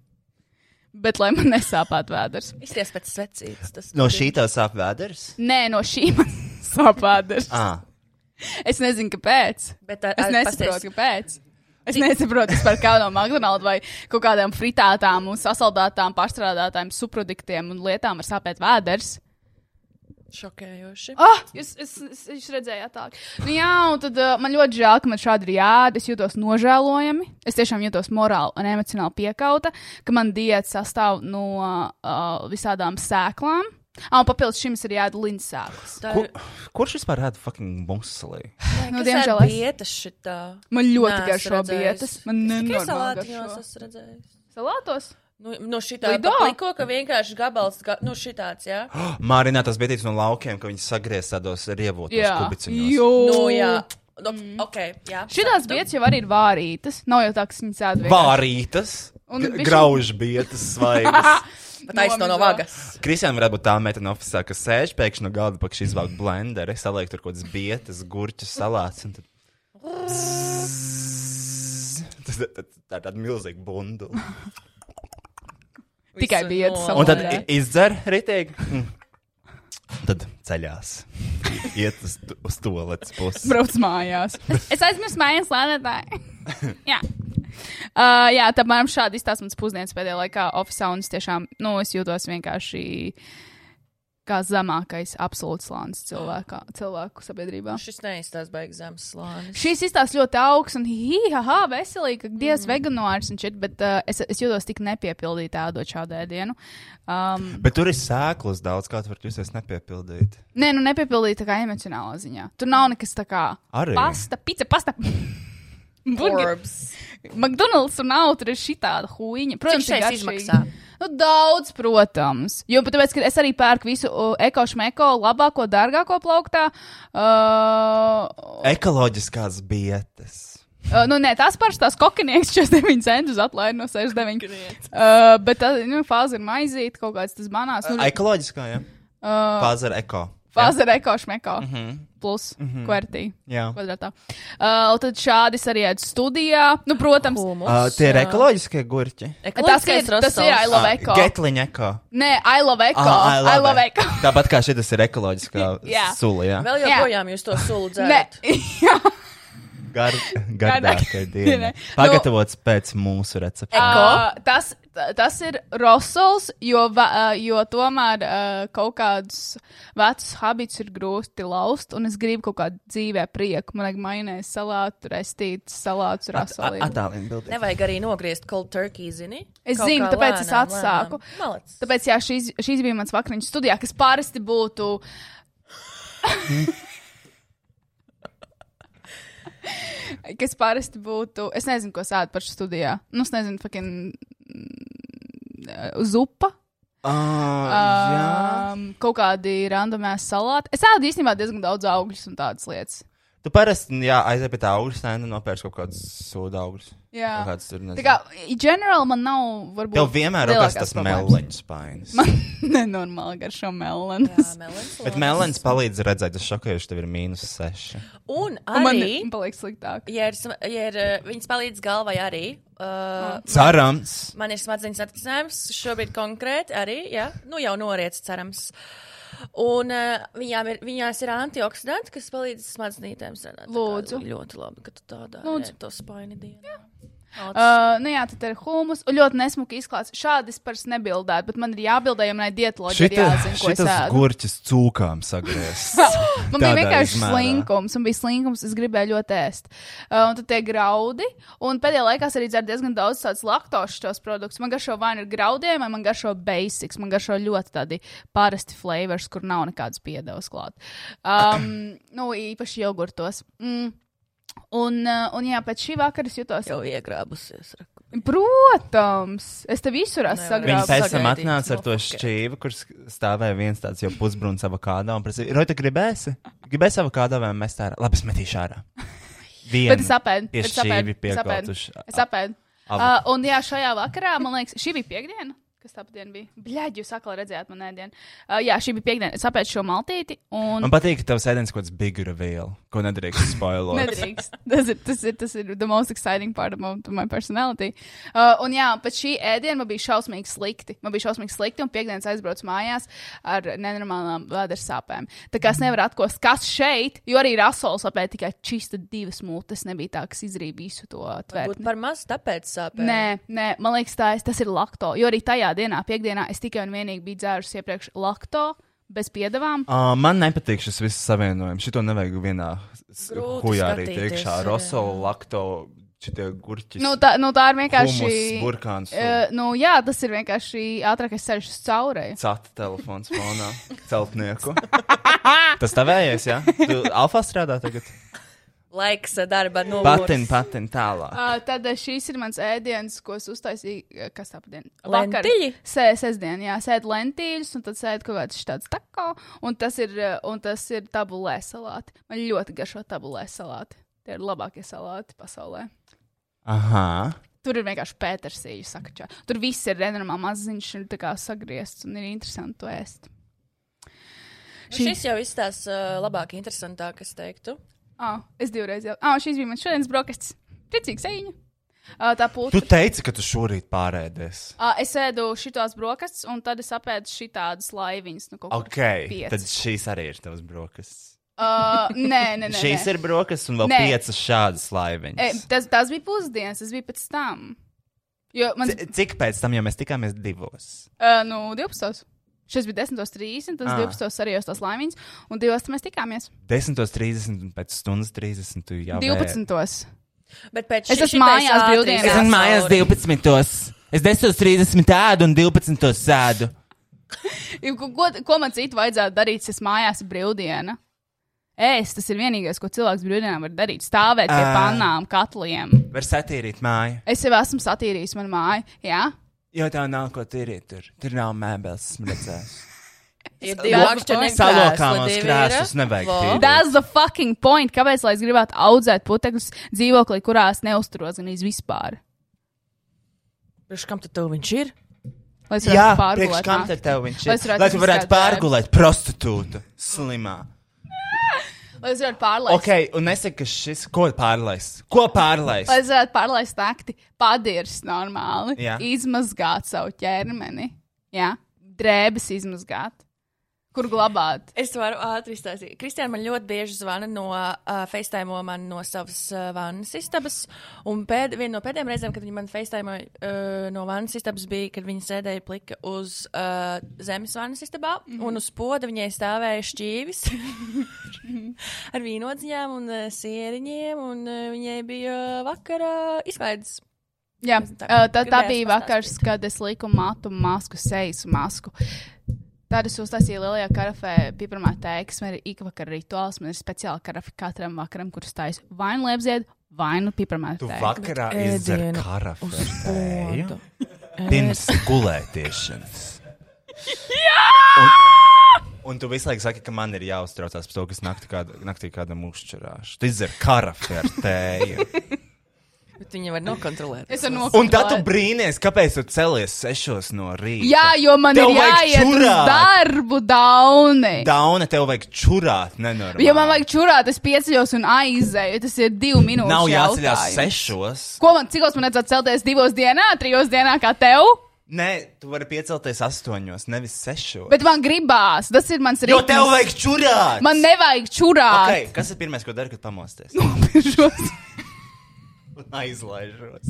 S2: bet lai man nesāpētu vēders.
S3: Izties pēc svecītes. Tas
S1: No šī tā sāp vēders?
S2: Nē, no šī man (laughs) sāp vēders.
S1: Ah.
S2: Es nezinu, kāpēc.
S3: Bet tā,
S2: Es
S3: ar-
S2: nesaprotu, kāpēc. Es nesaprotu, kas par kādu no McDonald's vai kaut kādām fritātām, un sasaldētām, pārstrādātām subproduktiem un lietām var sāpēt vēders.
S3: pasties Šokējoši.
S2: Ah, jūs, es, es, es redzēju, tā. Nu, jā, un tad uh, man ļoti žēl, ka man šādi ir jādara. Es jūtos nožēlojami. Es tiešām jūtos morāli un emocionāli piekauta, ka man diēta sastāv no uh, visādām sēklām. Ah, un papildus šim es ir jādara linsāklas.
S3: Tā
S1: Kur, kurš vispār rāda fucking muslī? (gasps)
S2: Nu,
S3: Nu, diemžēl
S2: diemžēl es-
S3: es. Bietas šitā.
S2: Man ļoti
S3: Nē,
S2: garšo
S3: es redzēju.
S2: bietas. Man
S3: Es Tikai
S2: nenormāli
S3: salātiņos
S2: garšo.
S3: esmu redzējis.
S2: Salātos?
S3: Nu, no šitā
S2: Lido?
S3: pliko, ka vienkārši gabals, ga... nu šitāds, jā. Ja?
S1: Mārinātās bietītes no laukiem, ka viņas sagriez tādos rievotos kubiņos.
S2: Jo.
S3: Nu, jā. No, mm. Ok, jā.
S2: Šitās
S3: Sapratu.
S2: bietas jau arī ir vārītas. Nav jau tā, kas viņas ēd. vienkārši.
S1: Vārītas,
S2: Un
S1: g-
S2: bišķiņ-
S1: graužbietas,
S3: (laughs)
S1: svaigas.
S3: Pat aizsno no
S2: Nomizo.
S3: vagas.
S1: Kristiāna varētu būt tā meitene, ofisā, kas sēž pēkšņi no galda, pakšķi izvelk blenderi, saliek tur kaut kādas bietas, gurķus, salātus. un tad- Tad- tad- Tā ir tāda milzīga bundula.
S2: Tikai
S3: Visu
S2: bietas
S3: no-
S2: salā.
S1: Un tad
S2: Jā.
S1: i- izdzer ritīgi. Mm. Tad ceļās. Iet uz, t- uz to lecu pusi.
S2: Brauc
S3: (laughs)
S2: mājās. Es, es aizmirsu mājas lēnētāju. jā. Uh, jā, tā man šādi izstāsta mans pusdienas pēdējā laikā oficiālā, un es tiešām, nu, es jūtos vienkārši kā zemākais absolūts slānis cilvēkā, cilvēku sabiedrībā.
S3: Nu, Šis neizstās baigs zemes slānis.
S2: Šīs izstāsts ļoti augsts un hīhaha, veselīgi, ka diez mm. veganārs un šit, bet uh, es, es jūtos tik nepiepildītā ēdot šādu ēdienu. Um,
S1: Bet tur ir sēklas daudz, kā tu vari justies nepiepildīt.
S2: Nē, nu nepiepildīta tā kā emocionālā ziņā. Tur nav nekas tā kā
S1: Arī.
S2: pasta, pizza, pasta. Burgeri.
S3: Orbs.
S2: McDonald's un nav tur ir šitāda huīņa. Protams,
S3: šeit
S2: ir garšīgi.
S3: izmaksā?
S2: Nu, daudz, protams. Jo pat tāpēc, ka es arī pērku visu uh, ekošmeko, labāko, dārgāko plauktā. Uh,
S1: Ekoloģiskās bietas.
S2: Uh, nu, nē, tās pašas tās kokinieks (laughs) 49 centus atlaid no 69. Uh, bet tā nu, fāze ir maizīta, kaut kāds tas manās. Nu,
S1: Ekoloģiskā, jā.
S2: uh,
S1: Fāze ar eko. Mhm.
S2: fāze ir ekošmeko. Mm -hmm. Plus, mm -hmm. kvartī.
S1: Jā.
S2: kvadrātā. Uh, un tad šādi es arī ēdu studijā. Nu, protams,
S1: Uh, tie ir ekoloģiskie gurķi.
S2: tas ir, tas ir I love eco.
S1: Getliņa eko.
S2: Nē, I love eco.
S1: Ah,
S2: I love (laughs) eco.
S1: Tāpat kā šis ir ekoloģiskā
S2: Jā.
S1: sula, jā.
S3: Vēl
S2: Jā.
S3: joprojām jūs to
S2: (laughs)
S3: sulu
S2: Nē,
S3: dzērat.
S2: jā. (laughs)
S1: Gar, gardākai
S2: Gardāk.
S1: dienai.
S2: Dienai.
S1: Pagatavots pēc mūsu recepta.
S2: Uh, tas, tas ir rosols, jo, va- uh, jo tomēr uh, kaut kādus vecus habits ir grūti laust, un es gribu kaut kādu dzīvē prieku. Man vajag mainīt salātu, restīt salātu, rasolīdu.
S1: Atālina bildi.
S3: Nevajag arī nogriezt cold turkey, zini?
S2: Es
S3: Kaut
S2: zinu,
S3: kā
S2: tāpēc es
S3: lēnām,
S2: atsāku.
S3: lēnām. Malacis.
S2: Tāpēc jā, šīs, šīs bija mans vakariņas studijā, kas parasti būtu (laughs) kas parasti būtu. Es nezinu, ko sākt par šo studijā. Nu, es nezinu, fucking. mm, Zupa.
S1: Ah,
S3: Ah.
S1: Jā.
S2: Um, kaut kādi randomēs salāti. Es ēdu īstenībā diezgan daudz augļus un tādas lietas.
S1: Tu parasti jā, aizej pie tā augļa stenda un nopērci kaut kādus sūdu augļus.
S2: Jā.
S1: Kaut kāds tur nezinu.
S2: Tā kā, ģenerāli man nav, varbūt.
S1: Tev vienmēr ir
S2: lielākās
S1: tas
S2: problēmas.
S1: meliņš spainis.
S2: (laughs) Nenormāli garšo melnas.
S3: Jā, melons
S1: Bet
S3: labs.
S1: meliņš palīdz redzēt, es šokēju, tev ir mīnus seši.
S3: Un
S2: Man
S3: arī,
S2: paliek sliktāk.
S3: ja, ir, sma- ja ir, uh, viņas palīdz galvai arī. Uh,
S1: Cerams.
S3: Man ir smadzenes attīstījums, šobrīd konkrēti arī, jā, nu jau noriets, cerams. Un uh, viņām ir, viņās ir antioksidanti, kas palīdz smadzenītēm strādāt. Tā kā
S2: Lūdzu.
S3: Ļoti labi, ka tu tādā
S2: Lūdzu.
S3: to spaini dienu. Jā. Uh,
S2: Uh, nu jā, tad ir humus. Un ļoti nesmuki izklāsts. Šādi es pars nebildētu, bet man ir jābildē, jo man ir dietoloģija.
S1: Šita,
S2: Šita, jāzina, ko es
S1: šitas
S2: ēdu.
S1: gurķis cūkām sagriezts.
S2: (laughs) Man bija
S1: tādā
S2: vienkārši
S1: izmērā.
S2: slinkums, man bija slinkums, es gribēju ļoti ēst. Uh, un tad tie graudi, un pēdējā laikā es arī dzeru diezgan daudz tādus laktošos produktus. Man garšo vai nu ir graudiem, vai man garšo basics, man garšo ļoti tādi parasti flavors, kur nav nekādas piedevas klāt. Um, (clears throat) nu, īpaši jogurtos. Mm. Un, uh, un jā, pēc šī vakara es jutos.
S3: jau iegrābusies. raku.
S2: Protams, es te visur esmu
S3: Nevar.
S1: Viņa
S3: Grābs
S1: pēc
S2: sagrābusi.
S1: tam
S3: sagaidīt,
S1: atnāca ar to
S2: Nu,
S3: nofokkē.
S1: šķīvi, kur sk- stāvēja viens tāds jau pusbruns avokādo un prasīja, Roita, gribēsi? Gribēsi avokādo vai mest ārā? Labi, es metīšu
S2: (laughs)
S1: ārā. Vienu.
S2: Bet es apēdu.
S1: Tie
S2: bet es apēdu,
S1: šķīvi
S2: es apēdu,
S1: pieklātuši.
S2: Es apēdu. Uh,
S1: Avoka-
S2: un jā, šajā vakarā, man liekas, šī bija piekdiena. Kas tā diena bija? Bļaģi, jūs atkal redzējāt manu ēdienu. Uh, jā, šī bija piekdiena. Es apēdu šo maltīti un.
S1: Man patīk, ka tavs ēdiens kaut kāds big reveal, ko nedrīkst
S2: (laughs)
S1: spoilot.
S2: Nedrīkst. Tas ir, tas, ir, tas ir the most exciting part of my, of my personality. Uh, un jā, pēc šī ēdiena man bija šausmīgi slikti. Man bija šausmīgi slikti, un piekdienas aizbraucu mājās ar nenormālām vēdera sāpēm. Tā kā es nevaru atkost, kas šeit, jo arī rasols apēda tikai čista divas mūtes. Nebija tā, kas izrīja visu to
S3: Varbūt
S2: tvērtni.
S3: par maz tāpēc sāpēs.
S2: Nē, nē, man liekas, tā, es- tas ir lakto. Jo arī tajā dienā, piekdienā, es tikai un vienīgi biju dzērusi iepriekš lakto, bez piedevām.
S1: Uh, man nepatīk šis viss savienojums. Šito nevajag vienā s-
S3: Grūti
S1: hujā arī
S3: skatīties,
S1: iekšā.
S3: jā.
S1: Rosola, lakto, šitie gurķi.
S2: Nu, tā, nu, tā ir
S1: Humus,
S2: vienkārši.
S1: burkāns,
S2: Eh, nu, jā, tas ir vienkārši ātrākais ceļš uz caurēju.
S1: Cēlta telefons fonā, celtnieku.
S2: (laughs)
S1: Tas tavējais, jā? Tu alfa strādā tagad?
S3: Laiks eh, darba no
S1: Patin, patin, tālāk.
S2: Uh, tad eh, šīs ir mans ēdiens, ko es uztaisīju. eh, Kas tā bija?
S3: Lentīļi?
S2: Sē, sestdien, jā, sēž lentīļus, un tad sēž kaut kāds tāds tako, un tas ir, eh, un tas ir tabulē salāti. Man ļoti garšo tabulē salāti. Tie ir labākie salāti pasaulē.
S1: Aha.
S2: Tur ir vienkārši pētersīļu sakačā. Tur viss ir renormāli maziņš un tā kā sagriezts un ir interesanti to ēst. Šī-
S3: Nu, Šis jau izstāsta uh, labāk, interesantāk, es teiktu.
S2: Ah, es divreiz jau. Ah, šīs bija mans šodienas brokastis. Priecīgs eņģi. Ah, tā
S1: Tu
S2: pūta.
S1: teici, ka tu šorīt pārēdies.
S2: Ah, es ēdu šitās brokastis un tad es apēdu šitādas laiviņas. Nu, kaut
S1: Ok,
S2: kur piecas.
S1: tad šīs arī ir tavas brokastis.
S2: Ah, nē,
S1: (laughs)
S2: nē, nē.
S1: Šīs
S2: nē.
S1: ir brokastis un vēl
S2: Nē.
S1: piecas šādas
S2: E,
S1: laiviņas.
S2: tas, tas bija pusdienas, tas bija pēc tam. Jo man
S1: C- Cik pēc tam, ja mēs tikāmies divos?
S2: uh, nu, 12. Šis bija 10.30, tad
S1: Ah.
S2: 12. arī jūs tās laimīgs, un 2. mēs tikāmies.
S1: 10.30 un pēc stundas 30. tu jau
S2: 12.
S3: Bet pēc
S2: Es
S3: šī-
S2: esmu
S3: šitais
S2: mājās
S3: ātri
S2: brīvdienās.
S3: jāsauri.
S2: Es esmu
S1: 12. Es 10.30 ēdu un 12. sēdu.
S2: Ja, Ko, ko, ko man citu vajadzētu darīt, ja es mājās ir brīvdiena? Es, tas ir vienīgais, ko cilvēks brīvdienā var darīt. Stāvēt pie
S1: Ā.
S2: pannām, katliem.
S1: Var satīrīt māju.
S2: Es jau esmu satīrījis manu māju. Jā,
S1: Jo tā nav ko tīrīt tur. Tur nav mēbeles, esmu redzējis.
S2: (laughs)
S3: Ir divi
S2: Darba
S3: lakšķi,
S2: points.
S1: Salokāmos krēslus nevajag tīrīt.
S2: tas ir fucking point. Kāpēc lai es gribētu audzēt putekļus dzīvoklī, kurā es neusturos gan vispār?
S3: Priekš kam tad tev viņš ir?
S2: Lai es
S1: Jā,
S2: varētu
S1: priekš
S2: pārgulēt.
S1: kam
S2: nakt-
S1: tad tev viņš
S2: Lai
S1: ir?
S2: es varētu
S1: Lai tu varētu
S2: izskatīt.
S1: pārgulēt prostitūtu slimā.
S2: Lai es varētu pārlaist.
S1: Ok, un nesaka, ka šis ko pārlaist. Ko pārlaist?
S2: Lai es varētu pārlaist naktī, padirs normāli,
S1: Jā.
S2: izmazgāt savu ķermeni, jā. drēbes izmazgāt, kur glabāt.
S3: Es varu ātri izstāstīt. Kristiāna man ļoti bieži zvana no uh, FaceTime, man no savas uh, vannas istabas. Un pēd, viena no pēdējām reizēm, kad viņa man FaceTime uh, no vannas istabas bija, kad viņa sēdēja plika uz uh, zemes vannas istabā,
S2: Mhm.
S3: mm -hmm. un uz poda viņai stāvēja šķīvis (laughs) ar vīnodziņām un uh, sieriņiem, un uh, viņai bija vakarā izklaides.
S2: Jā,
S3: Tā-
S2: tā, tā, tā
S3: gribējās
S2: bija vakars, kad es liku matu masku, sejas masku. Tad es uztaisīju lielajā karafē, pirmā teiks, man ir ikvakar rituāls, man ir speciāla karafe katram vakaram, kurus taisu vai nu liepzied, vai nu pirmā
S1: Tu
S2: teiks.
S1: vakarā
S3: Bet
S1: izdzer
S3: ēdienu
S1: karafēju. Pirms gulētiešanas. Un, un tu visu laiku saki, ka man ir jāuztraucās
S2: (laughs)
S1: par to, kas naktī kāda, naktī kāda mušķerāša. Tu izdzer karafēju.
S3: Bet viņi var nokontrolēt.
S2: Es varu
S1: Un tad tu
S2: nokontrolēt.
S1: brīnīties, kāpēc tu cēlies sešos no rīta.
S2: Jā, jo man
S1: Tev
S2: ir
S1: vajag
S2: jāiet uz
S1: čurāt.
S2: darbu, dauni.
S1: Dauna tev vajag čurāt, nenormāli.
S2: Ja man vajag čurāt, es pieceļos un aizēju. Tas ir divu minūšu.
S1: Nav jāceļās
S2: jautājums.
S1: sešos.
S2: Ko man, cik man vajadzētu celties divos dienā, trijos dienā, kā tev?
S1: Nē, tu vari piecelties astoņos, nevis sešos.
S2: Bet man gribās, tas ir mans
S1: Jo
S2: rīks.
S1: tev vajag čurāt!
S2: Man nevajag čurāt.
S1: okay, Kas ir pirmais, ko dari, kad pamosties?
S2: Okay.
S1: Aizlaižos.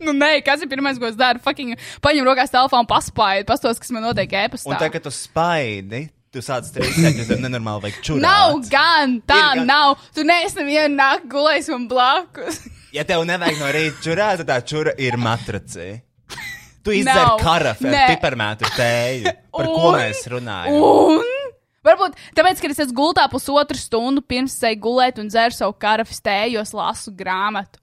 S2: nu, nē, kas ir pirmais, ko es daru? Fucking paņem rokās telefonu, paspaidu, pastos, kas man notiek
S1: Un
S2: ēpastā.
S1: tagad, kad tu spaidi, tu sāc strīdēt, jo tev nenormāli vajag čurāt.
S2: Nav gan, tā
S1: Ir gan.
S2: nav. Tu neesi nevienu nakti gulējis man blakus.
S1: Ja tev nevajag no rīta čurāt, tad tā čura ir matracī. Tu
S2: Nav.
S1: izdari karafi ar
S2: Nē.
S1: piparmētu tēju. Par ko
S2: Un-
S1: mēs runājam?
S2: Un? Varbūt tāpēc, ka es esmu gultā pusotru stundu pirms eju gulēt un dzeru savu karafes tēju, jo es lasu grāmatu.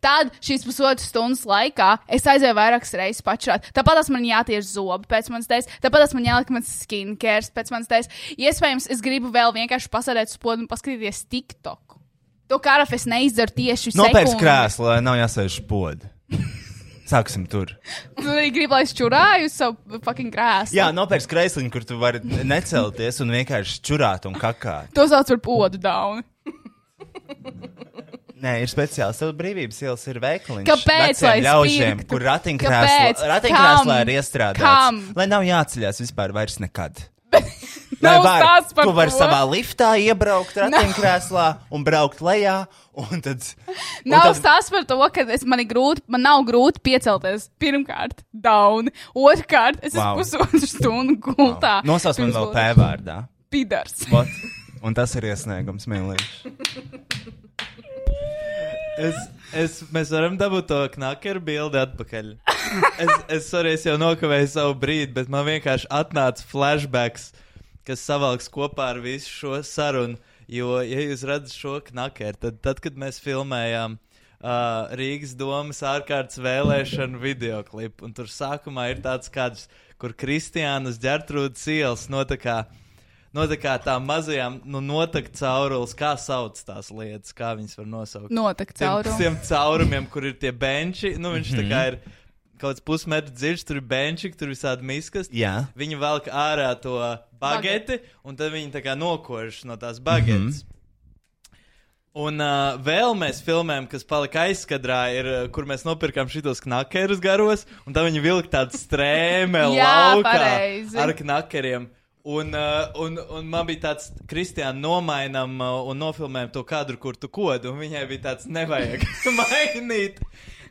S2: Tad šīs pusotras stundas laikā es aizēju vairākas reizes pačurāt. Tāpat tās man jātiež zobi pēc manas tējas, tāpat tās man jāliek mans skincare pēc manas tējas. Iespējams, es gribu vēl vienkārši pasēdēt uz podu un paskatīties TikTok. To karafes neizdaru tieši
S1: Nopērts
S2: sekundi.
S1: krēslu, lai nav jāsēž pod. Sāksim tur.
S2: Tu arī gribi, lai es čurāju uz savu fucking krēslu.
S1: Jā, nopērts krēsliņu, kur tu vari necelties un vienkārši čurāt un kakāt.
S2: To sauc par podu daunu.
S1: Nē, ir speciāls. Tev brīvības ielas ir veikaliņš.
S2: Kāpēc, lai
S1: Veciem
S2: es
S1: ļaužiem,
S2: pirktu?
S1: kur
S2: Kāpēc?
S1: ratiņkrēslā ratiņkrēslā
S2: Kam?
S1: ir iestrādāts?
S2: Kam?
S1: Lai nav jāceļās vispār vairs nekad.
S2: (laughs) Nav
S1: var,
S2: stāsts par
S1: tu vari
S2: to.
S1: savā liftā iebraukt ratiņkrēslā un braukt lejā, un tad... un
S2: Nav
S1: tad-
S2: stāsts par to, ka es, man, ir grūti, man nav grūti piecelties. Pirmkārt, dauni. Otrkārt, es esmu
S1: Wow.
S2: pusotru stundu gultā.
S1: Nosauc man
S2: Pirms
S1: vēl
S2: gulēšanas.
S1: pēvārdā.
S2: Pidars.
S1: What? Un tas ir iesniegums, mīlīgi.
S9: Es, es, mēs varam dabūt to knakeru bildi atpakaļ. Es, es, sorry, es jau nokavēju savu brīdi, bet man vienkārši atnāca flashbacks, kas savalks kopā ar visu šo sarunu. Jo, ja jūs redzat šo knakeru, tad, tad kad mēs filmējām uh, Rīgas domas ārkārtas vēlēšanu videoklipu, un tur sākumā ir tāds kāds, kur Kristiānas ģērtrūdas ielas notakā. No tā kā tā mazajām, nu, notakt caurules, kā sauc tās lietas, kā viņas var nosaukt
S2: Notek
S9: tiem,
S2: caurumi.
S9: tiem caurumiem, kur ir tie benči. Nu, viņš mm -hmm. tā kā ir kaut kāds pusmetrs dziļš, tur ir benči, tur ir visādi miskas.
S1: Jā.
S9: Viņi velk ārā to bageti, un tad viņi tā kā nokož no tās
S1: Mhm.
S9: bagetes. Mm -hmm. Un uh, vēl mēs filmējam, kas palika aizkadrā, ir, uh, kur mēs nopirkām šitos knakerus garos, un tā viņi vilka tādu strēmeli
S2: (laughs) Jā,
S9: laukā
S2: pareizi.
S9: ar knakeriem. Un, uh, un, un man bija tāds, Kristiāna, nomainām uh, un nofilmējam to kadru, kur tu kodi, un viņai bija tāds, nevajag (laughs) mainīt.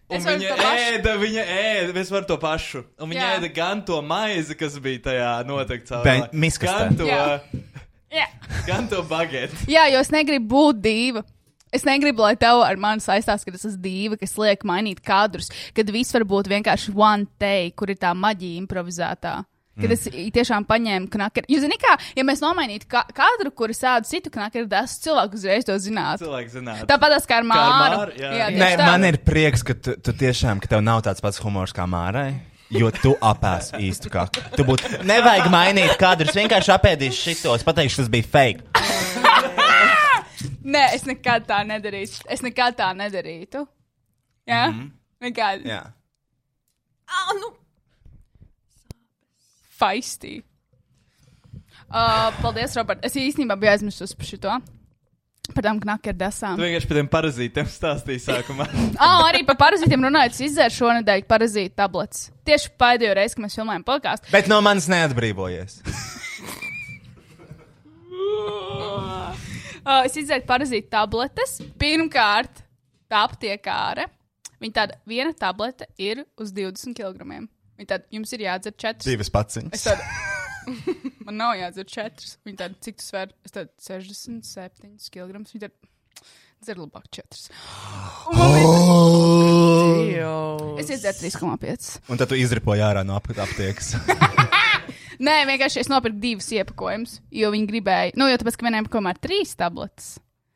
S9: Un
S2: Es varu
S9: viņa
S2: to pašu.
S9: ēda, viņa ēda, es varu to pašu. Un viņa
S2: Jā.
S9: ēda gan to maizi, kas bija tajā noteikti
S1: Ben- miskas
S9: gan
S1: tā.
S9: to, (laughs)
S2: Jā. Jā.
S9: gan to bageti.
S2: (laughs) Jā, jo es negribu būt divi. Es negribu, lai tev ar mani saistās, ka tas ir divi, kas liek mainīt kadrus, kad viss var būt vienkārši one take, kur ir tā maģija improvizētā. Kad mm. es i- tiešām paņēmu knakeru. Jūs zināt, kā, ja mēs nomainītu ka kadru, kur sēdu citu knakeru, tas cilvēks uzreiz to zinātu.
S9: Cilvēks zinās.
S2: Tāpat tas kā ar māru.
S9: māru, jā.
S2: tieši
S1: Nē,
S2: tā.
S1: man ir prieks, ka tu, tu tiešām, ka tev nav tāds pats humors kā Mārai. Jo tu apēsi īstu kā. Tu būtu. Nevajag mainīt kadrus, vienkārši apēdīšu šitos. Pateikšu, tas bija fake.
S2: Nē, es nekad tā nedarīšu. Es nekad tā nedarītu. Jā?
S9: Mhm.
S2: Mm -hmm. Nekad.
S1: Jā.
S3: Ah, nu,
S2: Feistī. Uh, paldies, Robert. Es īstenībā biju aizmirsis par šo. Par tām
S9: Tu
S2: knackerdasām.
S9: vienkārši par tiem parazītiem stāstīji sākumā.
S2: Ah, arī par parazītiem runājot, es izdzēru šonadēļ parazītu tabletes. Tieši pēdējo reizi, kad mēs filmējām podkāstu.
S1: Bet no manis neatbrīvojies.
S2: Uh, es izdzēru parazītu tabletes. Pirmkārt, tā aptiekāre. Viņa tāda viena tablete ir uz 20 kg. Viņa tāda, jums ir jādzer 4.
S1: Divas
S2: Es
S1: paciņas.
S2: tādu. (laughs) Man nav jādzer četras. Viņa tāda, cik tu svēri? Es tādu 67 kg. Viņa tāda, dzer labāk četras. Un man bija-
S1: Oh!
S2: Es iedzēru 3,5.
S1: Un tad tu izripoji ārā no ap- aptiekas.
S2: Nē, vienkārši es nopirku divus iepakojumus, jo viņi gribēja. Nu, jo tāpēc, ka vienam iepakojumu ir trīs tabletes.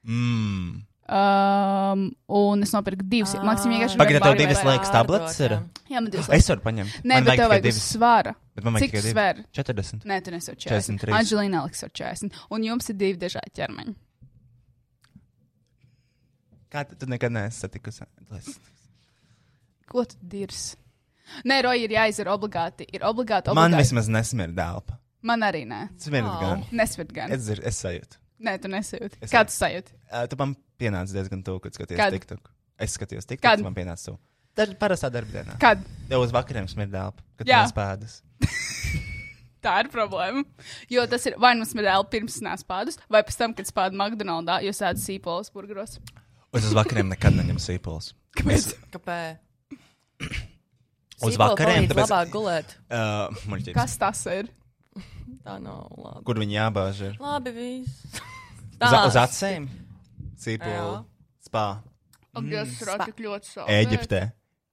S1: Mm.
S2: Um, un es nopirku divus. Ah, Maksim, vienkārši.
S1: Pagaidiet, tev
S2: gribēja
S1: divas
S2: vairāk.
S1: laikas tabletes ir.
S2: Jā, man divas.
S1: Es varu paņemt.
S2: Nē,
S1: Man
S2: bet tev
S1: tikai
S2: vajag uz svara.
S1: Bet man vajag
S2: Cik tu
S1: tikai
S2: svēri?
S1: 40.
S2: Nē, tu nesi jau 40.
S1: 43.
S2: Anģelīna Aleksa ir 40. Un jums ir divi dažādi ķermeņi.
S1: Kā tu, tu nekad neesi satikusi?
S2: Ko tu dirs? Nē, Roja, ir jāizdara obligāti. Ir obligāti.
S1: Man
S2: obligāti.
S1: vismaz nesmirda elpa.
S2: Man arī nē.
S1: Smirda gan.
S2: Nesvirt gan.
S1: Es, dzir- es sajūtu.
S2: Nē, tu nesajūti. Kā tu sajūti?
S1: Uh, tu man pienāci diezgan tuvu, kad skaties
S2: Kad?
S1: TikTok. Es skatījos TikTok,
S2: Kad?
S1: kad man pienāca tuvu. Daž, parastā darba dienā.
S2: Kad?
S1: Jau uz vakariem smirda elpa, kad
S2: Jā.
S1: tu spēdas.
S2: Tā ir problēma. Jo tas ir vai nu smirēli pirms nespēdas, vai pēc tam, kad spēļ McDonald's, jo sēdi sīpols burgeros.
S1: Es uz vakariem nekad neņemu sīpols.
S2: Kāpēc?
S3: Kāpēc?
S1: Uz
S3: Sīpola
S1: vakariem,
S3: palīdz
S1: tāpēc,
S3: Labāk gulēt.
S1: uh, muļķības,
S2: Kas tas ir?
S3: Tā nav labi.
S1: kur viņi jābāž ir.
S3: Labi, viss.
S1: Uz,
S3: Stāsti.
S1: uz acīm? Sīpols.
S3: Jā.
S1: Spā.
S2: Apgāzts mm, tik ļoti sāpīgi.
S1: Eģiptē.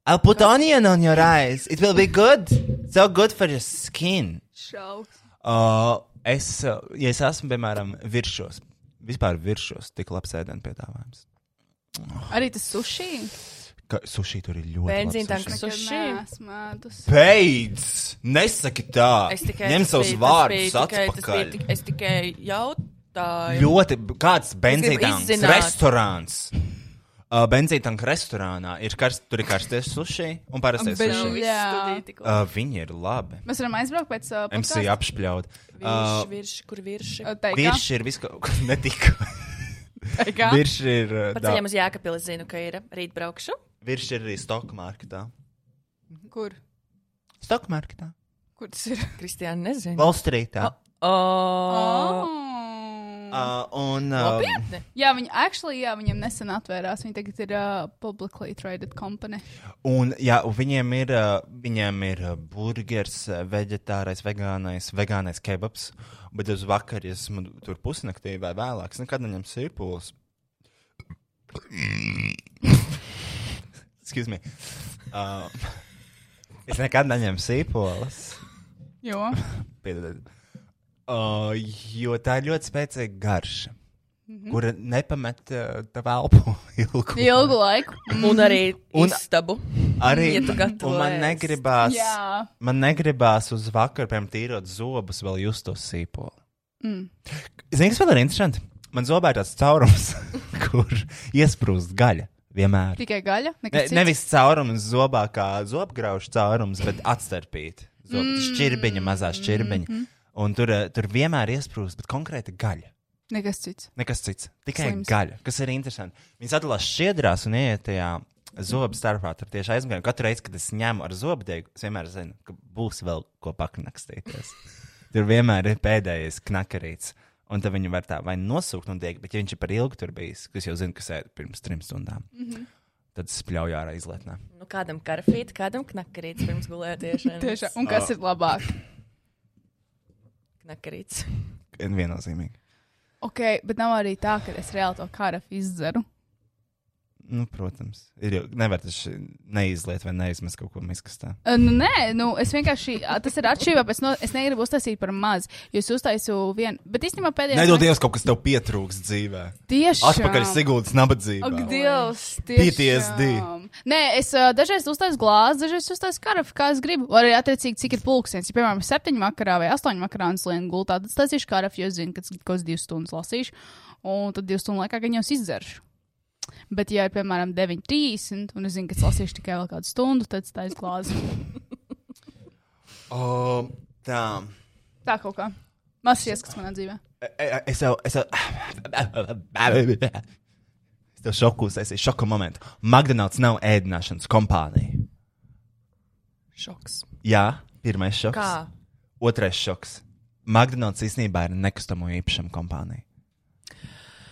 S1: I'll put onion on your eyes. It will be good. So good for your skin.
S2: Šaus.
S1: Uh, es, uh, ja es esmu, piemēram, viršos, vispār viršos, tik labs ēdienu piedāvājums.
S2: Arī tas sushi.
S1: Ka suši tur ir ļoti.
S3: Benzīna
S1: labs
S3: tanks.
S1: sushi.
S3: Sushi?
S2: Smēdus.
S1: Beidz! Nesaki tā!
S3: Es tikai.
S1: Ņem
S3: tas
S1: savus
S3: bija- tas
S1: vārdus
S3: bija tikai- tas bija
S1: atpakaļ.
S3: tik- Es tikai jautāju.
S1: Ļoti b- kāds benzītanks
S3: izzināt.
S1: restorāns. Uh, benzītanka restorānā ir karst, tur ir karsties suši un parastais
S2: Bet-
S3: nu,
S1: suši.
S2: Jā.
S3: Kurš
S1: Uh, viņi ir labi.
S2: Mēs varam aizbraukt pēc uh,
S1: MC apšpļaut. Uh,
S3: virš, kur virš?
S2: Teikā,
S1: Virši ir visko, netika.
S2: teikā.
S1: Virši ir. uh,
S3: Pa
S1: da-
S3: ceļam uz Jākapili zinu, ka ir rīt braukšu.
S1: Virši ir arī stokmarketā.
S2: Kur?
S1: Stokmarketā.
S2: Kur tas ir?
S3: Kristiāna nezinu.
S1: Valstrītā. Um,
S3: O,
S2: Oh.
S1: Uh, un. Uh,
S3: nopietni.
S2: Jā, viņi actually, jā, viņam nesen atvērās. Viņi tagad ir uh, publicly traded company.
S1: Un, jā, un viņiem ir, uh, viņiem ir uh, burgers, uh, vegetārais, vegānais, vegānais kebabs. Bet uz vakariem ja esmu tur pusnaktī vai vēlāk. Es nekad neņemu sīpolus. Excuse me. Uh, es nekad neņemu sīpolus. (laughs)
S2: Jo.
S1: Piedodiet. Uh, jo tā ir ļoti spēcīga garša, mm
S3: Mhm.
S1: -hmm. kura nepamet uh, tavu (laughs) elpu ilgu.
S2: Ilgu laiku.
S3: Un arī
S1: Un-
S3: istabu.
S1: Arī
S3: Ja tu gatavo
S1: un man
S3: ēst.
S1: negribās.
S2: Jā.
S1: Man negribās uz vakaru, piemēram, tīrot zobus, vēl just to sīpolu. Mm. Zini, kas vēl ir interesanti? Man zobā ir tāds caurums, (laughs) kur iesprūst gaļa vienmēr.
S2: Tikai gaļa.
S1: Ne,
S2: nekas cits?
S1: nevis caurums zobā, kā zobgraužu caurums, bet atstarpīt. Mm. Šķirbiņa, mazā šķirbiņa. Mm -hmm. Un tur, eh, tur vienmēr iesprūst, bet konkrēti gaļa.
S2: Nekas cits.
S1: Nekas cits. Tikai
S2: Slims.
S1: Slims. gaļa, kas ir interesanti. Viņas atdalās šķiedrās un ieiet tajā zobu starpā. Tur tieši aizmugurē. Katru reizi, kad es ņemu ar zobdēju, es vienmēr zinu, ka būs vēl ko paknakstīties. tur vienmēr ir pēdējais knakarīts. Un tad viņi var tā vai nosūkt no dēļa, bet ja viņš ir par ilgu tur bijis, kas jau zina, kas ir pirms trim stundām, mm -hmm. tad spļauj ārā izlietnē.
S3: Nu, kādam karafīt, kādam knakarīts pirms gulētiešanas.
S2: Tieši. Un
S1: Ah.
S2: kas ir labāk?
S3: Knakarīts.
S1: Viennozīmīgi.
S2: Ok, bet nav arī tā, ka es reāli to karafu izdzeru.
S1: Nu, protams, ir jau nevar taču neizliet vai neizmest kaut ko miskastā.
S2: Uh, Nu, nē, nu, es vienkārši. ā, Tas ir atšķirība. Es, no, es negribu uztaisīt par maz. Jo es uztaisu vienu. Bet īstenībā pēdējā.
S1: Nedod Dievs, kaut kas tev pietrūks dzīvē.
S2: Tieši.
S1: Atpakaļ Sigūdas nabadzībā.
S2: Ak, Dievs,
S1: PTSD.
S2: tiešām. Nē, es uh, dažreiz uztaisu glāzi, dažreiz uztaisu karafu, kā es gribu. Vai arī attiecīgi, cik ir pulkstenis. Ja, piemēram, septiņi vakarā vai astoņi vakarā un slēdzu gultā, tad taisīšu karafu, jo es zinu, ka kaut kādas divas stundas lasīšu, un tad divas stundas laikā gan jau es izdzeršu. Bet, ja ir, piemēram, 9.30 un es zinu, ka es lasīšu tikai vēl kādu stundu, tad es taisu glāzi.
S1: O, tā.
S2: (laughs) Tā kaut kā. Mazs ieskats manā dzīvē.
S1: E- e- Es jau. Es jau. Es tev šoku uztaisīju, šoku momentu. McDonald's nav ēdināšanas kompānija.
S3: Šoks.
S1: Jā, pirmais šoks.
S3: Kā?
S1: Otrais šoks. McDonald's īstenībā ir nekustamo īpašumu kompānija.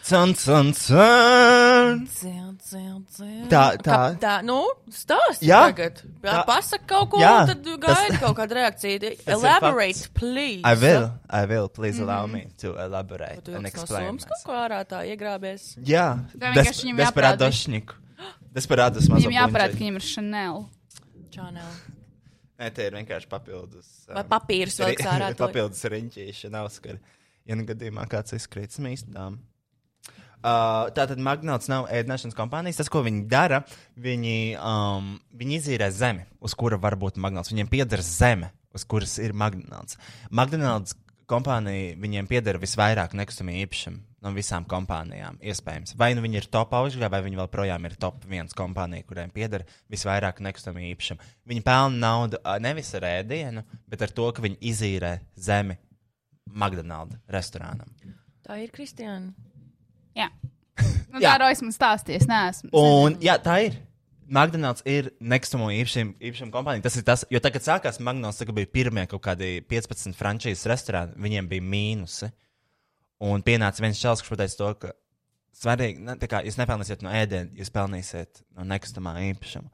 S1: Cun, cun, cun.
S3: Dzien, dzien, dzien.
S1: Tā, tā.
S3: Kā- tā nu, stāsti
S1: Jā.
S3: tagad.
S1: Tā.
S3: Jā, pasaka kaut ko,
S1: Jā,
S3: un tad
S1: tas-
S3: gaida kaut kādu reakciju.
S1: ir
S3: Elaborate,
S1: fakts.
S3: please.
S1: I will, I will, please allow me to elaborate
S3: Tu jau
S1: and
S3: no
S1: explain.
S3: summas kaut ko ārā tā iegrābies.
S1: Jā,
S2: Tā
S1: des-
S2: vienkārši viņam
S1: desperādo
S2: jāparāda.
S1: šņiku. Desperādos mazo.
S2: Viņam jāparāda,
S1: puņķeņu.
S2: ka viņam ir Chanel.
S3: Čānel.
S1: Nē, tie ir vienkārši papildus.
S3: Vai
S1: um,
S3: papīrs vēl
S1: ri- (laughs)
S3: kas ārā? to-
S1: papildus riņķīšana, Oskar. Ja nu gadījumā kāds izkrīt smīstām. Uh, Tātad Magnēlis nav ēdināšanas kompānijas. Tas, ko viņi dara, viņi, um, viņi izīrē zemi, uz kura var būt Magnēlis. Viņiem pieder zeme, uz kuras ir Magnēlis. Magnēlis kompānija viņiem pieder visvairāk nekustamie īpašumi. no visām kompānijām, iespējams. Vai nu viņi ir top augšgalā, vai viņi joprojām ir top viens kompānija, kuriem pieder visvairāk nekustamā īpašuma. Viņi pelna naudu ā, nevis ar ēdienu, bet ar to, ka viņi izīrē zemi McDonald's restorānam.
S3: Tā ir Kristiāna.
S2: (laughs) Jā. Nu,
S1: Jā.
S2: tā rodas man stāsties, nē, esmu.
S1: Un, jā, tā ir. McDonald's ir nekustamo īpašumu īpašum kompānija. Tas ir tas, jo tagad sākās McDonald's, tagad bija pirmie kaut kādi 15 frančīzes restorāni, viņiem bija mīnusi. Un pienāca viens čels, kurš pateica to, ka svarīgi, ne, tā kā jūs nepelnīsiet no ēdiena, jūs pelnīsiet no nekustamā īpašuma.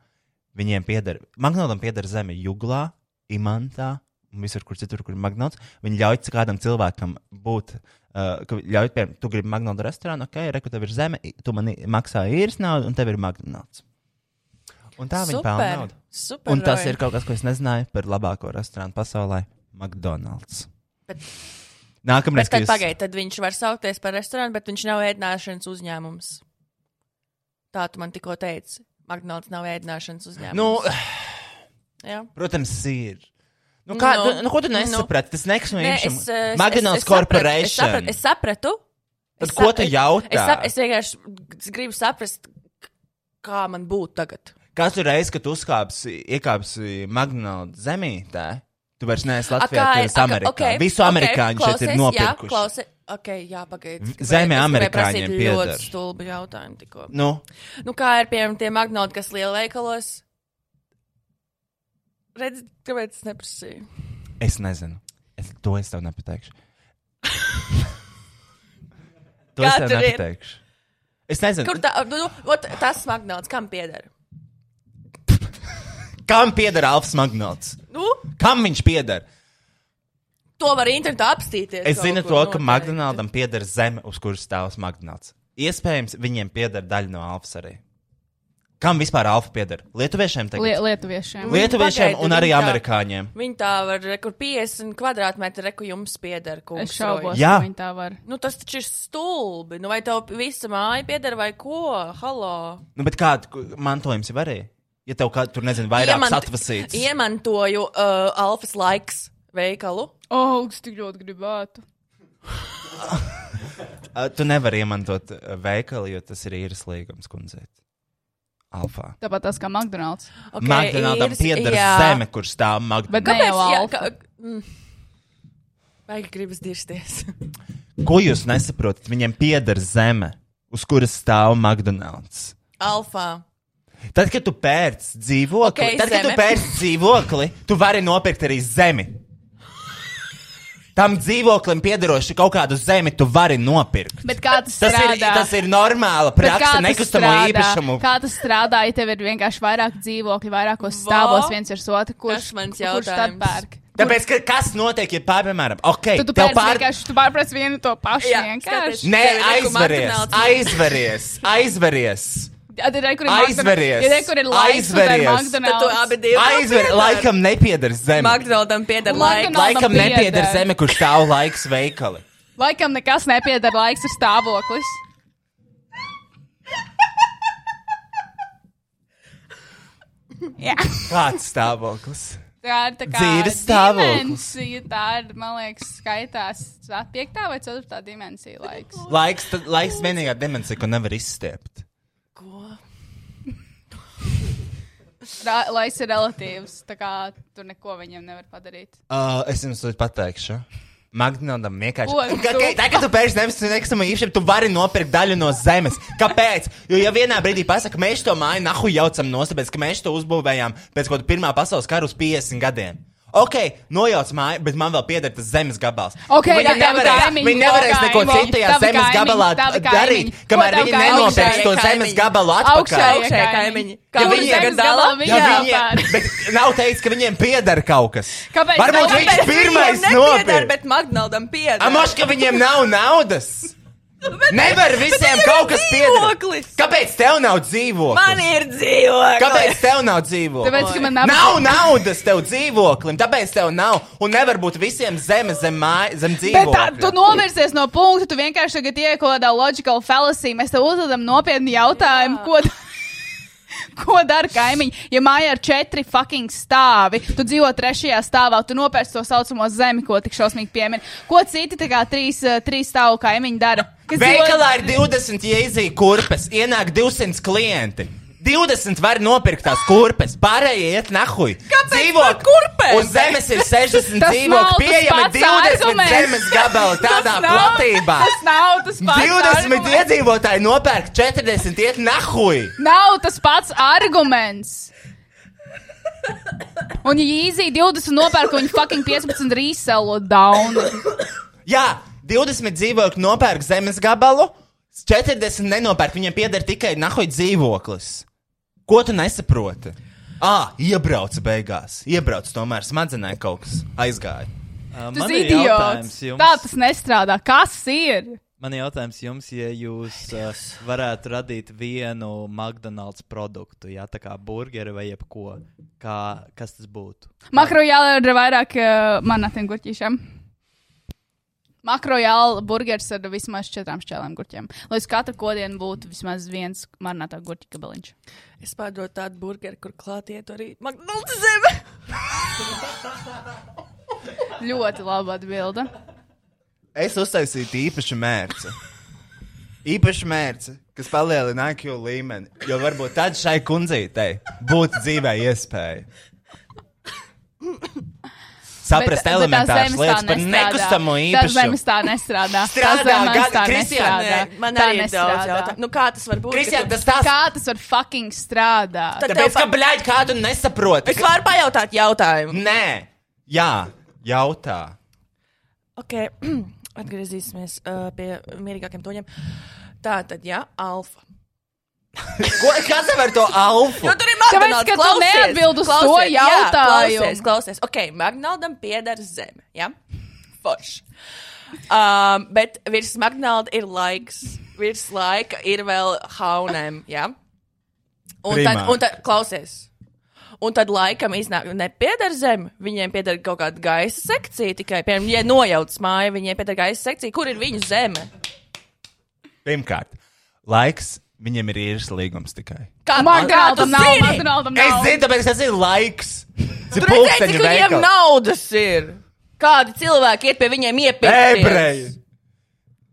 S1: Viņiem pieder, McDonald's pieder zeme Juglā, Imantā. un Visur, kur citur, kur ir magnēts, viņi ļauj c- kādam cilvēkam būt. Uh, ka vi- ļauj, piemēram, tu gribi magnētu restorānu, ok, reku, tev ir zeme, i- tu man i- maksā īres naudu, un tev ir magnēts. Un tā viņi pelna naudu.
S3: Super.
S1: Un tas
S3: Roy.
S1: ir kaut kas, ko es nezināju par labāko restorānu pasaulē - McDonald's.
S3: Bet-
S1: Nākamreiz,
S3: Bet
S1: kad
S3: tad
S1: jūs
S3: pagaidi, tad viņš var saukties par restorānu, bet viņš nav ēdināšanas uzņēmums. Tā tu man tikko teici. McDonald's nav ēdināšanas uzņēmums.
S1: Nu,
S3: Jā.
S1: Protams, ir. Nu, kā,
S3: Nu.
S1: no, nu, ko tu
S3: Nu.
S1: nesaprati? Tas nekustamā
S3: Nē, es,
S1: īpašuma.
S3: eh, es-
S1: Magnus
S3: es- es sapratu, Es
S1: Corporation.
S3: sapratu. Es sapratu.
S1: Tad
S3: Es
S1: ko
S3: sap-
S1: tu
S3: es-
S1: jautā?
S3: Es, sap, es vienkārši g- gribu saprast, k- kā man būtu tagad.
S1: Katru reizi, kad tu uzkāpsi, iekāpsi Magnus zemītē, tu vairs neesi
S3: A,
S1: Latvijā, tu
S3: es-
S1: esi
S3: a,
S1: Amerikā.
S3: okay,
S1: Okay, Visu
S3: okay,
S1: amerikāņu okay, šeit ir
S3: klausies, jā,
S1: nopirkuši.
S3: Klausies, okay, jā, pagaidi.
S1: V- zeme
S3: gribēju
S1: amerikāņiem
S3: prasīt
S1: pieder.
S3: Ļoti stulbi jautājumi tikko.
S1: Nu,
S3: Nu, kā ir piemēram tie magnēti, kas lielveikalos? Redz, kāpēc es neprasīju?
S1: es nezinu. Es, to es tev
S3: (laughs)
S1: nepateikšu. to es
S3: Kā
S1: tev
S3: tur ir?
S1: nepateikšu. Es nezinu,
S3: Kur tā, nu, nu, ot, tas magnēts, kam pieder?
S1: kam pieder Alfs Magnus.
S3: Nu,
S1: Kam viņš pieder?
S3: to var internetā apstīties.
S1: Es
S3: kaut
S1: zinu
S3: kur
S1: to, ka
S3: noteikti.
S1: Magnēlam pieder zeme, uz kuras stāv Magnēls. Iespējams, viņiem pieder daļa no Alfas arī. Kam vispār Alfa pieder? Lietuviešiem tagad?
S2: Lie Lietuviešiem.
S3: Lie-
S1: Lietuviešiem
S3: Pagaidu,
S1: un arī
S3: viņi tā-
S1: amerikāņiem.
S3: Viņi tā var, re, kur 50 kvadrātmetri, re, kur jums pieder. kungs,
S2: Es šaubos,
S1: Jā.
S2: ka viņi tā var.
S3: Roy. Nu, tas taču ir stulbi. Nu, vai tev visa māja pieder vai ko? Halo!
S1: Nu, bet kādu mantojums jau arī? Ja tev kāds tur nezina, vairāk Iemant... atvasīts. Iem...
S3: Iemantoju uh, Alfas laiks veikalu.
S2: Oh, es tik ļoti gribētu.
S1: Tu nevari iemantot uh, veikalu, jo tas ir īres līgums, kundzēt. Alfa.
S2: Tāpat tas kā McDonald's.
S3: Okay,
S1: Okay, Magnēlam
S3: īres-
S1: pieder jā.
S3: jā.
S1: zeme, kur stāv
S2: Bet
S1: Magnēls.
S2: ne jau
S3: Kāpēc? Jā,
S2: Alfa.
S3: kā- mm. Vai gribas dirsties? (laughs)
S1: Ko jūs nesaprotat? Viņiem pieder zeme, uz kuras stāv Magnēls.
S3: Alfā.
S1: Tad, kad tu pērci dzīvokli, okay,
S3: Ok,
S1: tad, kad
S3: zeme.
S1: tu pērci dzīvokli, tu vari nopirkt arī zemi. Tam dzīvoklim piederošu kaut kādu zemi, tu vari nopirkt.
S2: Bet kā tas
S1: Tas
S2: strādā?
S1: ir, tas ir normāla
S2: Bet kā
S1: praksa
S2: tas
S1: nekustamo
S2: strādā?
S1: īpašumu.
S2: Kā tas strādā, ja tev ir vienkārši vairāk dzīvokļu, vairākos stāvos viens ar otru? Kurš,
S3: Tas mans
S2: kurš tad
S3: jautājums.
S2: pērk?
S1: Tāpēc, ka, kas notiek, ja pār- piemēram, ok,
S2: Tad tu
S1: tev
S2: pērci
S1: pār-
S2: vienkārši, tu pārprec vienu to pašu
S3: Jā,
S2: vienkārši.
S3: skaties.
S1: Nē,
S3: Tev ir kaut
S1: aizveries,
S3: McDonald's.
S1: aizveries, aizveries,
S2: Tad ir rekur ir
S1: Aizveries!
S2: McDonald's. Ja rekur ir laiks, tad ir
S1: Aizveries!
S3: Tad tu abi
S2: McDonald's.
S3: divi.
S1: aizveries. Laikam nepieder zeme.
S3: Magdaldam pieder
S2: Magnaldam
S3: laiks.
S1: Laikam
S2: pieder.
S1: nepieder zeme, kur stāv laiks veikali.
S2: Laikam nekas nepiedara laiks ir stāvoklis. Jā.
S1: Kāds stāvoklis?
S2: Tā ir tā kā
S1: Dzīves stāvoklis.
S2: dimensija, Tā ir, man liekas, skaitās tā piektā vai ceturtā dimensija laiks.
S1: Laiks, tad- laiks vienīgā dimensija, ko nevar izstiept.
S2: Ra laiks ir relatīvs, tā kā tur neko viņam nevar padarīt.
S1: Uh, es jums to pateikšu. Magnēlam vienkārši.
S2: Ko tu-
S1: Ka- ka- Tā kā tu pērci nevis nekustamā īpašumā, tu vari nopirkt daļu no zemes. Kāpēc? Jo ja vienā brīdī pasakā, mēs to māju nahu jaucam nost, tāpēc ka mēs to uzbūvējām pēc kaut kāda pirmā pasaules kara uz 50 gadiem. Ok, nojauc māju, bet man vēl pieder tas zemes gabals.
S2: Ok, tā
S1: viņi
S2: tava
S1: nevarēs,
S2: kaimiņi,
S1: viņi nevarēs
S2: tava
S1: neko
S2: kaimiņi,
S1: citu tajā
S2: tava
S1: zemes
S2: kaimiņi,
S1: gabalā
S2: tava
S1: darīt,
S2: kaimiņi. Ko
S1: kamēr
S2: tava
S1: viņi
S2: kaimiņi?
S1: nenopirks to
S3: Augšējie
S1: zemes
S3: kaimiņi.
S1: gabalu atpakaļ.
S2: Augšējie
S3: Augšējā kaimiņi.
S2: kaimiņi.
S3: Kā
S2: Kur
S1: viņi
S2: zemes
S3: tagad dala?
S2: galā
S1: Ja
S2: viņi
S1: viņiem,
S2: jāpērk?
S1: bet nav teicis, ka viņiem pieder kaut kas.
S2: Kāpēc
S1: Varbūt
S2: nav?
S1: viņš
S2: Kāpēc
S1: pirmais
S3: Nepieder,
S1: nopirka.
S3: bet Magnaldam pieder.
S1: Amoš, ka (laughs) viņiem nav naudas. Nevar visiem
S3: ir
S1: kaut kas pieder.
S3: dzīvoklis.
S1: Kāpēc tev nav dzīvoklis?
S3: Man ir dzīvoklis.
S1: Kāpēc tev nav dzīvoklis?
S2: Tāpēc, ka man nav.
S1: Nav naudas tev dzīvoklim, tāpēc tev nav. Un nevar būt visiem zeme zem, māja, zem
S2: Bet tā, tu
S1: dzīvokļa.
S2: novirsies no punkta, tu vienkārši tagad ieieko kaut kādā logical fallacy. Mēs tev uzdodam nopietnu jautājumu, ko, da- (laughs) ko dara kaimiņi. Ja mājā ir četri fucking stāvi, tu dzīvo trešajā stāvā, tu nopērci to saucamo zemi, ko tik šausmīgi piemin. Ko citi tā kā trīs, eh, trīs stāvu kaimiņi dara? Kas
S1: Veikalā
S2: (laughs)
S1: ir 20 jēzija kurpes, ienāk 200 klienti. 20 var nopirkt tās kurpes, pārējie iet nahuj.
S3: par kurpēm?
S1: Uz zemes ir 60
S2: Tas nav
S1: dzīvokļi,
S2: tas
S1: pieejami
S2: pats
S1: 20
S2: arguments.
S1: zemes gabali tādā
S2: Tas nav-
S1: platībā.
S2: Tas nav tas pats.
S1: 20
S2: arguments.
S1: iedzīvotāji nopērk 40 iet nahuj.
S2: Nav tas pats arguments. Un īzī 20 nopērk, un viņi fucking 15 reselo down.
S1: Jā, 20 dzīvokļi nopērk zemes gabalu, 40 nenopērk. Viņiem pieder tikai nahoja dzīvoklis. Ko tu nesaproti? Ah, iebrauca beigās. Iebrauca tomēr smadzenē kaut kas aizgāja.
S2: Tas ir idiots. Tā tas nestrādā. Kas ir?
S9: Man ir jautājums jums, ja jūs uh, varētu radīt vienu McDonald's produktu, jā, tā kā burgeri vai jebko, kā, kas tas būtu?
S2: Makro jāla ir vairāk uh, manatiem gurķīšiem. Makro jāla burgers ar vismaz četrām šķēlēm gurķiem. Lai uz katru kodienu būtu vismaz viens marinātā gurķa gabaliņš.
S3: Es pārdodu tādu burgeru, kur klātiet arī McDonald's zeme.
S2: Ļoti laba atbilde.
S1: Es uztaisīju īpašu mērci. Īpašu mērci, kas palielina IQ līmeni. Jo varbūt tad šai kundzītei būtu dzīvē iespēja.
S2: (coughs)
S1: Saprast,
S2: Bet- bet tās
S1: elementāras
S2: zemes tā
S1: lietas par
S2: nestrādā.
S1: nekustamo
S2: Tās zemes
S1: īpašumu.
S2: tā nestrādā.
S1: Strādā,
S2: Tās zemes
S1: gan-
S2: tā
S1: Kristiāna,
S2: nestrādā.
S3: Man
S2: Tā
S3: arī ir daudz
S2: nestrādā.
S3: jautājumu. Nu, kā tas var būt?
S1: Kristian,
S3: ka tu-
S1: tas tās
S2: Kā tas var fucking strādāt?
S3: Tad
S1: Tāpēc,
S3: tev
S1: ka,
S3: pa-
S1: blēģi, kādu nesaproti.
S3: Es varu pajautāt jautājumu.
S1: Nē, jā, jautā.
S3: Ok, (clears throat) atgriezīsimies uh, pie mierīgākiem toņiem. Tā tad, jā, alfa.
S1: Ko, kas tev ar
S3: (laughs)
S1: to alfu?
S3: Jo tur ir
S2: Tāpēc,
S3: McDonald's.
S2: ka tu
S3: klausies,
S2: neatbild uz to
S3: klausies, jā,
S2: jautājumu.
S3: Klausies, klausies. Ok, McDonaldam pieder zeme, jā? Forši. Um, bet virs McDonald's ir laiks, virs laika ir vēl haunēm, jā? Un tad,
S1: Primāri.
S3: un tad, klausies. Un tad laikam iznāk, nepieder zeme, viņiem pieder kaut kāda gaisa sekcija tikai. Piemēram, ja nojauc māju, viņiem pieder gaisa sekcija, kur ir viņu zeme.
S1: Pirmkārt, laiks viņam ir īres līgums tikai.
S3: Kā
S2: McDonald's nav,
S3: zini?
S2: McDonald's
S1: Es
S2: nav.
S1: zinu, tāpēc tas ir laiks. Tas ir
S3: Tur redzēji,
S1: pulksteņu
S3: cik viņiem
S1: veikals.
S3: naudas ir. Kādi cilvēki iet pie viņiem iepirkties?
S1: Ebreji!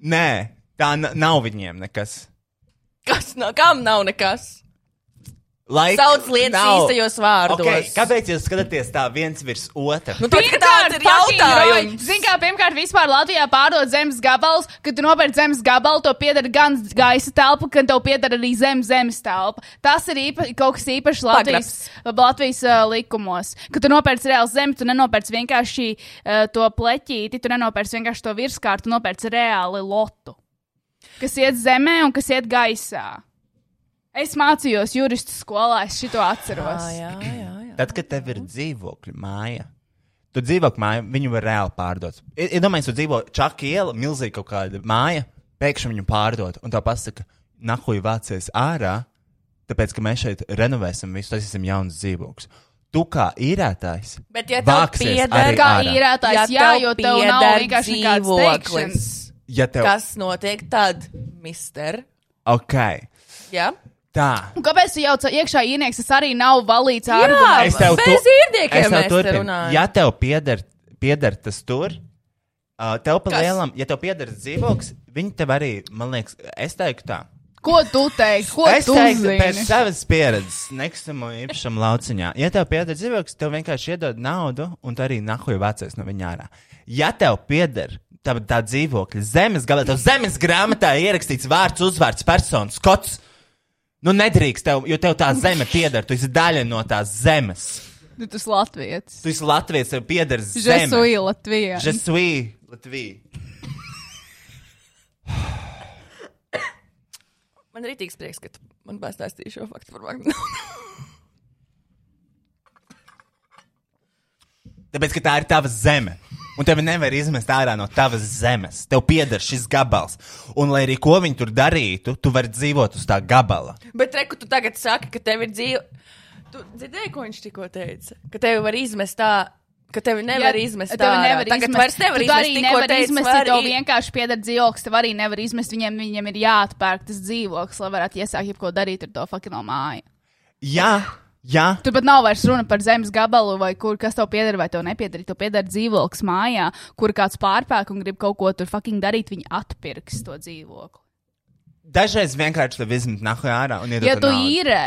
S1: Nē, tā n- nav viņiem nekas.
S3: Kas no kam nav nekas?
S1: Laiks
S3: Sauc lietas īstajos vārdos.
S1: Okay, kāpēc jūs skatāties tā viens virs otra?
S3: Nu, (laughs) tad, kad tāds ir jautājums.
S2: Ziniet, kā pirmkārt, vispār Latvijā pārdod zemes gabalus, kad tu nopērci zemes gabalu, to pieder gan gaisa telpa, gan tev pieder arī zem zemes telpa. Tas ir īpa, kaut kas īpašs Latvijas, Latvijas uh, likumos. Kad tu nopērci reāli zemi, tu nenopērci vienkārši uh, to pleķīti, tu nenopērci vienkārši to virskārtu, tu nopērci reāli lotu, kas iet zemē un kas iet gaisā. Es mācījos juristu skolā, es šito atceros.
S3: Ah, Jā, jā, jā.
S1: Tad, kad tev ir dzīvokļa māja, tu dzīvokļa māju, viņu var reāli pārdot. I- Iedomājieties, tu dzīvo Čakā iela, milzīga kaut kāda māja, pēkšņi viņu pārdot, un tā pasaka, nahuj vācies ārā, tāpēc, ka mēs šeit renovēsim visu, tas ir jauns dzīvoklis. Tu kā īrētājs,
S3: Bet, ja tev
S1: vāksies
S3: pieder-
S1: arī
S2: Kā
S1: ārā.
S2: īrētājs, jā, jo tev nav
S3: pieder
S2: vienkārši nekāds
S3: dzīvoklis,
S2: teikšanas.
S1: Ja tev...
S3: Kas notiek tad, mister?
S1: Ok,
S3: Jā,
S1: tā.
S2: Un Kāpēc tu jau tādā iekšā ienācis? Tas arī nav valīts ar
S3: jā
S1: Es tev
S3: bez
S1: tu-
S3: īrdiekiem
S1: Es tev
S3: mēs te
S1: turpinu.
S3: runājam.
S1: Ja tev pieder, pieder tas tur, uh, tev pa
S3: Kas?
S1: lielam, ja tev pieder dzīvoklis, viņi tev arī, man liekas, es teiktu tā.
S2: Ko tu teiksi? Ko
S1: es
S2: tu
S1: teiktu, pēc
S2: zini?
S1: savas pieredzes, nekustamo īpašumu lauciņā. Ja tev pieder dzīvoklis, tev vienkārši iedod naudu, un tu arī nahuja vācies no viņa ārā. Ja tev pieder tā, tā dzīvokļa zemes galā, tev zemes grāmatā ierakstīts vārds, uzvārds, personas, kods. Nu, nedrīkst tev, jo tev tā zeme pieder, tu esi daļa no tās zemes.
S2: Tu tas latviečs.
S1: Tu esi Latvijas, tev pieder zeme.
S2: Žesuī Latvijā.
S1: Je suis Latvija.
S3: Man ir rītīgs prieks, ka tu man pastāstīji šo faktu par McDonald's.
S1: Tāpēc, ka tā ir tava zeme. Un tevi nevar izmest ārā no tavas zemes. Tev pieder šis gabals. Un, lai arī ko viņi tur darītu, tu vari dzīvot uz tā gabala.
S3: (laughs) Bet, reku, tu tagad saki, ka tev ir dzīve. Tu dzirdēji, ko viņš tikko teica? Ka tevi var izmest tā, ka tevi nevar ja, izmest tā.
S2: tev nevar
S3: tagad
S2: izmest.
S3: vairs nevar
S2: Tu
S3: izmest.
S2: arī
S3: tikko
S2: nevar
S3: teica,
S2: izmest,
S3: var
S2: ja tev
S3: i-
S2: vienkārši pieder dzīvoklis. Tev arī nevar izmest, viņiem, viņiem ir jāatpērk tas dzīvoklis, lai varētu iesākt jebko darīt ar to fucking no māju.
S1: Jā,
S8: Jā,
S2: Tur pat nav vairs runa par zemes gabalu, vai kur kas tev pieder, vai tev nepieder. Tev pieder dzīvoklis mājā, kur kāds pārpērk un grib kaut ko tur fucking darīt, viņi atpirks to dzīvokli.
S1: Dažreiz vienkārši tev izmet nahu ārā un iedod
S2: Ja
S1: to
S2: tu
S1: naudu.
S2: īrē,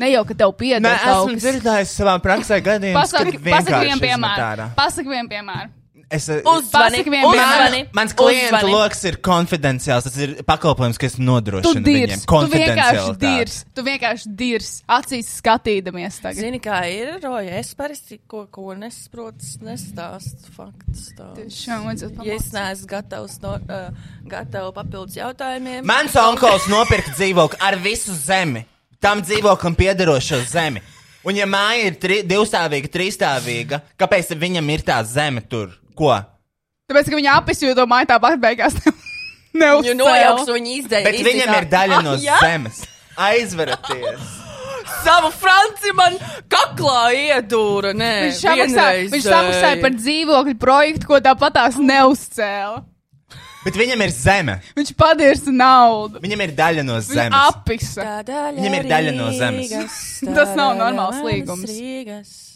S2: ne jau ka tev pieder
S1: Nē,
S2: kaut
S1: esmu
S2: kas.
S1: dzirdējis savā praksē gadījumā,
S2: Pasaki, pasaki vienu piemēru. Pasaki vienu piemēru.
S1: Es,
S3: Uzvani,
S2: Pasaki vienmēr.
S3: uzvani,
S1: Man, mans klientu
S3: uzvani.
S1: lokus ir konfidenciāls. Tas ir pakalpojums, kas
S2: Tu
S1: nodrošina
S2: dirs,
S1: viņiem
S2: tu vienkārši
S1: konfidenciālitāti.
S2: dirs, tu vienkārši dirs, acīs skatīdamies tagad.
S3: Zini, kā ir, Roja, es parasti ko, ko nesaprotu, nestāstu faktus. stāstu.
S2: Tiešām vajadzētu
S3: Ja es
S2: pamācīt.
S3: neesmu gatavs, no, uh, gatavs papildus jautājumiem,
S1: Mans onkulis nopirka dzīvokli ar visu zemi, tam dzīvoklim piederošo zemi. Un, ja māja ir tri, divstāvīga, trīsstāvīga, kāpēc viņam ir tā zeme tur? Ko?
S2: Tāpēc, ka viņa apis, jo domāju, tāpat beigās
S3: viņu nojauks
S2: neuzsāks.
S3: un viņi izdzēs.
S1: Bet viņam ir
S2: Ah,
S1: daļa no
S3: jā?
S1: zemes. Aizveraties!
S3: (laughs) savu franci man kaklā iedūra. Nē,
S2: Viņš samaksāja,
S3: vienreiz,
S2: viņš samaksāja
S3: ej.
S2: par dzīvokļu projektu, ko tāpat tās neuzcēla.
S1: Bet viņam ir zeme.
S2: Viņš padirsa naudu.
S1: Viņam ir daļa no
S2: Viņa
S1: zemes.
S2: apisa.
S3: Tā daļa
S1: Viņam ir daļa no zemes.
S3: Rīgas, tā
S2: (laughs) Tas
S3: daļa
S2: nav normāls
S3: manas
S2: līgums.
S3: Rīgas.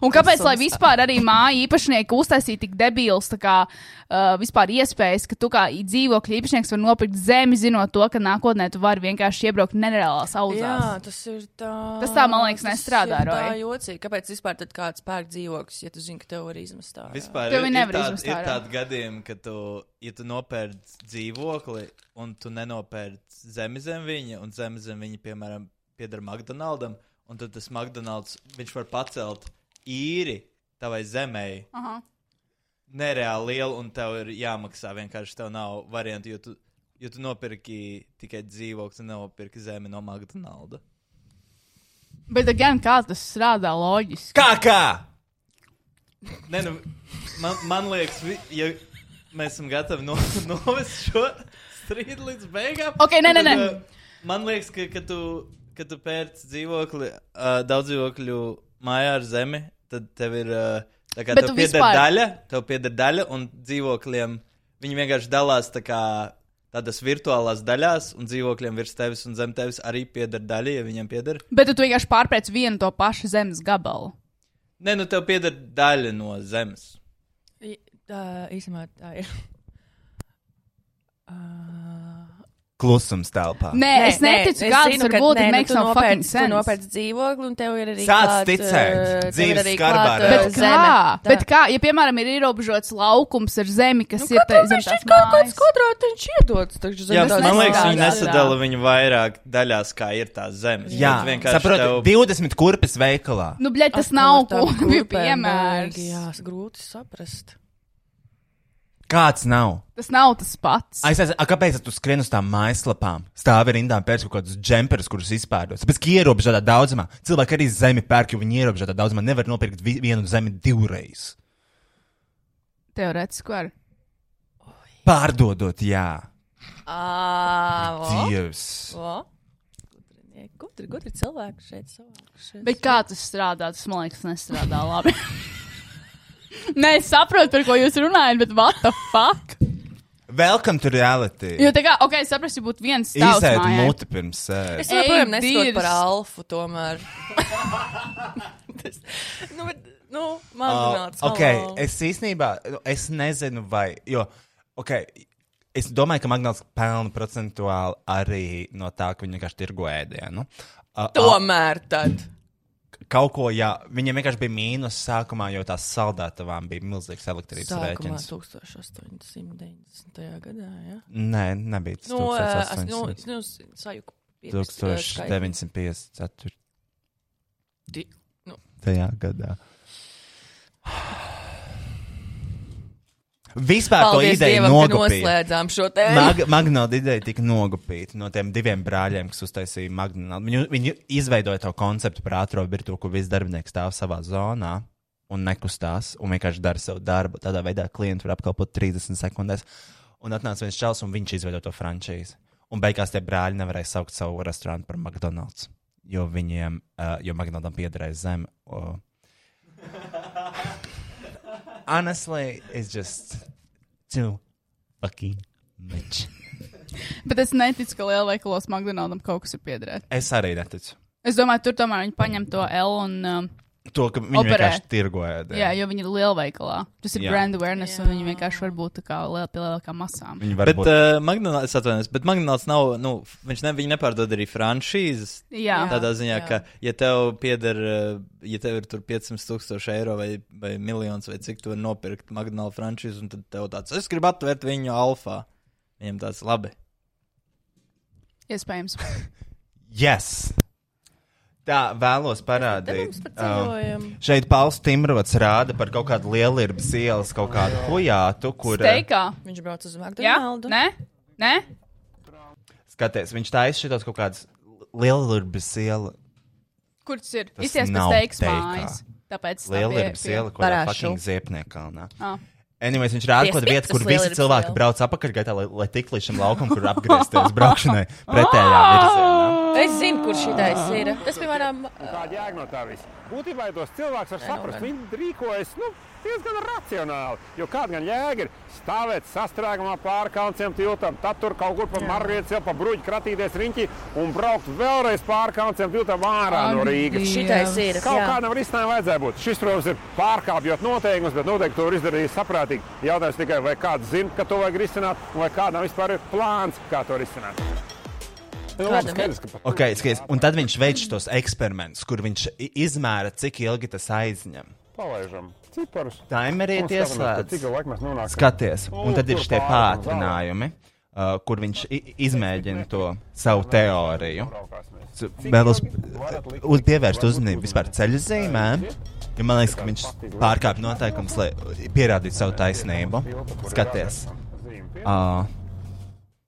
S2: Un kāpēc, lai
S3: Konsums.
S2: vispār arī māju īpašnieki uztaisīja tik debils, tā kā uh, vispār iespējas, ka tu kā i- dzīvokļu īpašnieks var nopirkt zemi, zinot to, ka nākotnē tu vari vienkārši iebraukt nereālās auzās.
S3: Jā, tas ir tā.
S2: Tas tā, man liekas,
S3: tas
S2: nestrādā,
S3: ir Tā
S2: Roja.
S3: jocīgi. Kāpēc vispār tad kāds pērk dzīvokļus, ja tu zini, ka tev var izmest tā?
S9: Vispār
S2: Tevi
S9: ir, ir
S2: nevar
S9: tāda
S2: izmest
S9: ir
S2: ārā.
S9: tāda gadījuma, ka tu, ja tu nopērc dzīvokli un tu nenopērc zemi zem viņa, un zemi zem viņa, piemēram, pieder McDonaldam, un tad tas McDonalds, viņš var pacelt īri tavai zemēji.
S1: (laughs)
S2: Aha.
S9: Nereāli liela, un tev ir jāmaksā. Vienkārši tev nav variantu, jo tu, jo tu nopirki tikai dzīvokli, un nenopirki zemi no McDonalda.
S2: Bet, gan kā tas strādā loģiski?
S1: Kā kā?
S9: Nē, nu, man, man liekas, vi, ja mēs esam gatavi no, novest šo strīdu līdz beigām.
S2: Ok, nē, nē,
S9: tad,
S2: nē.
S9: uh, Man liekas, ka, ka tu, ka tu pērci dzīvokli, uh, daudz dzīvokļu mājā ar zemi, tad tev ir. Uh, tā kā
S2: Bet
S9: tev
S2: tu
S9: pieder
S2: vispār-
S9: daļa, tev pieder daļa, un dzīvokļiem viņi vienkārši dalās tā kā. Tādas virtuālās daļās, un dzīvokļiem virs tevis un zem tevis arī pieder daļa, ja viņam pieder.
S2: Bet tu vienkārši pārpēc vienu to pašu zemes gabalu.
S9: Nē, nu tev pieder daļa no zemes.
S3: I- Tā īstenībā tā ir.
S1: Klusums telpā.
S2: Nē, nē, es neticu,
S3: es
S2: ka
S3: zinu,
S2: tas var
S3: ka-
S2: būt.
S3: nē,
S2: It
S3: nu,
S2: makes
S3: tu
S2: no fucking
S3: nopērci- tu
S2: sense.
S3: Nopērci dzīvokli, un tev ir arī.
S1: Sāc
S3: klāt,
S1: ticēt.
S3: eh, tev
S1: Dzīves
S3: ir arī
S1: skarbā
S3: klāt, eh,
S1: reāli.
S2: Bet
S3: zeme.
S2: kā?
S3: Tā.
S2: Bet kā, ja, piemēram, ir ierobežots laukums ar zemi, kas nu, ir tā- zem tās
S3: kaut kāds
S2: mājas?
S3: kvadrātiņš iedodas. taču zem
S9: Jā,
S3: tās
S9: man liekas,
S2: nestrādā.
S9: viņi nesadala viņu vairāk daļās, kā ir tās zemes.
S1: Jā,
S9: Bet vienkārši tev...
S1: saprotu, 20 kurpes veikalā.
S2: Nu, bļaļ, tas
S3: Ak,
S2: nav
S3: no
S2: (laughs)
S3: tām
S2: kopīgi
S3: kurpēm
S2: piemērs.
S3: baigi, Jā, s- grūti saprast.
S1: Kāds nav?
S2: Tas nav tas pats.
S1: Ai, Ah, Es saprotu, kāpēc tu skrien uz tām mājaslapām? Stāvi rindā un pērci kaut kādus džemperus, kurus izpērdos. Pēc tam ierobežotā daudzumā. Cilvēki arī zemi pērk, jo viņi ierobežotā daudzumā nevar nopirkt vi- vienu zemi divreiz.
S2: Teorētiski var.
S1: Pārdodot, jā,
S3: Ā, vo,
S1: Dievs.
S3: vo. Gudri- Gudri, gudri cilvēki šeit savākušies.
S2: Bet kā tas strādā, tas man liekas, nestrādā labi. (laughs) Nē, es saprotu, par ko jūs runājat, bet what the fuck?
S1: Welcome to reality.
S2: Jo tā kā, ok, es saprotu, ja būtu viens stāvs
S1: Izsēdi
S2: mājā.
S1: muti pirms
S3: Es
S1: sēdes.
S2: Ej,
S3: joprojām nesaprotu par
S2: dirs.
S3: alfu Nu, tomēr. Tas, nu, bet, nu, man
S1: Uh,
S3: domāts.
S1: ok, es īstenībā, nu, es nezinu, vai, jo, ok, es domāju, ka Magnāls pelna procentuāli arī no tā, ka viņi vienkārši tirgo ēdienu. Uh,
S3: Tomēr tad.
S1: kaut ko, jā, viņiem vienkārši bija mīnus sākumā, jo tās saldētavām bija milzīgs elektrības
S3: Sākumā
S1: rēķins.
S3: 1890. gadā, jā.
S1: Nē, nebija tas
S3: Nu, eh, es nu, es
S1: 1800.
S3: nu, s- sajuku. pirkstu, eh, skaitli.
S1: 1954.
S3: Di- nu.
S1: Tajā gadā. Vispār
S3: Paldies
S1: to ideju
S3: Dievam, ka
S1: nogupīja.
S3: noslēdzām šo tēmu.
S1: Mag Magnolda ideja tika nogupīta no tiem diviem brāļiem, kas uztaisīja Magnoldu. Viņu, viņu izveidoja to konceptu par ātrā virtuvē, kur viss darbinieks stāv savā zonā un nekustās un vienkārši dara savu darbu. Tādā veidā klientu var apkalpot 30 sekundēs. Un atnāca viens čels, un viņš izveidoja to frančīzi. Un beigās tie brāļi nevarēja saukt savu restorānu par McDonald's, jo viņiem, uh, jo McDonaldam piederēja zeme. (laughs) Uh. Honestly, it's just too fucking much.
S2: Bet es neticu, ka lielveikalos McDonald's kaut kas ir piederēt.
S1: Es arī neticu.
S2: Es domāju, tur tomēr viņi paņem to L un. Um,
S1: To, ka viņi
S2: Operē.
S1: vienkārši tirgoja.
S2: jā, jo viņi ir lielveikalā. Tas ir
S1: Jā.
S2: jā. brand awareness, jā. un viņi vienkārši var būt tā kā liel, pie lielākām masām.
S1: Viņi
S9: Bet
S1: varbūt bet,
S9: uh, McDonald's, atvainojos, bet McDonald's nav, nu, viņš ne, viņi nepārdod arī franšīzes.
S2: Jā, jā.
S9: Tādā ziņā,
S3: jā.
S9: jā. ka, ja tev pieder, uh, ja tev ir tur 500 tūkstoši eiro vai, vai miljons vai cik tu vari nopirkt McDonald's franšīzi, un tad tev tāds, es gribu atvērt viņu alfā. Viņam tāds labi.
S2: iespējams.
S1: yes.
S8: Tā vēlos parādīt.
S3: Mums par ceļojumu.
S1: um, Šeit Pauls Timrots rāda par kaut kādu lielu ir ielas, kaut kādu hujātu, kur eh,
S2: Teikā,
S3: Viņš brauc uz
S2: jā,
S3: McDonald's.
S2: nē, nē,
S1: skaties, viņš taisa šitos kaut kādas lielu ir iela,
S2: kur tas ir?
S1: Tas
S2: Izties
S1: nav
S2: pēc teiks
S1: Teikā.
S2: mājas. Tāpēc tā
S1: lielu ir
S2: pie- pie-
S1: iela, kurā
S10: Parāšu.
S1: fucking ziepniekalnā.
S2: Ah.
S1: Anyways, viņš rāda kaut kādu vietu, kur visi cilvēki brauc apakaļgaitā, lai, lai tiktu līdz šim laukam, kur
S2: (laughs)
S1: apgriezties braukšanai
S2: Ah!
S1: pretējā virzienā.
S3: Es zinu, kurš šī taisa ir. Tas, piemēram, nu
S11: Tā jēga no tā visa. Būtībā, ja tos cilvēkus var saprast, viņi rīkojas nu, diezgan racionāli. Jo kāda gan jēga ir stāvēt sastrēgumā pāri kalnciem tiltam, tad tur kaut kur pa marvietu, pa bruģi kratīties riņķī un braukt vēlreiz pāri kalnciem tiltam ārā no Rīgas.
S3: šī taisa ir.
S11: Kaut
S3: jā.
S11: kādam risinājumam vajadzēja būt. Šis, protams, ir pārkāpjot noteikumus, bet noteikti to ir izdarījis saprātīgi. Jautājums tikai, vai kāds zina, ka to vajag risināt, un vai kādam vispār ir plāns, kā to risināt. Nu, labi,
S3: Kādam ir?
S11: skaidrs, ka pa-
S1: Okay, skaties, un tad viņš veic tos eksperimentus, kur viņš i- izmēra, cik ilgi tas aizņem.
S11: Palaižam ciparus.
S1: Taimerieties,
S11: Un skatāmies, pie
S1: lēdz.
S11: Cik laika mēs nonākam?
S1: Skaties, un tad ir šie pātrinājumi, uh, kur viņš i- izmēģina to savu teoriju.
S11: Skaties.
S1: Tu Vēlos uh, uz- pievērst uzmanību vispār ceļu zīmēm. Jo man liekas, ka viņš pārkāpj noteikumus, lai pierādītu savu taisnību. Skaties, uh,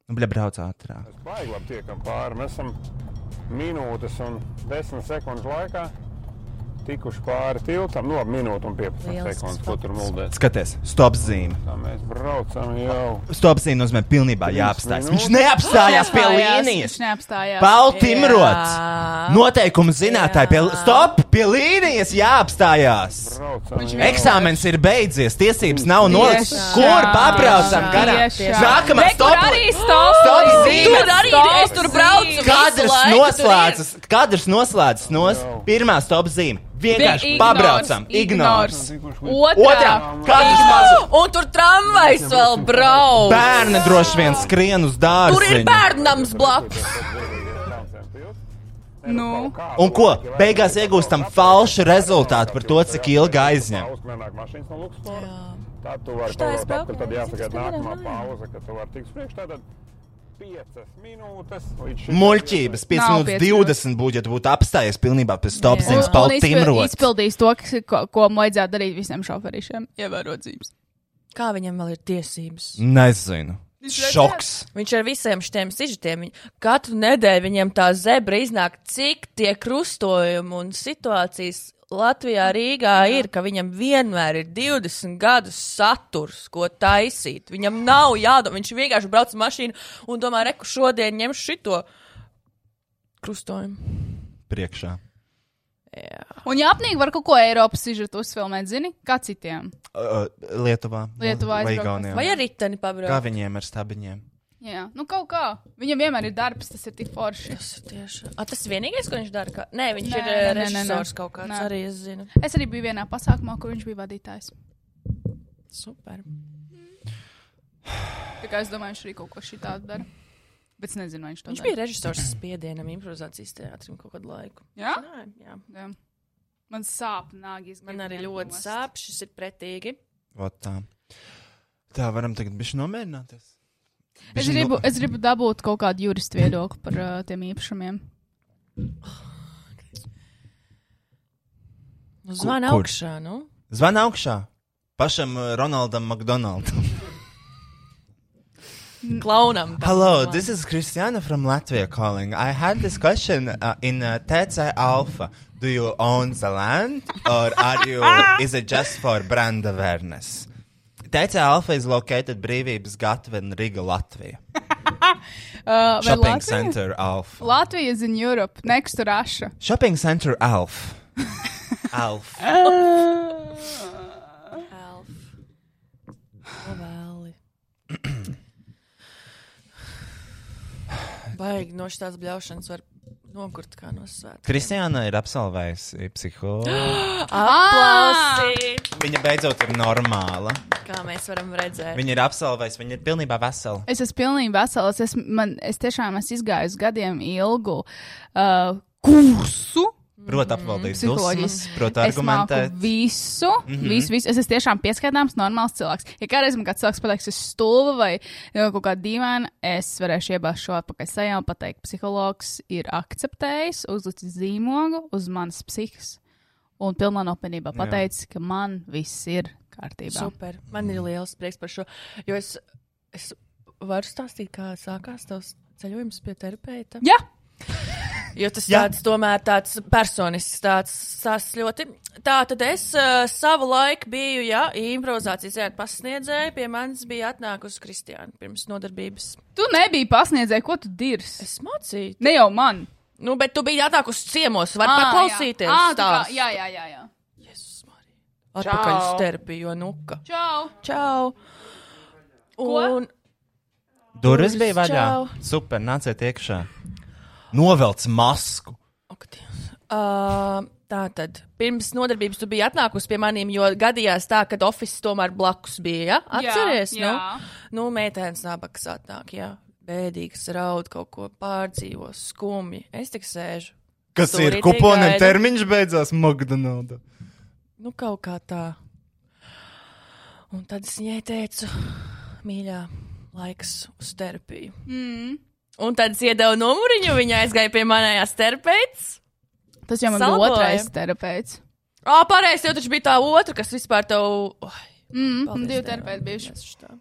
S1: nu, bļa, brauc ātrāk.
S11: Baigi labi tiekam pāri. Mēs esam minūtes un desmit sekundes laikā tikuši pāri tiltam. No minūtes un 15
S3: Lielisks
S11: sekundes, ko tur muldēs.
S1: Skaties, stop zīme.
S11: Tā mēs braucam jau.
S1: Stop zīme nozīmē pilnībā jāapstājas. Viņš neapstājās pie
S2: Neapstājās,
S1: līnijas.
S2: Viņš neapstājās.
S1: Baltimrots!
S3: Jā.
S1: Noteikumu zinātāji pie, stop, pie līnijas jāapstājās!
S11: Braucam jau.
S1: Eksāmens ir beidzies, tiesības nav nolasīts.
S2: Tiešām.
S1: Kur papraucam garām?
S2: Tiešām.
S1: Nākamā
S2: Re, kur
S1: stopā
S2: arī stop!
S1: Stop zīme!
S3: Tur arī ir. Es tur braucu. visu
S1: Kadrs
S3: laiku,
S1: noslēdzas, kadrs noslēdzas nos, pirmā stop zīme. Vienkārši pabraucam, ignors. Otrā,
S2: Otrā.
S1: kadrs
S3: tur
S1: mazs.
S3: ir. Un tur tramvajs vēl brauc.
S1: Bērni droši vien skrien uz
S3: Tur ir
S1: dārziņu.
S3: bērnams blakus.
S2: Nu,
S1: Un ko? Beigās iegūstam falšu rezultātu par to, cik ilgi aizņem.
S11: Uzmanāk mašīnas no Luksemburgas. Tā tu vari
S3: Šitā es
S11: pavadīt atpakaļ, tad
S3: braucu,
S11: jāsagaida
S3: jā,
S11: nākamā
S3: jā.
S11: pauze, kad tu vari tikt uz priekšu. Tātad 5 minūtes līdz šim.
S1: Muļķības, 5
S2: Nav
S1: minūtes
S2: piec
S1: 20 būtu, ja tu būtu apstājies pilnībā pēc stop zīmes,
S2: Un- un
S1: paldies,
S2: izpil-
S1: Timrots.
S2: Izpildījis to, kas, ko, ko man vajadzētu darīt visiem šoferīšiem. Ievērot zīmes.
S3: Kā viņam vēl ir tiesības?
S1: Nezinu.
S2: redzēs?
S1: Šoks.
S3: Viņš ar visiem šiem sižetiem, viņ- katru nedēļu viņam tā zebra iznāk, cik tie krustojumi un situācijas Latvijā, Rīgā ir, ka viņam vienmēr ir 20 gadus saturs, ko taisīt. Viņam nav jādomā, viņš vienkārši brauc ar mašīnu un domā, reku šodien ņem šito krustojumu.
S1: Priekšā.
S2: Un jāpnīgi var kaut ko Eiropas izžūt uzfilmēt, zini, kā citiem.
S1: Uh, Lietuvā.
S2: Lietuvā
S1: Vai
S2: aizbraukt.
S1: Igaunijā?
S3: Vai arī tani
S1: Kā
S3: pabrauc?
S1: viņiem ar stabiņiem?
S2: Jā, nu kaut kā. Viņam vienmēr ir darbs, tas ir tik forši.
S3: Tas ir tieši. A, tas vienīgais, ko viņš dara? Ka... Nē, viņš
S2: Nē,
S3: nē, ir eh,
S2: nē, nē, nē, nē.
S3: režisors kaut kāds.
S2: Nē.
S3: Nē. Arī es zinu.
S2: Es arī biju vienā pasākumā, kur viņš bija vadītājs.
S3: Super.
S2: Tā kā es domāju, viņš arī kaut ko šitādu dara. Bet es nezinu, vai viņš to
S3: Viņš
S2: dara.
S3: bija režisors spiedienam, improvizācijas teātrim kaut kādu laiku.
S2: Jā?
S3: Nā, jā.
S2: Jā. Man sāp nāgi. es
S3: Man
S2: gribu
S3: arī
S2: viņu
S3: ļoti
S2: nost.
S3: sāp, šis ir pretīgi.
S1: Vot Tā. tā, varam tagad bišķi nomierināties.
S2: Es
S1: Bišķi nu-
S2: gribu, es gribu dabūt kaut kādu juristu viedokli par uh, tiem īpašumiem.
S3: Nu, Zvana
S1: kur?
S3: augšā, nu?
S1: No... Zvan augšā. Pašam uh, Ronaldam McDonaldam.
S3: Klaunam. tā
S1: Hello,
S3: domā.
S1: this is Christiana from Latvia calling. I had this question uh, in uh, Tecai Alpha. Do you own the land or are
S2: (laughs)
S1: you, is it just for brand awareness? Tecai Alpha is located Brīvības Gatven, Riga, Latvija.
S2: Uh, vai
S1: Shopping
S2: Oh, Latvija?
S1: center Alpha.
S2: Latvija is in Europe, next
S3: (laughs)
S2: to Russia.
S1: Shopping center
S2: (laughs)
S1: Alf. Alf.
S3: Elf. Novēli. Baigi no šādas bļaušanas var nokurt kā no svētkiem.
S1: Kristiāna ir absolvējusi
S3: (gasps)
S2: (gasps)
S1: psihologu.
S3: Ah! Aplausi!
S1: Viņa beidzot ir normāla.
S3: Kā mēs varam redzēt?
S1: Viņa ir absolvējusi, viņa ir pilnībā vesela.
S2: Es esmu pilnīgi vesels. Es, man, es tiešām esmu izgājis gadiem ilgu uh, kursu.
S1: Prot apvaldīt
S2: Psiholoģija.
S1: dusmas, prot
S2: Mm. Es māku
S1: argumentēt. Mhm.
S2: visu, mm -hmm. visu, visu. Es esmu tiešām pieskaitāms, normāls cilvēks. Ja kādreiz man kāds cilvēks pateiks, es esmu stulba vai jau kaut kāda dīvaina, es varēšu iebāzt šo atpakaļ sejā un pateikt, psihologs ir akceptējis, uzlicis zīmogu uz manas psihikas un pilnā nopietnībā pateicis, ka man viss ir kārtībā.
S3: Super. Man ir liels prieks par šo. Jo es, es varu stāstīt, kā sākās tavs ceļojums pie terapeita.
S2: Jā,
S3: (laughs) Jo tas tāds, tomēr tāds personisks tāds stāsts ļoti. Tā tad es uh, savu laiku biju, jā, improvizācijas ēnu pasniedzēju. Pie manis bija atnākusi Kristiāna pirms nodarbības.
S2: tu nebiji pasniedzēji, ko tu dirsi.
S3: Es mācīju.
S2: Ne jau man.
S3: Nu, bet tu biji atnākusi ciemos. Var paklausīties.
S2: Ah, tā, kā-
S3: stāstu.
S2: jā, jā, jā. jā.
S3: Jēzus, Marija. Atpakaļ uz
S12: Čau.
S3: terapiju, jo nuka.
S2: Čau!
S3: Čau!
S2: Ko?
S3: Un,
S1: Durvis bija vaļā.
S3: Čau.
S1: Super, nāciet iekšā. Novelc masku.
S3: Ak, Dievs. Ā, Tā tad pirms nodarbības tu biji atnākusi pie maniem, jo gadījās tā, ka oficiāls tomēr blakus bija. Ja? Atceries,
S2: jā.
S3: nu, nu meitēns nabaga atnāk, jā, bēdīgs, raud kaut ko pārdzīvos, skumji. Es tik sēžu.
S1: Kas
S3: Stūrītī
S1: ir kuponam
S3: gaida.
S1: termiņš beidzās McDonald's?
S3: Nu, kaut kā tā. Un tad es viņai teicu, mīļā, laiks uz terapiju. Mm. Un tad es iedevu numuriņu, viņa aizgāja pie manējās terapeitas.
S2: Tas jau man
S3: Salaboja.
S2: bija otrais terapeits.
S3: Ah, pareizi, jau taču bija tā otra, kas vispār tev. Oh,
S2: Mm,
S3: Paldies,
S2: divi
S3: Dievam,
S2: terapeiti bijuši.
S3: mēs šitā.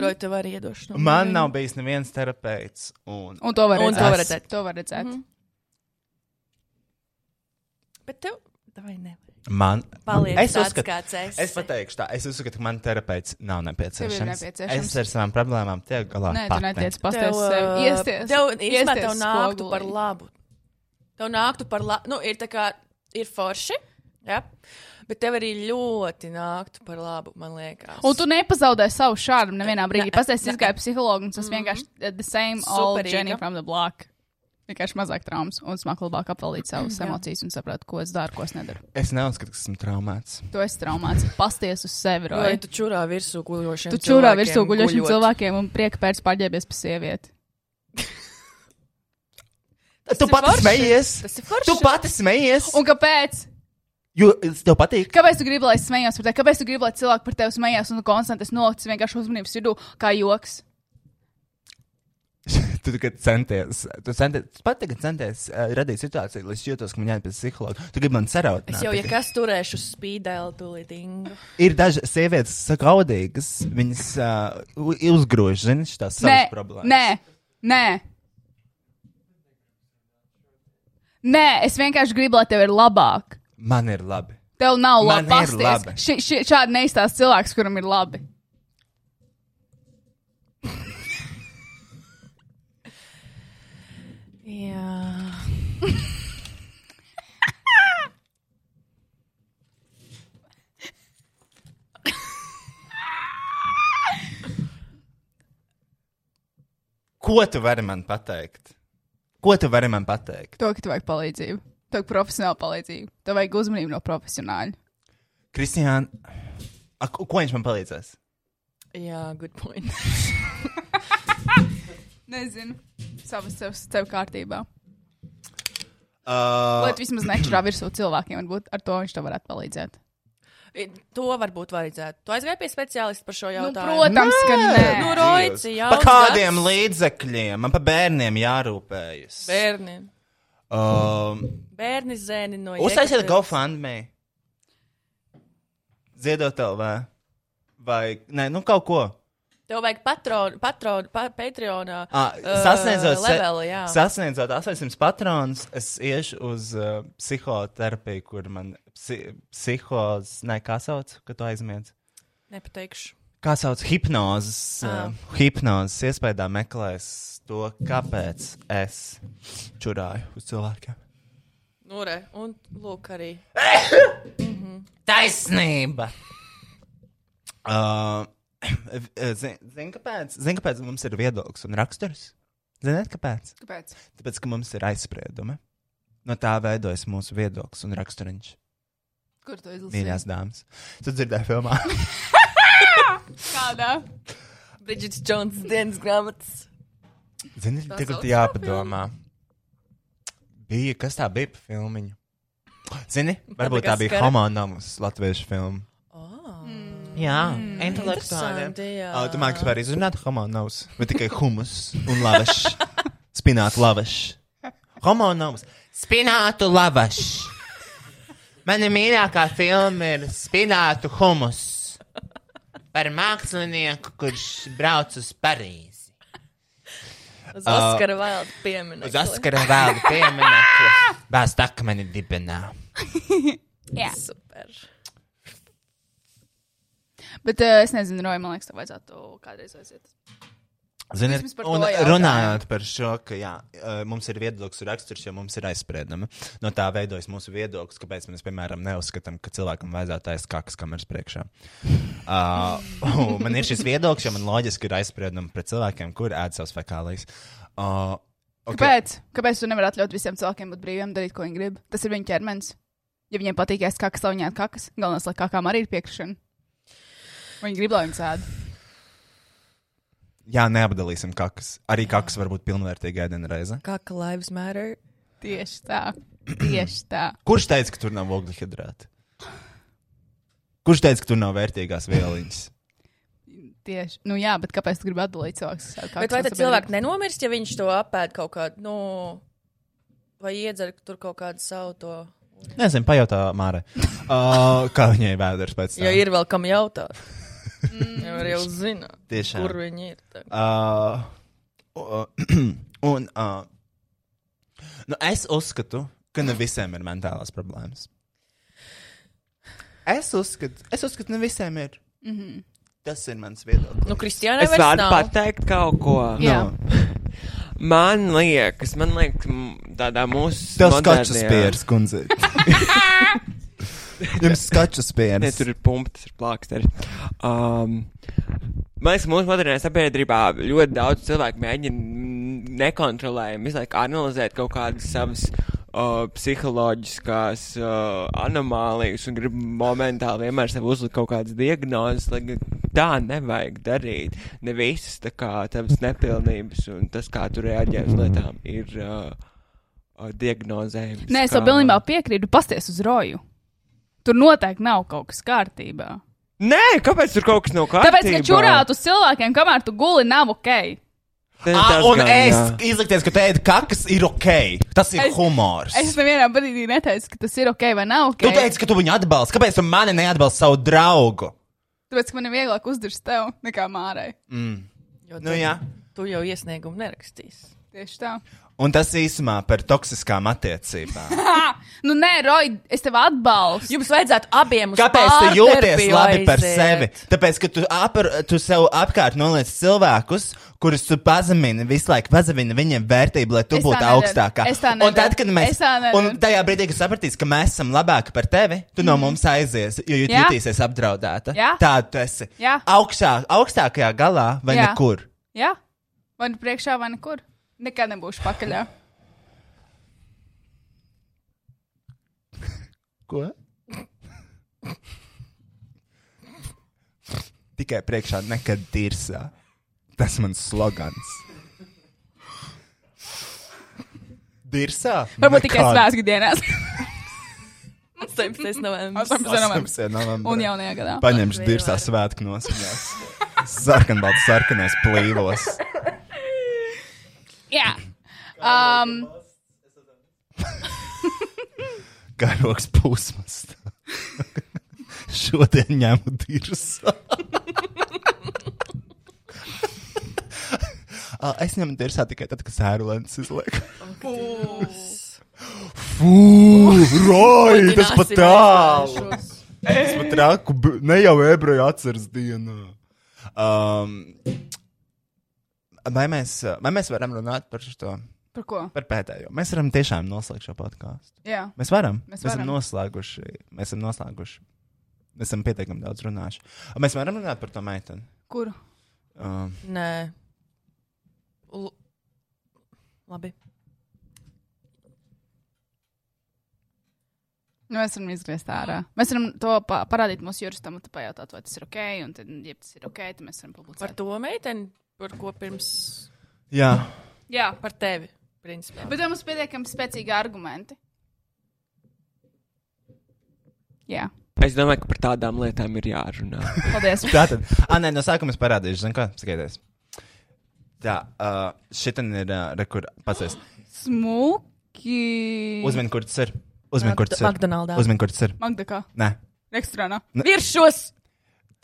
S3: Roj, tev arī iedošu.
S1: Man nav bijis neviens terapeits. Un...
S2: Un to var
S3: Nu, Un
S2: redzēt.
S3: to var redzēt.
S2: To var redzēt.
S3: Mhm.
S2: Mm -hmm.
S3: Bet tev, vai ne?
S1: Man...
S3: Paliec
S1: Es
S3: tāds,
S1: uzskatu-
S3: kāds esi.
S1: Es pateikšu, tā, es uzskatu, ka man terapeits nav nepieciešams.
S2: nepieciešams.
S1: Es ar savām problēmām tiek galā.
S2: Nē, tu
S1: pati.
S2: netiec
S3: Tev,
S2: pastāstīt sev.
S3: ā,
S2: Iesties.
S3: Tev, īstenībā
S2: iesties
S3: tev nāktu
S2: spogulī.
S3: par labu. Tev nāktu par labu. Nu, ir tā kā, ir forši. Ja? Bet tev arī ļoti nāktu par labu, man liekas.
S2: Un tu nepazaudēji savu šādu nevienā brīdī.
S3: Nē,
S2: Pastāstīji,
S3: nē.
S2: es gāju psihologu, un tas vienkārši eh, the same old
S3: Mhm. Superīga.
S2: Jenny from the block. Vienkārši mazāk traumas un smāk labāk apvalīt savas
S3: Jā.
S2: emocijas un saprast, ko es daru, ko es nedaru.
S1: Es neuzskatu, ka esmu traumēts.
S2: Tu esi traumāts. Pasties uz sevi,
S3: Vai
S2: Roja.
S3: tu čurā virsū guļošiem
S2: Tu čurā
S3: cilvēkiem
S2: virsū guļošiem
S3: guļot?
S2: cilvēkiem un prieka pēc pārģērbies pa sievieti.
S1: Tu
S3: ir
S1: pati
S3: forši.
S1: smejies!
S3: Tas ir forši.
S1: Tu pati smejies!
S2: Un kāpēc?
S1: Jo es- tev patīk!
S2: Kāpēc tu gribi, lai es smējos par tevi? Kāpēc tu gribi, lai cilvēki par tevi smējās un konstanti es noliku vienkārši uzmanības vidū, kā joks?
S1: tu tikai centies. Tu centies, tu pat tagad centies uh, radīt situāciju, lai es jūtos, ka man jāiet pie psihologa. Tu gribi man saraut.
S3: Es jau, ja kas turēšu uz spīdēlu, tūlīt ingu.
S1: Ir dažas sievietes, kas saka, audīgas, viņas uh, uzgrūž, zini, šīs savas problēmas.
S2: nē, nē. Nē, es vienkārši gribu, lai tev ir labāk.
S1: Man ir labi.
S2: Tev nav
S1: Man ir
S2: labi pasties.
S1: labi.
S2: Ši- ši- Šādi neizstāsta cilvēks, kuram ir labi.
S3: Jā.
S1: Ko tu vari man pateikt? Ko tu vari man pateikt?
S2: To, ka tev vajag palīdzību. Tev vajag profesionālu palīdzību. Tev vajag uzmanību no profesionāļa.
S1: Kristiāna, a, ko ko viņš man palīdzēs?
S3: Jā, good point.
S2: (laughs) Nezinu. Savas sev, sev kārtībā.
S1: Uh,
S2: Lai tu vismaz nečurā virsū cilvēkiem, varbūt ar to viņš tev varētu palīdzēt.
S3: I- (laughs) To varbūt vajadzētu. Tu aizgāji pie speciālista par šo
S2: Nu,
S3: jautājumu.
S2: protams, ka nē.
S3: Nu, Roici, jā.
S1: pa kādiem līdzekļiem? Man pa bērniem jārūpējas.
S3: Bērni.
S1: Um,
S3: Bērni zēni no
S1: Uztaisiet
S3: Jēkabpils.
S1: GoFundMe. Ziedot LV. Vai, nē, nu kaut ko.
S3: Tev vajag patronu, patronu, pa, Patreonā.
S1: À,
S3: ā,
S1: Ah, sasniedzot, se-
S3: leveli, Uh, jā.
S1: sasniedzot 800 patronus, es iešu uz uh, psihoterapiju, kur man psi, psihos, ne, kā sauc, ka tu aizmiedz.
S3: Nepateikšu.
S1: Kā sauc hipnozes, uh, hipnozes iespējā meklēs to, kāpēc es čurāju uz cilvēkiem.
S3: Nu, re, un lūk arī.
S1: (coughs)
S3: Mhm.
S1: Taisnība! (clears throat) eh, Uh, Zini, kāpēc? Zin, kāpēc mums ir viedoklis un raksturs? Ziniet, kāpēc?
S2: Kāpēc?
S1: Tāpēc, ka mums ir aizspriedumi. No tā veidojas mūsu viedoklis un raksturiņš.
S2: Kur tu izlasīji?
S1: Mīļās dāmas. Tu dzirdēji filmā?
S2: Kādā?
S3: Brigita Jonas dienas grāmatas.
S1: Zini,
S3: Tā
S1: tagad
S3: sauc tā
S1: jāpadomā. Bija, kas tā bija pa filmiņu? Zini, varbūt tā
S3: kā
S1: bija
S3: skara.
S1: Homonamus latviešu filma. Jā, intelektuāli.
S3: Interesanti, jā.
S12: Ah.
S1: Ā, Tu māki vispār izrunāt Homonamus, vai tikai humus un lavašs? Spinātu lavašs. Homonamus. Spinātu lavašs. Mana mīļākā filma ir Spinātu humus. Par mākslinieku, kurš brauc uz Parīzi.
S3: Uz Oskara Vailda
S1: Uh,
S3: pieminiektu.
S1: Uz Oskara vēlu
S2: (laughs)
S1: pieminiektu. Bāzt akmeni dibenā.
S2: Jā.
S3: (laughs) Super.
S2: Bet uh, es nezinu, Roja, man liekas, tev vajadzētu kādreiz aiziet.
S1: Ziniet,
S2: Vismaz par to
S1: un
S2: jautājumu.
S1: runājot par šo, ka jā, eh, mums ir viedoklis un raksturs, jo mums ir aizspriedumi. No tā veidojas mūsu viedoklis, kāpēc mēs, piemēram, neuzskatām, ka cilvēkam vajadzētu aizt kakas kameras priekšā. Uh, man ir šis viedoklis, jo man loģiski ir aizspriedumi pret cilvēkiem, kur ēd savas fekālijas. Uh, okay.
S2: Kāpēc? Kāpēc tu nevari atļaut visiem cilvēkiem būt brīviem, darīt, ko viņi grib? Tas ir viņu ķermenis. Ja viņiem patīk, es kā kas lauņā kakas, galvenais, lai kakām arī ir piekrišana. Viņi grib, lai viņi sēž.
S1: Jā, neapdalīsim kakas. Arī kakas var būt pilnvērtīga ēdiena reize.
S3: Kā ka lives matter?
S2: Tieši tā. Tieši tā.
S1: Kurš teica, ka tur nav oglehidrāti? Kurš teica, ka tur nav vērtīgās vieliņas?
S2: Tieši. Nu jā, bet kāpēc tu gribi atdalīt cilvēkus? no kakas
S3: Bet vai
S2: no
S3: tad cilvēks nenomirst, ja viņš to apēd kaut kādu, nu, vai iedzer tur kaut kādu savu to?
S1: Nezinu, pajautā
S3: (laughs)
S1: Mārai. Uh, kā viņai vēders pēc
S3: Jo
S1: tam?
S3: ir vēl kam jautāt.
S2: Mm.
S3: Jau jau zina,
S1: Tiešām.
S3: kur viņi ir. tagad.
S1: Uh, uh, (clears throat) un uh, nu es uzskatu, ka ne visiem ir mentālās problēmas. Es uzskatu, es uzskatu, ne visiem ir. Mm
S3: Mhm.
S1: -hmm. Tas ir mans viedoklis.
S3: Nu, Kristiāna
S12: Es
S3: vairs
S12: varu
S3: nav.
S12: pateikt kaut ko.
S2: Jā,
S12: Man liekas, man liekas, m, tādā mūsu.
S1: Tev skačas
S12: modernajā-
S1: pieres, kundze.
S12: (laughs)
S1: Jums skačas
S12: Ne,
S1: pieres.
S12: tur ir pumpa, tas ir plāksteri. Um, man liekas, mūsu modernā sabiedrībā ļoti daudz cilvēku mēģina nekontrolējami visu laiku analizēt kaut kādas savas uh, psiholoģiskās uh, anomālijas un grib momentāli vienmēr sev uzlikt kaut kādas diagnozes. lai gan Tā nevajag darīt. Ne visas tā kā tavas nepilnības un tas, kā tu reaģē uz lietām, ir uh, uh, diagnozējums.
S2: Nē, es jau
S12: kā-
S2: pilnībā piekrītu. Pasties uz roju. Tur noteikti nav kaut kas kārtībā.
S12: Nē, kāpēc tur kaut kas nav kārtībā?
S2: Tāpēc, ka čurāt uz cilvēkiem, kamēr tu guli, nav ok.
S12: Tas
S1: Ah, un
S12: gan,
S1: es
S12: jā.
S1: izlikties, ka te ir kakas, ir ok. Tas ir
S2: Es-
S1: humors.
S2: Es nevienā brīdī neteicu, ka tas ir ok vai nav ok.
S1: Tu teici, ka tu viņu atbalsti. Kāpēc tu mani neatbalsti savu draugu?
S2: Tāpēc, ka man ir vieglāk uzdurst tev nekā mārai.
S3: Jo
S1: Nu,
S3: tu-
S1: jā.
S3: Tu jau iesniegumu nerakstīs.
S2: Tieši tā. (laughs)
S1: Un tas īsumā par toksiskām
S2: (laughs)
S1: attiecībām.
S2: Nu, nē, Roja, es tev atbalstu.
S3: Jums vajadzētu abiem uz
S1: Kāpēc tu jūties
S3: pārterapiju
S1: labi par
S3: aiziet?
S1: sevi? Tāpēc, ka tu, apar, tu sev apkārt noliec cilvēkus, kurus tu pazemini, visu laiku pazemini viņiem vērtību, lai tu
S2: Es tā
S1: būtu
S2: nedaru.
S1: augstākā.
S2: Es tā
S1: un tad,
S2: nedaru.
S1: kad
S2: Es
S1: mēs.
S2: tā nedaru.
S1: Un tajā brīdī, kad sapratīsi, ka mēs esam labāki par tevi, tu no mums aizies, jo jūt,
S2: Mm. Jā.
S1: jutīsies apdraudēta.
S2: Jā.
S1: Tāda tu esi.
S2: Jā.
S1: Augšā, augstākajā galā vai
S2: Jā.
S1: nekur.
S2: Jā, vai nu priekšā, vai nekur. Nekad nebūšu pakaļā.
S1: Ko? Tikai priekšā nekad tirsā. Tas mans slogans. Dirsā?
S2: Varbūt tikai svētku
S3: (laughs)
S2: dienās,
S3: 18. novembris.
S2: 18. novembrī un
S1: novembrī.
S2: jaunajā gadā.
S1: nu, Paņemšu dirsā svētku nosmējās. Sarkanbalts, sarkanais plīvos.
S2: Jā. Um,
S1: Garoks pūsmas.
S2: (laughs)
S1: Šodien ņemu dirsā. (laughs) Ā, es ņemu dirsā tikai tad, kad sērulēns izliek. Fū, roj, tas pat tālu. Tas pat traku, b- ne jau ebreju atceras dienā. Um, vai, mēs, vai mēs varam runāt par šo?
S2: par ko?
S1: Par pēdējo. Mēs varam tiešām noslēgt šo podkāstu.
S2: Jā.
S1: Mēs varam. Mēs,
S2: Mēs
S1: mēs esam
S2: varam.
S1: noslēguši. Mēs esam noslēguši. Mēs esam pietiekami daudz runājuši. Mēs varam runāt par to meiteni.
S2: Kur?
S1: Um,
S3: Nē. L- Labi.
S2: Nu, mēs varam izgriezt ārā. Mēs varam to pa parādīt mūsu juristam un te pajautāt, vai tas ir ok. Un, tad, ja tas ir ok, tad mēs varam publicēt.
S3: Par to meiteni, par ko pirms.
S1: Jā.
S2: Jā,
S3: par tevi. Principā.
S2: Bet vai mums pietiekami spēcīgi argumenti? Jā.
S12: Es domāju, ka par tādām lietām ir jārunā.
S2: (laughs) Paldies.
S1: Tātad, ah, nē, no sākuma es parādīšu, zinu, kā skaties. Tā, uh, šitam ir, uh, re, kur pats.
S2: Smuki.
S1: Uzmini, kur tas ir. Uzmini, kur tas ir.
S3: McDonaldā.
S1: Uzmini, kur tas ir.
S2: Mm. Magda kā?
S1: Nē,
S2: Restorānā.
S1: Ne-
S3: Viršos!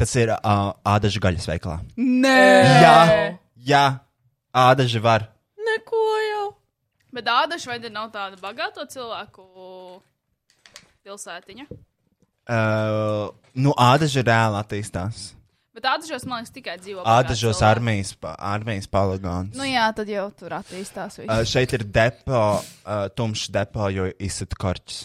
S1: tas ir uh, ādažu gaļas veikalā.
S2: Nē.
S1: Jā, jā, ādaži var.
S3: Neko jau.
S2: Bet Ādaša vai tad nav tāda bagāto cilvēku pilsētiņa?
S1: Uh, nu, ādaži reāli attīstās.
S2: Bet Ādašos, man liekas, tikai dzīvo. bagāti
S1: Ādažos
S2: cilvēki.
S1: armijas, pa- armijas poligons.
S2: Nu jā, tad jau tur attīstās viss.
S1: Uh,
S3: (gasps)
S1: šeit ir depo, uh, tumšs depo, jo izsit korķis.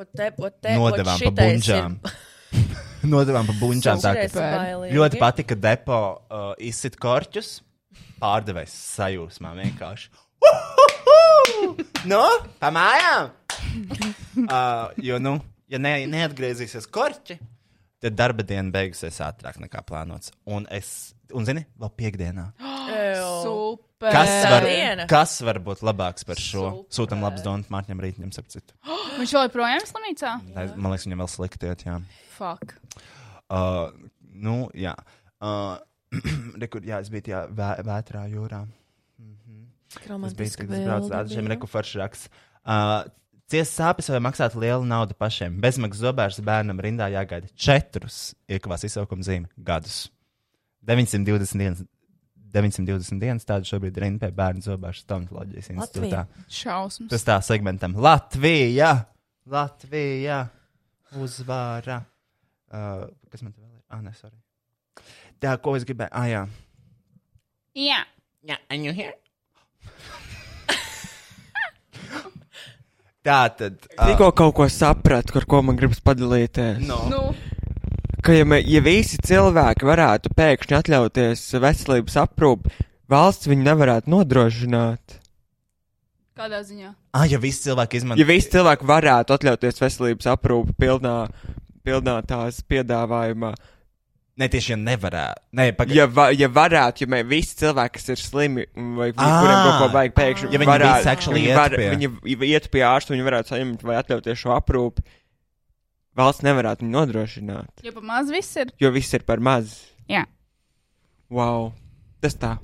S3: Ot te, E, ot te, ot
S1: Nodevām pa
S3: šitais
S1: bunžām. (laughs)
S3: ir-
S1: Nodevām pa bunžām. tā,
S3: Šitreiz
S1: ka-
S3: bailīgi.
S1: Ļoti patika depo uh, izsit korķus. Pārdevējs sajūsmā vienkārši. nu,
S3: (laughs)
S1: pamājām! uh, jo, nu, ja ne, neatgriezīsies korķi, tad darba diena beigsies ātrāk nekā plānots. Un, es, un zini, vēl
S3: (gasps)
S1: piekdienā.
S2: (gasps) Super.
S1: Kas var,
S3: diena.
S1: kas var būt labāks par šo? Sūtam labs dons Mārķim Rītņam, ap citu.
S2: Viņš joprojām ir slimnīcā?
S1: Nē, Man liekas, viņam vēl sliktiet, jā.
S2: Fuck.
S1: Uh, nu, jā. Uh, (clears throat) Rekur, jā, es biju tajā vē, vētrā jūrā. Tas bija
S3: Romantiska
S1: tas brauc
S3: bilde
S1: ar šiem
S3: bija.
S1: rekuferšraks. Uh, Ciest sāpes vai maksāt lielu naudu pašiem. Bezmaksas zobērs bērnam rindā jāgaida četrus iekavās izsaukuma zīmi gadus. 920 dienas, 920 dienas tāda šobrīd ir rinda pie bērnu zobēršu stomatoloģijas institūtā.
S2: Šausmas.
S1: Tas tā segmentam Latvija! Latvija! Uzvāra! Uh, kas man te vēl ir? Ah, nē, sorry. Tā, ko es gribēju? Ah, jā.
S2: Jā.
S12: Yeah, and you here?
S1: Tā tad.
S12: Tikko kaut ko sapratu, ar ko man gribas padalīties.
S2: Nu,
S12: Ka, ja, mē- ja visi cilvēki varētu pēkšņi atļauties veselības aprūpi, valsts viņu nevarētu nodrošināt.
S2: kādā ziņā?
S1: Ah, ja visi cilvēki izmanto.
S12: Ja visi cilvēki varētu atļauties veselības aprūpi pilnā, pilnā tās piedāvājumā,
S1: Ne tieši, ja nevarētu. Ne, pagaid...
S12: ja, va, ja varētu, ja mē- visi cilvēki, kas ir slimi mm, vai vi-
S1: Ā!
S12: kuriem kaut ko vajag pēkšņi,
S1: Ah! Ja viņi visi
S12: varētu,
S1: actually
S12: viņi,
S1: iet
S12: var,
S1: pie-
S12: viņi iet pie ārsta, viņi varētu saņemt vai atļauties šo aprūpi, valsts nevarētu viņu nodrošināt,
S2: Jo pa maz viss ir.
S12: jo viss ir par maz.
S2: Jā.
S12: Wow, tas tā.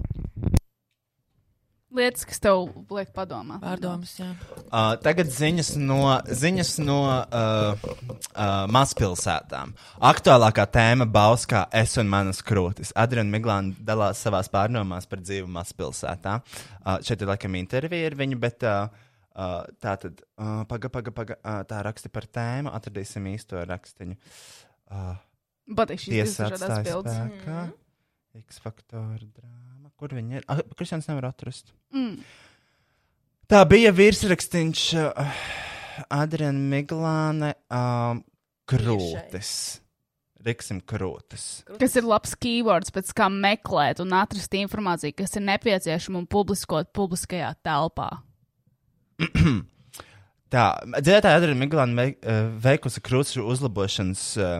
S2: Lietas, kas tev liek padomāt.
S3: Pārdomas, jā.
S1: Uh, tagad ziņas no, ziņas no uh, uh, mazpilsētām. Aktuālākā tēma - Bauskā, es un manas krūtis. Adriana Miglāna dalās savā pārdomās par dzīvi mazpilsētā. Uh, šeit ir laikam intervija ar viņu, bet uh, uh, tā tad uh, paga, paga, paga, uh, tā raksti par tēmu. Atradīsim īsto rakstiņu. Uh,
S2: Patīk šīs divas
S1: Tiesa
S2: dažādas
S1: atstāja
S2: bildes.
S1: spēkā. X-faktora drāma. Kur viņi ir? Ah, Kristians nevar atrast.
S2: Mm.
S1: Tā bija virsrakstiņš uh, Adriana Miglāne um, Krūtis. Riksim Krūtis. (clears throat)
S2: Kas ir labs keywords, pēc kā meklēt un atrast informāciju, kas ir nepieciešama un publiskot publiskajā telpā.
S1: Tā, dzirdētāja Adriana Miglāne vei- uh, veikusi krūšu uzlabošanas uh,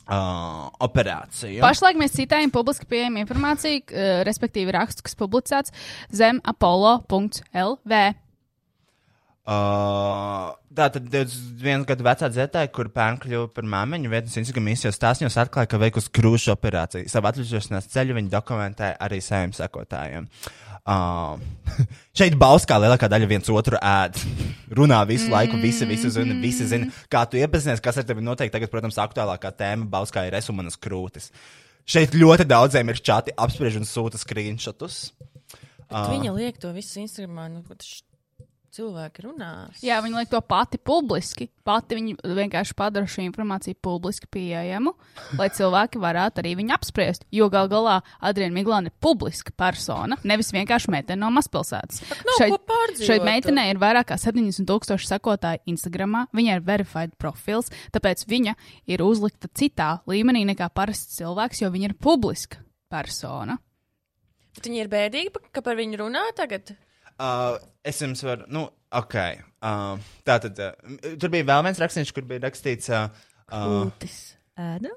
S1: uh, operāciju.
S2: Pašlaik mēs citējam publiski pieejamu informāciju, k- eh, respektīvi rakstu, kas publicēts zem apollo.lv.
S1: Uh, tā tad 21 gadu vecā dzirdētāja, kur pērn kļuva par māmiņu, vietnes Instagram īsajos stāstījumos atklāja, ka veikusi krūšu operāciju. Savu atvežošanās ceļu viņa dokumentēja arī saviem sekotājiem. Uh, (laughs) šeit Bauskā lielākā daļa viens otru ēd. (laughs) Runā visu laiku, visi, visi zina, visi zina, kā tu iepazinies, kas ar tevi notiek. Tagad, protams, aktuālākā tēma Bauskā ir es un manas krūtis. Šeit ļoti daudziem ir čati apspriež un sūta screenshotus.
S3: Bet
S1: Ah.
S3: viņa liek to visu Instagramā, nu, kad š- cilvēki runās.
S2: Jā, viņi liek to pati publiski. Pati viņi vienkārši padara šo informāciju publiski pieejamu, lai cilvēki varētu arī viņu apspriest. Jo gal galā Adriana Miglāna ir publiska persona, nevis vienkārši meitene no mazpilsētas.
S3: nav ko pārdzīvot.
S2: šai meitenei ir vairāk kā 70,000 sekotāju Instagram. Viņai ir verified profils, tāpēc viņa ir uzlikta citā līmenī nekā parasts cilvēks, jo viņa ir publiska persona.
S3: Bet viņi ir bēdīgi, pa- ka par viņu runā tagad.
S1: Uh, Uh, es jums varu, nu, ok. Uh, tā tad, uh, tur bija vēl viens rakstīns, kur bija rakstīts, uh, uh,
S6: Ēdu?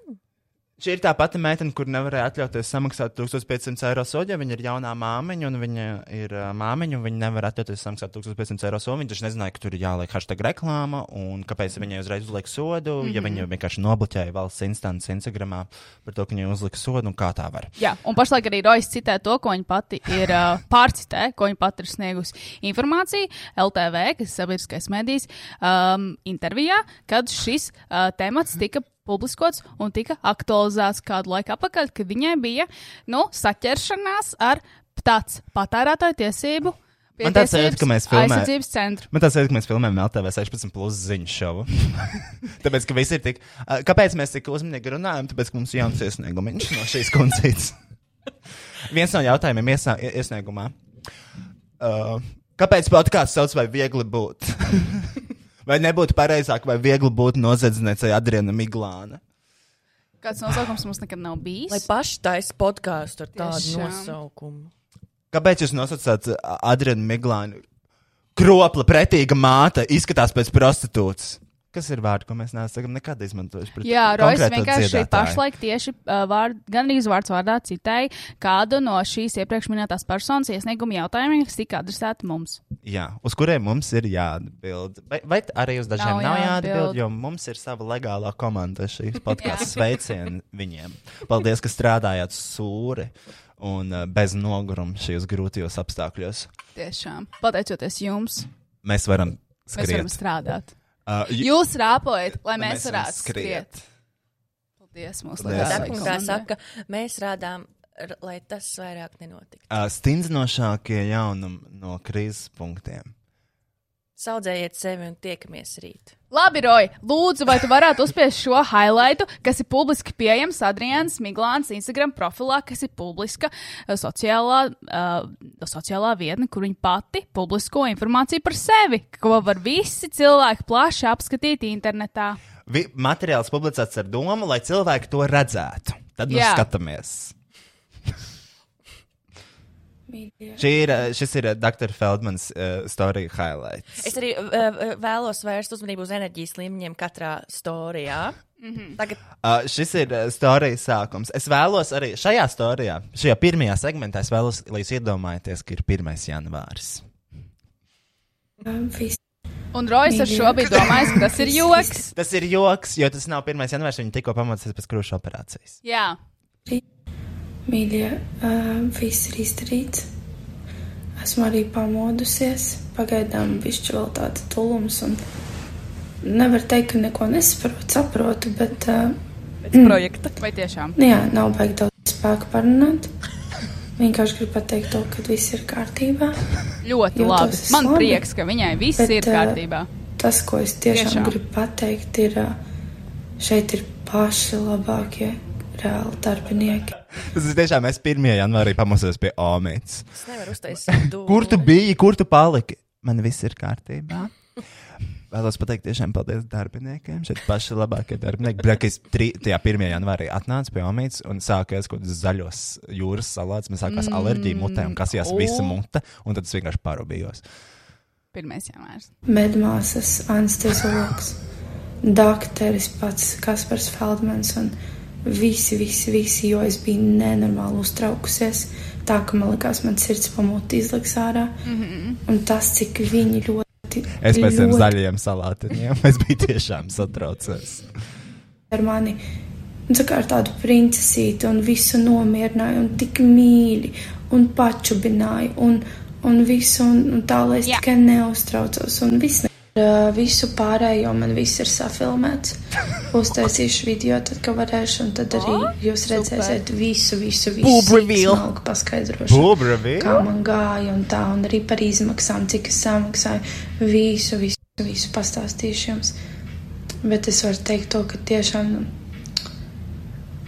S1: Šī ir tā pati meitene, kur nevarēja atļauties samaksāt 1500 eiro sodu, ja viņa ir jaunā māmiņa, un viņa ir ā, māmiņa, un viņa nevar atļauties samaksāt 1500 eiro sodu. Viņa taču nezināja, ka tur ir jāliek hashtag reklāma, un kāpēc viņai uzreiz uzliek sodu, mm -hmm. ja
S2: Mhm.
S1: viņa vienkārši nobloķēja valsts instants Instagramā par to, ka viņai uzlika sodu, un kā tā var.
S2: Jā, un pašlaik arī Rojas citē to, ko viņa pati ir uh, pārcitē, ko viņa pati ir sniegusi informāciju LTV, kas ir sabiedriskais medijs, um, intervijā, kad šis uh, temats tika publiskots un tika aktualizēts kādu laiku atpakaļ, kad viņai bija nu, saķeršanās ar tāds patērētāju tiesību. pie
S1: Man tāds
S2: tiesības
S1: sajūta, ka mēs filmējam.
S2: aizsardzības centru.
S1: Man tāds sajūta, ka mēs filmējam LTV 16 plus ziņu šovu. (laughs) Tāpēc, ka visi ir tik. ā, Kāpēc mēs tik uzmanīgi runājam? Tāpēc, ka mums ir jauns iesniegumiņš no šīs koncerts. (laughs) Viens no jautājumiem iesā, i- iesniegumā. Uh, kāpēc podkāsts sauc vai viegli būt? (laughs) vai nebūtu pareizāk vai viegli būt noziedzniecei Adriana Miglāna?
S2: Kāds nosaukums mums nekad nav bijis? Lai
S3: paši taisa podkāstu ar tādu
S2: Tiešām.
S3: nosaukumu.
S1: Kāpēc jūs nosacāt ā, Adrianu Miglānu? Kropla, pretīga māte, izskatās pēc prostitūtas. Kas ir vārdi, ko mēs neesam nekad izmantojuši? pret
S2: Jā, Rojas
S1: konkrēto
S2: vienkārši
S1: dziedātāju?
S2: pašlaik tieši uh, vārd, gandrīz vārds vārdā citēja kādu no šīs iepriekš minētās personas iesniegumu jautājumiem, kas tika adresēti mums.
S1: Jā, uz kuriem mums ir jāatbild. Vai, vai t- arī uz dažiem
S2: Nav
S1: nav, nav
S2: jāatbild.
S1: jāatbild, jāatbild, jo mums ir sava legālā komanda
S2: (laughs)
S1: šīs podkāstu sveicieni viņiem. Paldies, ka strādājāt sūri un eh, bez noguruma šajos grūtajos apstākļos.
S2: Tiešām. Pateicoties jums,
S1: Mēs varam
S2: mēs varam
S1: skriet.
S2: strādāt.
S1: Uh, j-
S2: Jūs rāpojat, lai
S1: mēs
S2: mēs, mēs
S1: varam
S2: varētu
S1: skriet.
S2: skriet. Paldies, mūsu
S1: Paldies.
S2: labākajai
S3: Sekundē
S2: komandai.
S3: saka, mēs rādām, r- lai tas vairāk nenotiktu.
S1: Uh, Stindzinošākie jaunumi no krīzes punktiem.
S3: Saudzējiet sevi un tiekamies rīt.
S2: Labi, Roja, lūdzu, vai tu varētu uzspiest šo highlightu, kas ir publiski pieejams Adrians Miglāns Instagram profilā, kas ir publiska eh, sociālā, uh, sociālā vietne, kur viņa pati publisko informāciju par sevi, ko var visi cilvēki plaši apskatīt internetā.
S1: Vi, materiāls publicēts ar domu, lai cilvēki to redzētu. Tad mēs
S2: Jā.
S1: skatāmies. Šī ir, eh, šis ir eh, Dr. Feldmans uh, storija highlight.
S3: Es arī eh, vēlos vērst uzmanību uz enerģijas līmeņiem katrā storijā. Mm
S2: Mhm.
S3: -hmm. Tagad
S1: Uh, šis ir uh, storijas sākums. Es vēlos arī šajā storijā, šajā pirmajā segmentā, es vēlos, lai jūs iedomājaties, ka ir 1. janvāris.
S2: Un Rojas ar šo bija domājis, ka tas ir joks.
S1: Tas ir joks, jo tas nav 1. janvāris, viņa tikko pamācās pēc krūšu operācijas.
S2: Jā.
S13: Mīļie, ā, viss ir izdarīts. Esmu arī pamodusies. Pagaidām višķi vēl tāds tulums. Un... Nevar teikt, ka neko nesaprotu, saprotu, bet ā,
S2: Projekta. Vai tiešām?
S13: Mm. nu (clears throat) jā, nav baigi daudz spēku parunāt. Vienkārši gribu pateikt to, ka viss ir kārtībā.
S2: Ļoti
S13: Jūtos
S2: labi. Man
S13: labi.
S2: prieks, ka viņai viss
S13: Bet,
S2: ir
S13: eh,
S2: kārtībā.
S13: Tas, ko es tiešām,
S2: Tiešām.
S13: tiešām. gribu pateikt, ir ā, šeit ir paši labākie reāli darbinieki.
S1: Tas ir tiešām es 1. janvārī pamostos pie Omītas.
S3: es nevaru
S1: (laughs)
S3: uztaisīt to.
S1: Kur tu biji, kur tu paliki? Man viss ir kārtībā. Vēlos pateikt tiešām paldies darbiniekiem. Šeit paši labākie darbinieki. Brekis 3. janvārī atnāca pie Omītas un sākās kaut kāds zaļos jūras salāts. Man sākās
S2: Mm.
S1: mm. alerģija mutē un kasījās
S2: O.
S1: oh. visa mute. Un tad es vienkārši parūpējos.
S2: Pirmais jāmērs.
S13: medmāsas, anesteziologs, doktoris pats Kaspars Feldmans un visi, visi, visi, jo es biju nenormāli uztraukusies. Tā kā man likās, man sirds pamūta izliks ārā. Mm
S2: Mhm.
S13: -hmm. Un tas, cik viņi ļoti.
S1: Es pēc tam
S13: ļoti
S1: zaļajiem salātiņiem. Es biju tiešām satraucies.
S13: ar mani. Un tā kā ar tādu princesīti, un visu nomierināja, un tik mīļi, un pačubināja, un, un visu, un, un tā, lai es yeah. tikai neuztraucos, un viss. Ne... Ar, ā, Visu pārējo man viss ir safilmēts. Uztaisīšu video, tad, kad varēšu, un tad arī jūs redzēsiet visu, visu, visu.
S1: Boob reveal.
S13: smalku Paskaidrošu.
S1: Boob reveal.
S13: Kā man gāja, un tā, un arī par izmaksām, cik es samaksāju. Visu, visu, visu pastāstīšu jums. Bet es varu teikt to, ka tiešām nu,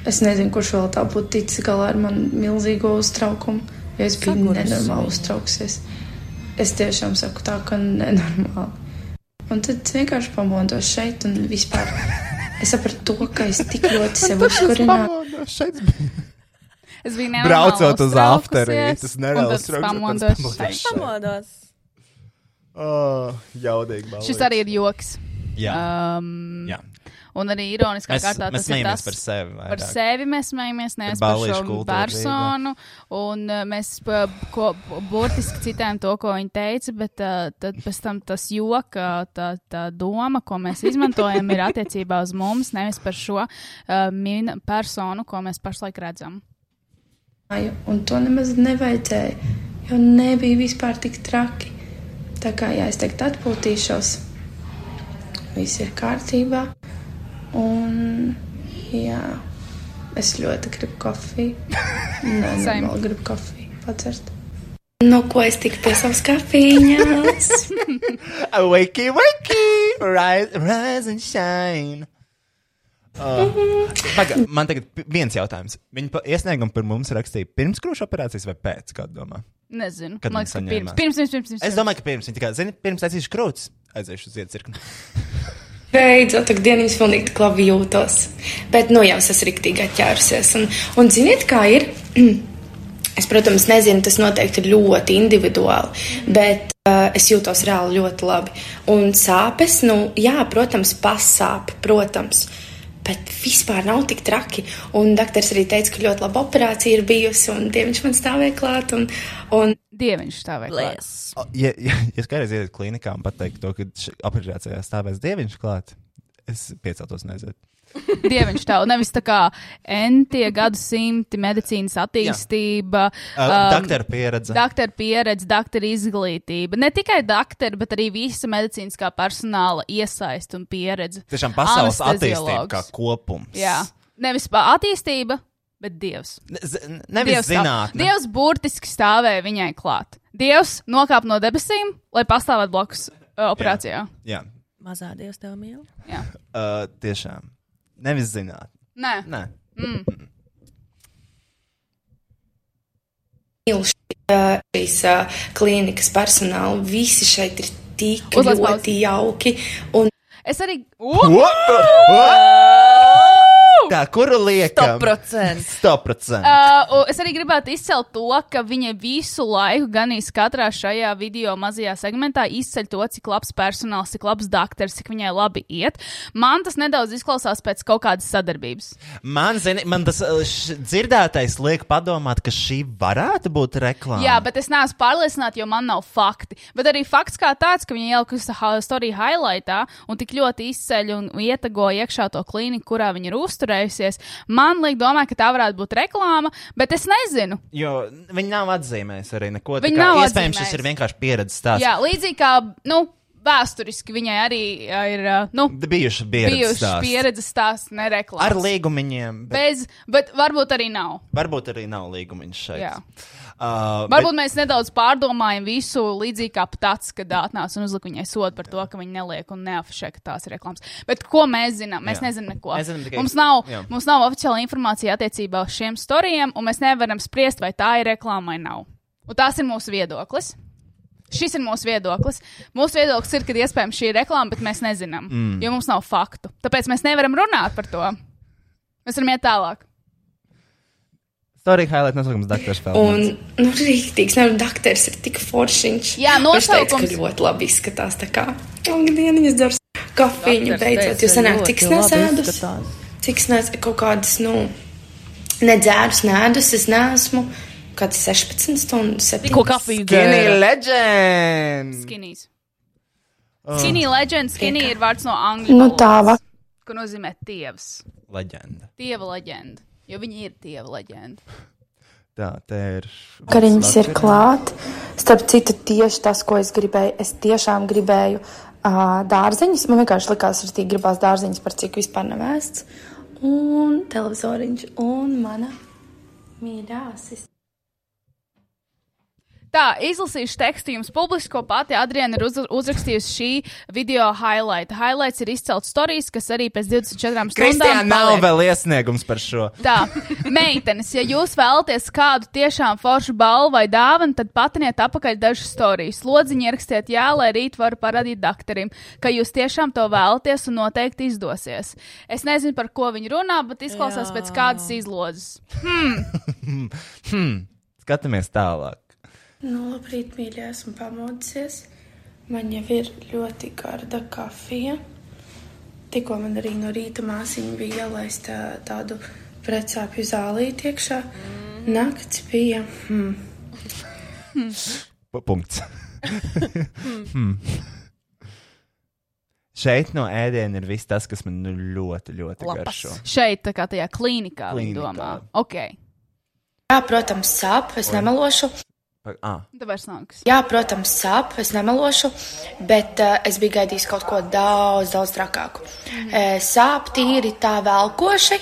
S13: es nezinu, kurš vēl tā būtu ticis galā ar manu milzīgo uztraukumu. Jo es biju
S3: Sagurusi.
S13: nenormāli uztraukusies. Es tiešām saku tā, ka nenormāli. Un tad es vienkārši pamodos šeit un vispār. Es sapratu to, ka es tik ļoti sev uzkurināju.
S2: Es biju
S1: Braucot uz
S2: nenormāli
S1: afterī,
S2: uztraukusies,
S1: tas nereāli
S2: un tad
S1: uztraucot, tad es
S2: pamodos
S1: pamodos
S2: šeit.
S1: šeit.
S3: pamodos?
S8: Oh, jaudīgi. balīgs.
S2: Šis arī ir joks.
S8: Jā.
S2: Um,
S8: Jā.
S2: Un arī ironiskā
S8: Mēs- mēs
S2: kārtā tas ir
S8: smejamies
S2: tas,
S8: par sevi vairāk.
S2: Par sevi mēs smejamies, nevis
S8: Par
S2: par
S8: ballīšu
S2: šo
S8: kultūru
S2: personu. Un uh, mēs pa- ko, burtiski citējam to, ko viņi teica, bet uh, tad pēc tam tas joka, tā, tā doma, ko mēs izmantojam, ir attiecībā uz mums, nevis par šo uh, min personu, ko mēs pašlaik redzam.
S13: domāju, un to nemaz nevajadzēja, jo nebija vispār tik traki. Tā kā jā, es tagad atpūtīšos, viss ir kārtībā, un jā, es ļoti gribu kofiju. Nē, nē,
S2: Same.
S13: vēl gribu kofiju pacert. Nu, ko es tiku pie savas kafīņas?
S1: wakey, wakey! Rise, rise and shine! Uh, paga, man tagad pi- viens jautājums. Viņa pa- iesniegumu par mums rakstīja pirms krūšu operācijas vai pēc, kā domā?
S2: Nezinu.
S1: Kad
S2: Man
S1: viņi
S2: liekas, ka
S1: saņēma?
S2: pirms, pirms, pirms, pirms, pirms.
S1: Es domāju, ka pirms viņa tikai, zini, pirms aiziešu krūts, aiziešu uz iecirkni.
S13: Beidzot, tā diena jums pilnīgi tik labi jūtos. Bet, nu, jau es esmu rīktīgi atķērusies. Un, un ziniet, kā ir? (clears throat) Es, protams, nezinu, tas noteikti ir ļoti individuāli, bet uh, es jūtos reāli ļoti labi. Un sāpes, nu, jā, protams, pasāp, protams. Bet vispār nav tik traki. Un doktors arī teica, ka ļoti laba operācija ir bijusi, un dieviņš man stāvēja klāt. Un, un...
S2: Dieviņš stāvēja klāt.
S1: O, Ja, ja, ja es kādreiz ietu klīnikā un pateiktu to, ka š- operācijā stāvēs dieviņš klāt, es pieceltos neaiziet.
S2: Dieviņš tev nevis tā kā entie gadsimti, medicīnas attīstība,
S1: Uh,
S2: um,
S1: dakteru pieredze.
S2: Dakteru pieredze, dakteru izglītība. Ne tikai dakteru, bet arī visa medicīniskā personāla iesaist un pieredze.
S1: Tiešām pasaules attīstība
S2: Anesteziologs.
S1: kā kopums.
S2: Jā, nevis pa attīstība, bet dievs.
S1: Ne, nevis zinātne.
S2: Dievs burtiski stāvēja viņai klāt. Dievs nokāpa no debesīm, lai pastāvētu blakus uh, operācijā.
S1: Jā,
S3: Mazā dievs tev mīl.
S2: Jā.
S1: uh, tiešām. Nevis zināt.
S2: Nē.
S1: Nē.
S2: Mm.
S13: mīlu šī- šīs ā, uh, klīnikas personālu. Visi šeit ir tik
S2: Uzliec
S13: ļoti jauki. Un...
S2: Es arī.
S1: Tā, kuru liekam?
S2: 100%.
S1: 100%.
S2: Uh, un es arī gribētu izcelt to, ka viņa visu laiku, gan īsi katrā šajā video mazajā segmentā, izceļ to, cik labs personāls, cik labs doktors, cik viņai labi iet. Man tas nedaudz izklausās pēc kaut kādas sadarbības.
S1: Man, zini, man tas uh, š- dzirdētais liek padomāt, ka šī varētu būt reklāma.
S2: Jā, bet es neesmu pārliecināta, jo man nav fakti. Bet arī fakts kā tāds, ka viņa ielikusi ha- story highlightā un tik ļoti izceļ un ietago iekšā to klīniku, kurā viņa ir uzturējusies, man liek domāt, ka tā varētu būt reklāma, bet es nezinu.
S1: Jo viņi nav atzīmējuši arī neko.
S2: Viņi
S1: tā kā
S2: nav
S1: Iespējams, šis
S2: atzīmējusi.
S1: ir vienkārši pieredzes stāsts.
S2: Jā, līdzīgi kā, nu, vēsturiski viņai arī ā, ir, ā, nu,
S1: Bijuši pieredzes
S2: bijuši
S1: stāsti.
S2: pieredzes stāsts, ne reklāmas.
S1: Ar līgumiņiem. Bet...
S2: Bez, bet varbūt arī nav.
S1: Varbūt arī nav līgumiņš šeit.
S2: Jā.
S1: Uh,
S2: Varbūt bet... mēs nedaudz pārdomājam visu līdzīgi kā pats, kad atnāca un uzlika viņai sodu par to, ka viņa neliek un neafišē, ka tās ir reklāmas. Bet ko mēs zinām? Mēs
S1: Jā.
S2: nezinām neko.
S1: Mēs zinām tikai-
S2: mums, nav,
S1: Jā.
S2: mums nav oficiāla informācija attiecībā uz šiem storijiem, un mēs nevaram spriest, vai tā ir reklāma vai nav. Un tās ir mūsu viedoklis. Šis ir mūsu viedoklis. Mūsu viedoklis ir, ka iespējams šī ir reklāma, bet mēs nezinām, mm.
S1: Mm.
S2: jo mums nav faktu. Tāpēc mēs nevaram runāt par to. Mēs varam iet tālāk.
S1: Storija highlight nosaukums Dr.
S13: Un,
S1: Falks.
S13: nu, rīktīgs, nav doktors, ir tik foršiņš.
S2: Jā,
S13: Viņš teica, ka
S2: nosaukums.
S13: ļoti labi izskatās. Tā kā dieniņas dars kafīņu
S2: Doktors
S13: beidzot,
S2: teica,
S13: jo sanāk, cik es
S2: ļoti labi
S13: nesēdus. Cik es nesēdus kaut kādas, nu, nedzērus, nēdus, es neesmu. Kāds 16 stundas, 7
S2: Tikko kafiju dzēra.
S1: legend!
S2: Skinīs.
S12: Ah.
S2: Skinny legend, skinny ir vārds no angļu.
S13: Nu, tā va.
S2: Ko nozīmē tievs?
S1: Leģenda.
S2: Tieva leģenda. Jo viņi ir tieva leģenda.
S1: Tā, tā ir.
S13: Vakariņas ir klāt. Starp citu, tieši tas, ko es gribēju, es tiešām gribēju uh, dārzeņus. Man vienkārši likās, ka tik gribās dārzeņus, par cik vispār nevēsts. Un televizoriņš un mana mīļā asistente.
S2: Tā, izlasīšu tekstu jums publiski, ko pati Adriana ir uz, uzrakstījusi šī video highlight. Highlights ir izcelts stāstījis, kas arī pēc 24
S1: Kristija
S2: stundām
S1: nav
S2: paliek.
S1: vēl iesniegums par šo.
S2: Tā, meitenes, ja jūs vēlaties kādu tiešām foršu balvu vai dāvanu, tad patiniet apakaļ dažas stāstus. Lodziņā ierakstiet, jā, lai rīt varu parādīt doktoram, ka jūs tiešām to vēlaties un noteikti izdosies. Es nezinu, par ko viņi runā, bet izklausās jā. pēc kādas izlodzes. Hmm.
S1: Hmm. Skatāmies tālāk.
S13: Nu, labrīt, mīļā, esmu pamodusies. Man jau ir ļoti garda kafija. Tikko man arī no rīta māsīca bija ielaista tādu precāpju zālīti iekšā. Nakts bija. Hmm.
S1: P-
S13: (laughs)
S1: Punkts.
S8: Hmm.
S1: hmm. Šeit no ēdiena ir viss tas, kas man nu ļoti, ļoti garšo.
S2: Šeit, tā kā tajā klīnikā, viņi
S1: Klīnikā.
S2: domā. Ok,
S13: Jā, protams, sāp, es
S1: Oi.
S13: nemelošu.
S1: Pa- ā.
S2: tā vairs nav kas.
S13: Jā, protams, sāp, es nemelošu, bet uh, es biju gaidījis kaut ko daudz, daudz trakāku. Mm -hmm. Sāp tīri tā velkoši,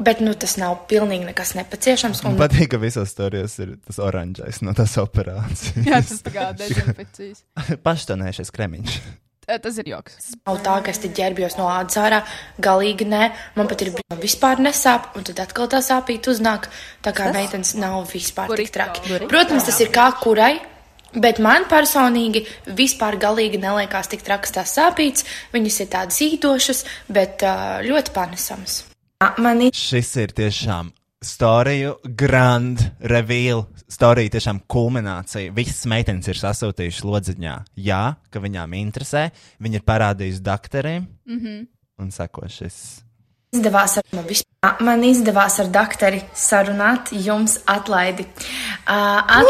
S13: bet nu, tas nav pilnīgi nekas nepaciešams.
S1: Man
S13: Un,
S1: patīk, ka visos stāstījos ir tas oranžais no tās operācijas.
S13: Jā, tas tā
S1: (laughs)
S13: kā dezinfekcijas.
S1: Paštonējušies kremiņš.
S2: Ē, Tas ir joks.
S13: Nav tā, ka es te ģērbjos no ādas ārā, galīgi nē, man pat ir bijis vispār nesāp, un tad atkal tā sāpīt uznāk. Tā kā
S6: Tas-
S13: meitenes nav vispār tik traki.
S6: Burrito.
S13: Protams, tas ir kā kurai. Bet man personīgi vispār galīgi neliekās tik trakas tās sāpītas. Viņas ir tādas īdošas, bet ā, ļoti panesamas. Man ir
S1: Šis ir tiešām storiju grand reveal. Storija tiešām kulminācija. Visas meitenes ir sasūtījušas lodziņā. Jā, ka viņām interesē. Viņi ir parādījuši doktoriem
S13: Mhm.
S1: un sako šis.
S13: Izdevās ar, man vispār, man izdevās ar doktori sarunāt jums atlaidi. Uh, at...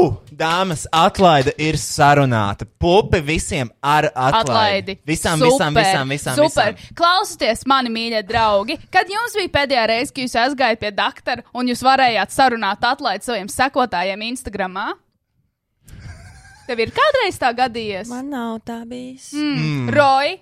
S1: Ū! Dāmas, atlaide ir sarunāta. Pupi visiem ar atlaidi.
S2: Atlaidi.
S1: Visām,
S2: super,
S1: visām, visām, visām.
S2: Super.
S1: visām.
S2: Klausieties, mani mīļie draugi, kad jums bija pēdējā reize, kad jūs aizgājāt pie doktora un jūs varējāt sarunāt atlaidi saviem sekotājiem Instagram? Tev ir kādreiz tā gadījies? Man
S6: nav tā bijis.
S2: Mm.
S1: Mm.
S2: Mm. Roji,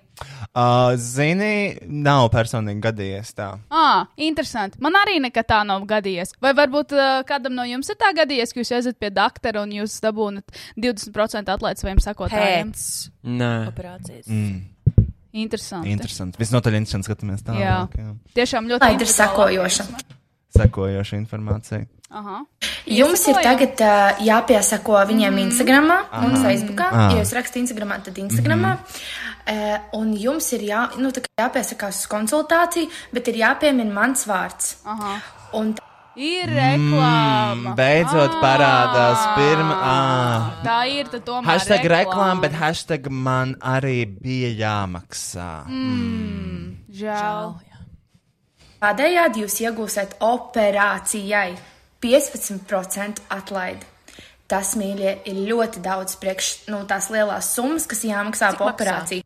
S1: Uh, zini, nav personīgi gadījies tā.
S2: ah, interesanti. Man arī nekad tā nav gadījies. Vai varbūt uh, kādam no jums ir tā gadījies, ka jūs esat pie doktora un jūs dabūnat 20% atlaidi saviem sekotājiem?
S3: Pēc
S1: Nē.
S3: operācijas.
S1: Mm.
S2: Interesanti.
S1: Interesanti. Visnotaļ interesanti skatāmies tālāk.
S2: jā.
S1: jā.
S2: tiešām ļoti
S13: Atlaide ir sekojoša.
S1: Sekojoša informācija.
S2: Aha.
S13: Jums ir tagad uh, jāpiesako viņiem
S2: Mhm.
S13: mm. Instagram un
S1: Aha.
S13: Facebook.
S1: Ah. Mhm.
S13: Ja jūs rakstāt Instagram, tad Instagram. Mm -hmm. uh, un jums ir jā, nu, tā kā jāpiesakās uz konsultāciju, bet ir jāpiemina mans vārds.
S2: Aha.
S13: Un tā
S2: ir reklāma.
S1: Mm, Beidzot parādās pirmā. Ah.
S2: Tā ir tā tomēr.
S1: Hashtag reklāma, bet hashtag man arī bija jāmaksā.
S13: Hmm,
S2: Mm, žēl.
S13: Tādējādi jūs iegūsiet operācijai 15% atlaidi. Tas, mīļie, ir ļoti daudz priekš nu, tās lielās summas, kas jāmaksā
S6: Cik
S13: par
S6: maksā?
S13: operāciju.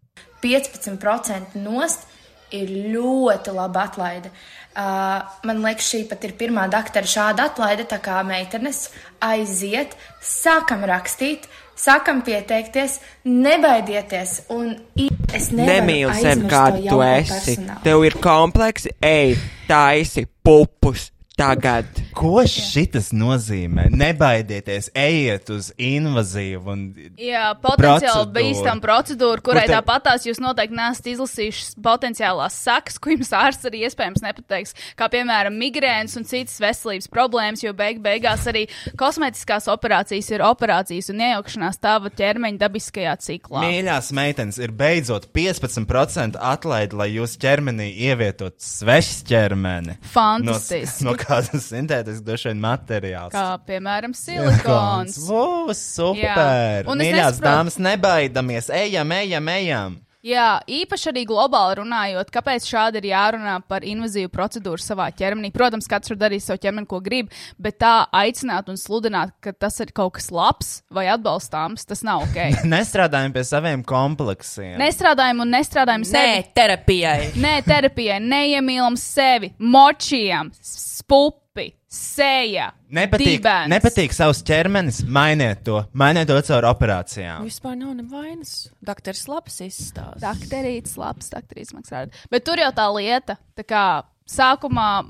S13: 15% nost ir ļoti laba atlaide. Uh, man liekas, šī pat ir pirmā doktora šāda atlaide, tā kā meitenes aiziet, sākam rakstīt, sākam pieteikties, nebaidieties un i- es nevaru
S12: Nemīli sevi,
S13: aizmirst to
S12: kāda tu
S13: jauno
S12: esi.
S13: personālu.
S12: Tev ir kompleksi, ej, taisi pupus tagad.
S1: Ko šitas nozīmē? Nebaidieties, ejiet uz invazīvu un
S2: Jā, potenciāli
S1: Procedūra.
S2: bīstama procedūra, kurai
S1: Kur te-
S2: tāpatās jūs noteikti neesat izlasījuši potenciālās sakas, ko jums ārsts arī iespējams nepateiks, kā piemēram migrēns un citas veselības problēmas, jo beig beigās arī kosmētiskās operācijas ir operācijas un iejaukšanās tava ķermeņa dabiskajā ciklā.
S1: mīļās meitenes ir beidzot 15% atlaide, lai jūs ķermenī ievietot svešs ķermeni.
S2: Fantastiski.
S1: No, s- no (laughs) kādas sintētiskas došana materiāls.
S2: Kā piemēram silikons.
S1: Būs
S2: Jā.
S1: super!
S2: Un es
S1: Mīļās
S2: nesaprotu-
S1: dāmas, nebaidamies! Ejam, ejam, ejam!
S2: Jā, īpaši arī globāli runājot, kāpēc šādi ir jārunā par invazīvu procedūru savā ķermenī. Protams, katrs var darīt savu ķermeni, ko grib, bet tā aicināt un sludināt, ka tas ir kaut kas labs vai atbalstāms, tas
S3: (laughs)
S2: nav ok.
S1: (laughs) Nestrādājam pie saviem kompleksiem.
S2: Nestrādājam un nestrādājam sevi.
S3: Nē, terapijai.
S2: Nē, terapijai, neiemīlam sevi, močiem, spupi, seja.
S1: Nepatīk,
S2: dibens.
S1: nepatīk savs ķermenis, mainiet to, mainiet to caur operācijām.
S3: Vispār nav nevainas. Dakteris labs izstāsta.
S2: Dakterīts, labs, dakterīts maksā. Bet tur jau tā lieta, tā kā sākumā,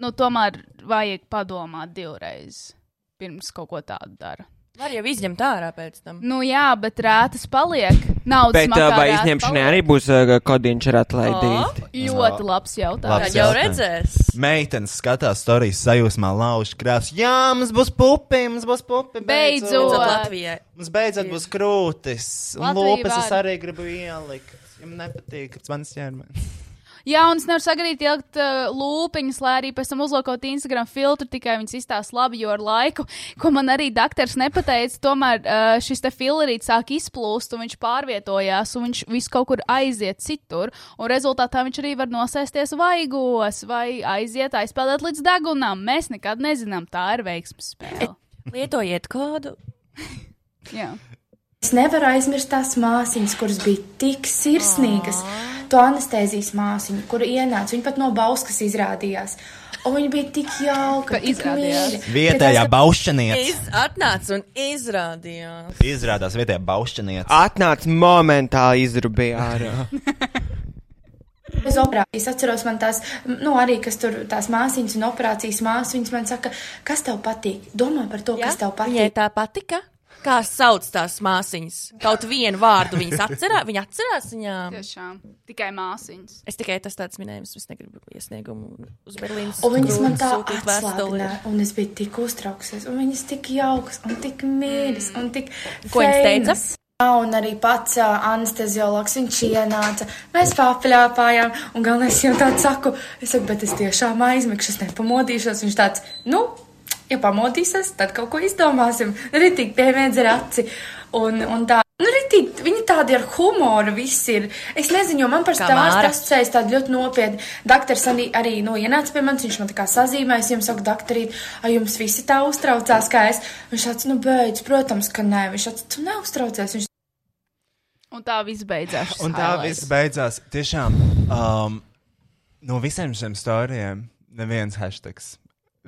S2: nu, tomēr vajag padomāt divreiz, pirms kaut ko tādu dara.
S3: Var jau izņemt ārā pēc tam.
S2: Nu, jā, bet rētas paliek. Naudas
S12: Bet
S2: makā
S12: ā, vai
S2: rēta
S12: izņemšanai arī būs ā, kodiņš ar
S2: paliek.
S12: atlaidīt?
S2: O, Ļoti labs jautājums.
S1: Labs Jau jautājums. Meitenes skatās stāstījus sajūsmā, lauž krāsas. Jā, mums būs pupi, mums būs pupi.
S2: Beidzot.
S3: Latvijai.
S1: Mums beidzot būs krūtis. Un
S2: Latvija
S1: lūpas es
S2: var. (laughs)
S1: arī gribu ielikt. Jums nepatīk, ka tas mans ķermenis.
S2: Jā, un es nevaru sagadīt ilgt uh, lūpiņas, lai arī pēc tam uzlokot Instagram filtru, tikai viņas izstāsta labi, jo ar laiku, ko man arī doktors nepateica, tomēr uh, šis te filerīts sāk izplūst, un viņš pārvietojās, un viņš visu kaut kur aiziet citur, un rezultātā viņš arī var nosēsties vaigos vai aiziet aizpeldēt līdz degunam. Mēs nekad nezinām, tā ir veiksmes spēle.
S3: Lietojiet kādu.
S2: (laughs) Jā.
S13: Es nevaru aizmirst tās māsīņas, kuras bija tik sirsnīgas. To anestēzijas māsīņu, kur ienāca, viņa pat no bauskas izrādījās. Un viņa bija tik jauka, tik mīļa.
S1: Vietējā baušķiniece.
S3: Iz, atnāca un izrādījās.
S1: Izrādās vietējā baušķiniece.
S12: Atnāca momentāli izrubīja ārā.
S1: (laughs)
S13: Bez operācijas atceros, man tās, nu, arī kas tur tās māsīņas un operācijas māsīņas man saka, kas tev patīk? Domā par to, ja? kas tev
S3: Viņai
S13: patīk.
S3: tā patika. Kā sauc tās māsīņas? Kaut vienu vārdu viņas atcerās. Viņa atcerās viņām.
S2: Tiešām. Tikai māsīņas.
S3: Es tikai tas tāds minējums, es negribu iesniegumu uz Berlīnas.
S13: Un viņas man tā
S3: krūmu sūtīt vēstuli.
S13: atslābināja, un es biju tik uztraukusies, un viņas tik jaukas, un tik mīļas, un tik.
S3: Ko viņas teica?
S13: feinas. Jā, un arī pats ā, anesteziologs, viņš ienāca, mēs pārpļāpājām, un galvenais jau tāds saku, es saku, bet es tiešām aizmigšu, es nepamodīšos, viņš tāds, nu, ja pamodīsies, tad kaut ko izdomāsim, ritīgi piemēdz ar aci, un, un tā. Nu, ritīgi, viņi tādi ar humoru visi ir. Es nezinu, jo man par stāstu
S3: Māra.
S13: tas asociējas tādu ļoti nopietnu. Dakteris arī, arī nu, ienāca pie manis, viņš man tā kā sazīmēs, jums saka, doktorīt, ai jums visi tā uztraucās, kā es. Viņš tāds, nu, beidz, protams, ka nē, viņš tāds, tu neuztraucies. Viņš
S2: Un tā viss beidzās. šis
S1: Un tā
S2: highlights.
S1: viss beidzās. Tiešām um, no visiem šiem stāstiem neviens hashtag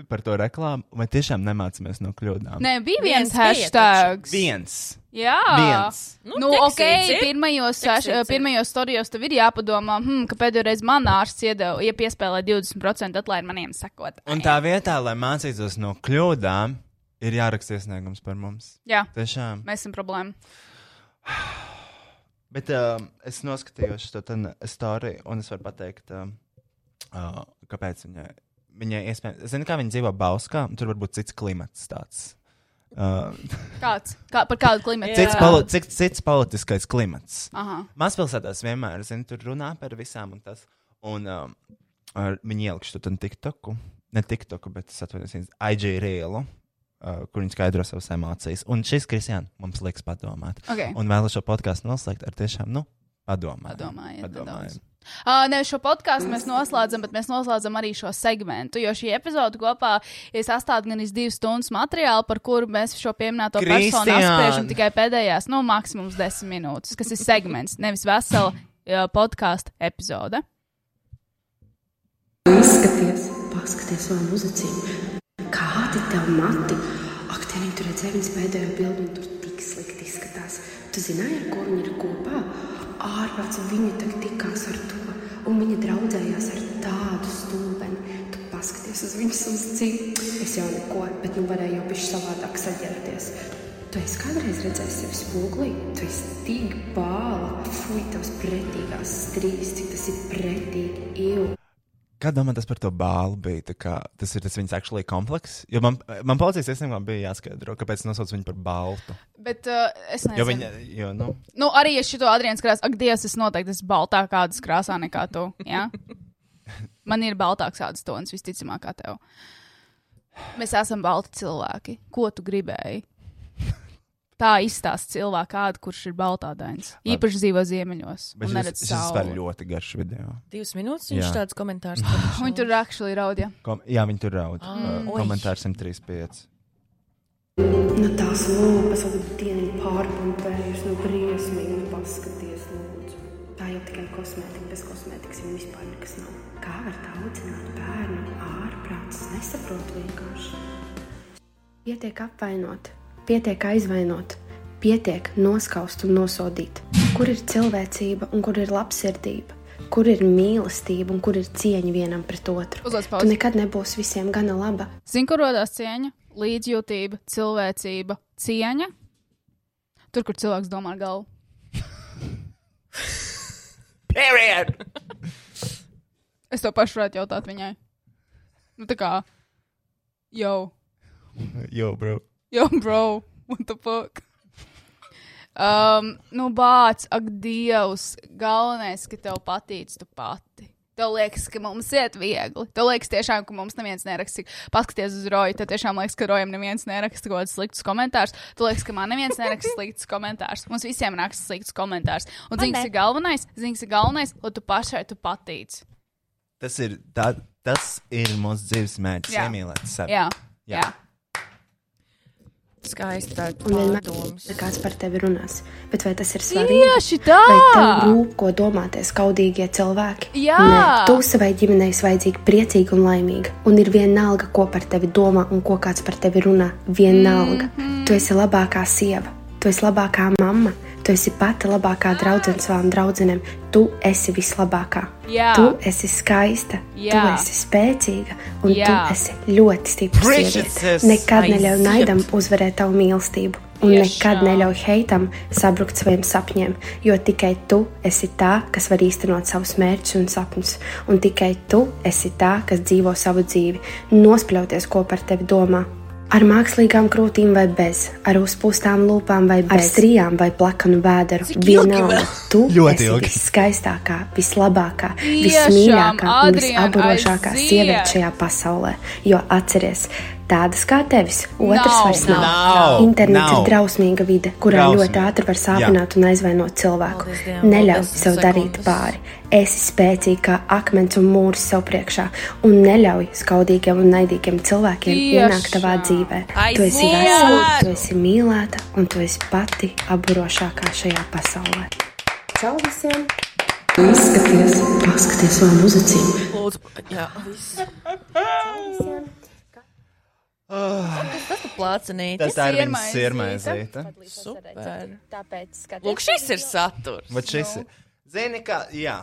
S1: par to reklāmu. Vai tiešām nemācāmies no kļūdām?
S2: Nē, bija viens,
S3: Viens
S2: viens
S3: bija
S2: hashtags.
S1: Viens.
S2: Jā,
S1: Viens.
S2: Nu, nu,
S3: teksīts
S2: ok,
S3: ir.
S2: pirmajos,
S3: Teksīts
S2: saš-
S3: ir.
S2: pirmajos storijos tev ir jāpadomā, hmm, ka pēdējo reizi man ārsts iedeva, ja piespēlē 20% atlaidi maniem sakot.
S1: Un tā vietā, lai mācītos no kļūdām, ir jāraksta iesniegums par mums.
S2: Jā,
S1: Tiešām.
S2: mēs esam problēma.
S1: Bet um, es noskatījos šo stāstu, un es varu pateikt, um, uh, kāpēc viņa, viņa iespējams. Zini, kā viņa dzīvo Bauskā, un tur varbūt cits klimats tāds. Uh,
S2: Kāds? Kā, par kādu klimatu?
S1: cits, poli cits, cits politiskais klimats.
S2: Aha.
S1: Mazpilsētās vienmēr, zini, tur runā par visām un tas. Un um, ar- viņi ielikšu to tiktoku, ne tiktoku, bet es atvainojos, viņas IG reelu. Uh, kur viņi skaidro savas emocijas. Un šis, Kristiāna, mums liekas padomāt.
S2: Ok.
S1: Un vēlos šo podkāstu noslēgt ar tiešām, nu, padomājumu.
S2: Padomājiet,
S1: padomājumu.
S2: Uh, ne, šo podkāstu mēs noslēdzam, bet mēs noslēdzam arī šo segmentu. Jo šī epizode kopā ir sastāvdaļa gan iz divas stundas materiāla, par kuru mēs šo pieminēto personu
S1: Kristiāna!
S2: apspriežam tikai pēdējās, nu, maksimums desmit minūtes, kas ir segments, nevis vesela uh, podkāstu epizode.
S6: Izskaties, paskaties vēl muzaciju. Kādi tev mati? Ak, te viņi tur redzēja viņas pēdējo bildi, un tur tik slikti izskatās. Tu zināji, ar ko viņi ir kopā? Ārprāts viņi tak tikās ar to, un viņa draudzējās ar tādu stulbeni. Tu paskaties uz viņas uz dzīvi. Es jau neko, bet nu varēju jau bišķi savādāk saģērties. Tu esi kādreiz redzējis sevi spoglī, tu esi tik bāla, fuj, tavs pretīgās strīds, cik tas ir pretīgi, ilgi.
S1: Kā domā tas par to bālu bija? tā Kā, tas ir tas viņas actually komplekss. Jo man, man policijas iesniegumā bija jāskaidro, kāpēc nosauc viņu par baltu.
S2: Bet uh, es
S1: Jo
S2: nezinu.
S1: viņa, jo, nu,
S2: Nu, arī ja šito Adrians krāsā, ak, Dievs, es noteikti esmu baltāks kādas krāsā nekā tu.
S1: (laughs)
S2: Jā? Man ir baltāks kādas tonis, visticamāk, kā tev. Mēs esam balti cilvēki. Ko tu gribēji? Tā izstāsta cilvēku, kādu, kurš ir baltādains. Īpaši dzīvo ziemeļos.
S1: bet
S2: un neredz
S1: šis, šis
S2: sauli.
S1: var ļoti garš video.
S3: Divas minūtes viņš
S1: Jā.
S3: tāds
S2: (laughs)
S3: komentārs.
S2: Viņi tur rakšķi raud. Ja.
S1: Kom, jā, viņi tur raud.
S3: Mm.
S1: Uh,
S3: Oi.
S1: komentārs 135.
S6: Nu, tās lopas vēl dienu pārpumpējušas, nu, briesmīgi nu, paskaties, lūdzu. Tā jau tikai kosmētika, bez kosmētikas jau vispār nekas nav. Kā var tā audzināt bērnu ārprāts? Nesaprotu vienkārši. Pietiek apvainot, pietiek aizvainot, pietiek noskaust un nosodīt. Kur ir cilvēcība un kur ir labsirdība? Kur ir mīlestība un kur ir cieņa vienam pret otru?
S2: Uzliec pauzi.
S6: Tu nekad nebūsi visiem gana laba.
S2: Zini, kur radās cieņa, līdzjūtība, cilvēcība, cieņa? Tur, kur cilvēks domā ar galvu.
S1: (laughs)
S3: Period!
S2: Es to pašu varētu jautāt viņai. Nu, tā kā jau.
S1: Jo, bro.
S2: Yo, bro, what the fuck? Um, nu, bāts, ak, Dievs, galvenais, ka tev patīk tu pati. Tev liekas, ka mums iet viegli. Tev liekas, tiešām, ka mums neviens neraksta. Paskaties uz roju, tad tiešām liekas, ka rojam neviens neraksta kaut kādus sliktus komentārus. Tu liekas, ka man neviens neraksta sliktus komentārus. Mums visiem raksta sliktus komentārus. Un
S5: Man
S2: zini,
S5: ne.
S2: kas ir galvenais? Zini, kas ir galvenais, lai tu pašai tu patīc.
S1: Tas ir, tā, tas ir mūsu dzīves mērķis.
S2: Jā.
S1: Iemīlēt sevi.
S2: Jā. Jā.
S3: Skaisti tāds
S6: Un vienmēr
S3: pārdoms.
S6: ja kāds par tevi runās. Bet vai tas ir svarīgi?
S2: Tieši tā!
S6: Vai tev rūp, ko domāties kaudīgie cilvēki?
S2: Jā!
S6: Nē, tu savai ģimenei esi vajadzīga priecīga un laimīga. Un ir vienalga, ko par tevi domā un ko kāds par tevi runā. Vienalga. Mm
S2: Mhm.
S6: -hmm. Tu esi labākā sieva, tu esi labākā mamma, tu esi pati labākā draudzene savām draudzenēm. Tu esi vislabākā.
S2: Jā.
S6: Tu esi skaista, tu
S2: Jā.
S6: esi spēcīga un tu
S2: Jā.
S6: esi ļoti stipra.
S2: Preach
S6: sieviete.
S2: it, sis.
S6: Nekad
S2: Aiziet.
S6: neļauj naidam uzvarēt tavu mīlestību. Un
S2: Tiešām.
S6: nekad neļauj heitam sabrukt saviem sapņiem, jo tikai tu esi tā, kas var īstenot savus mērķus un sapņus. Un tikai tu esi tā, kas dzīvo savu dzīvi, nospļauties, ko par tevi domā. Ar mākslīgām krūtīm vai bez, ar uzpūstām lūpām vai bez, ar strijām vai plakanu vēderu.
S5: Cik ilgi
S6: Vienalga,
S5: vēl?
S6: tu
S5: Ļoti
S6: esi
S5: ilgi.
S6: viskaistākā, vislabākā,
S5: Tiešām,
S6: vismīļākā un
S5: Adrian,
S6: visaburošākā
S5: aiziet!
S6: sieviete šajā pasaulē. Jo atceries, tādas kā tevis, otrs
S5: Nav,
S6: vairs nav.
S5: nav,
S6: Internets
S5: nav.
S6: ir drausmīga vide, kurā
S5: Drausmīga.
S6: ļoti ātri var sāpināt un aizvainot cilvēku.
S5: Dievam,
S6: Neļauj
S5: paldies,
S6: sev darīt pāri. Esi spēcīga kā akmens un mūrs sev priekšā, un neļauj skaudīgiem un naidīgiem cilvēkiem
S5: Tiešām.
S6: ienākt tavā dzīvē. Tu esi
S5: Aiziet!
S6: vesela, tu esi mīlēta, un tu esi pati apburošākā šajā pasaulē. Čau visiem! Izskaties, paskaties vēl muzacīm!
S3: Lūdzu, jā, viss. Tas tas ir plācenīte.
S1: Tas tā ir viņas sirmaizīte.
S3: Super.
S5: Tāpēc skaties.
S3: Lūk, šis ir saturs.
S1: Bet šis
S2: Nu.
S1: ir. Zini, kā, jā.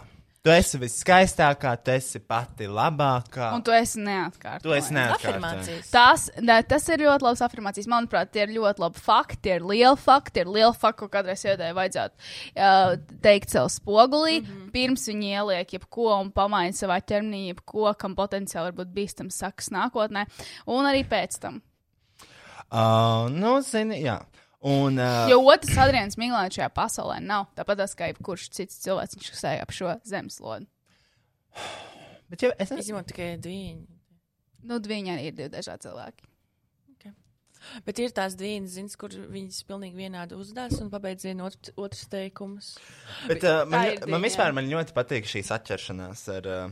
S1: Tu esi viskaistākā, tu esi pati labākā.
S2: Un tu esi neatkārtojams.
S1: Tu esi neatkārtojams.
S2: Tas, ne, tas ir ļoti labs afirmācijas. Manuprāt, tie ir ļoti labi fakti. Tie ir lieli fakti, tie ir lieli fakti, ko kādreiz sievietei vajadzētu uh, teikt sev spogulī. Mm -hmm. Pirms viņa ieliek jebko un pamaina savā ķermenī, jebko, kam potenciāli var būt bīstams sakas nākotnē. Un arī pēc tam.
S1: Uh, nu, zini, jā. Un, uh,
S2: Jo otrs Adrians Miglāns šajā pasaulē nav. Tāpat tās kā jebkurš cits cilvēks, viņš sēž ap šo zemeslodi.
S1: Bet jau es
S3: Izņemot tikai dīņu.
S2: Nu, viņi arī ir divi dažādi cilvēki.
S3: Bet ir tās dīņas, zins, kur viņas pilnīgi vienādi uzdās un pabeidz vienu otru, otrs teikumus.
S1: Bet, uh,
S3: Tā
S1: man,
S3: ir
S1: man
S3: dīņa,
S1: vispār
S3: jā.
S1: man ļoti patīk šīs atšķiršanās, ar, uh,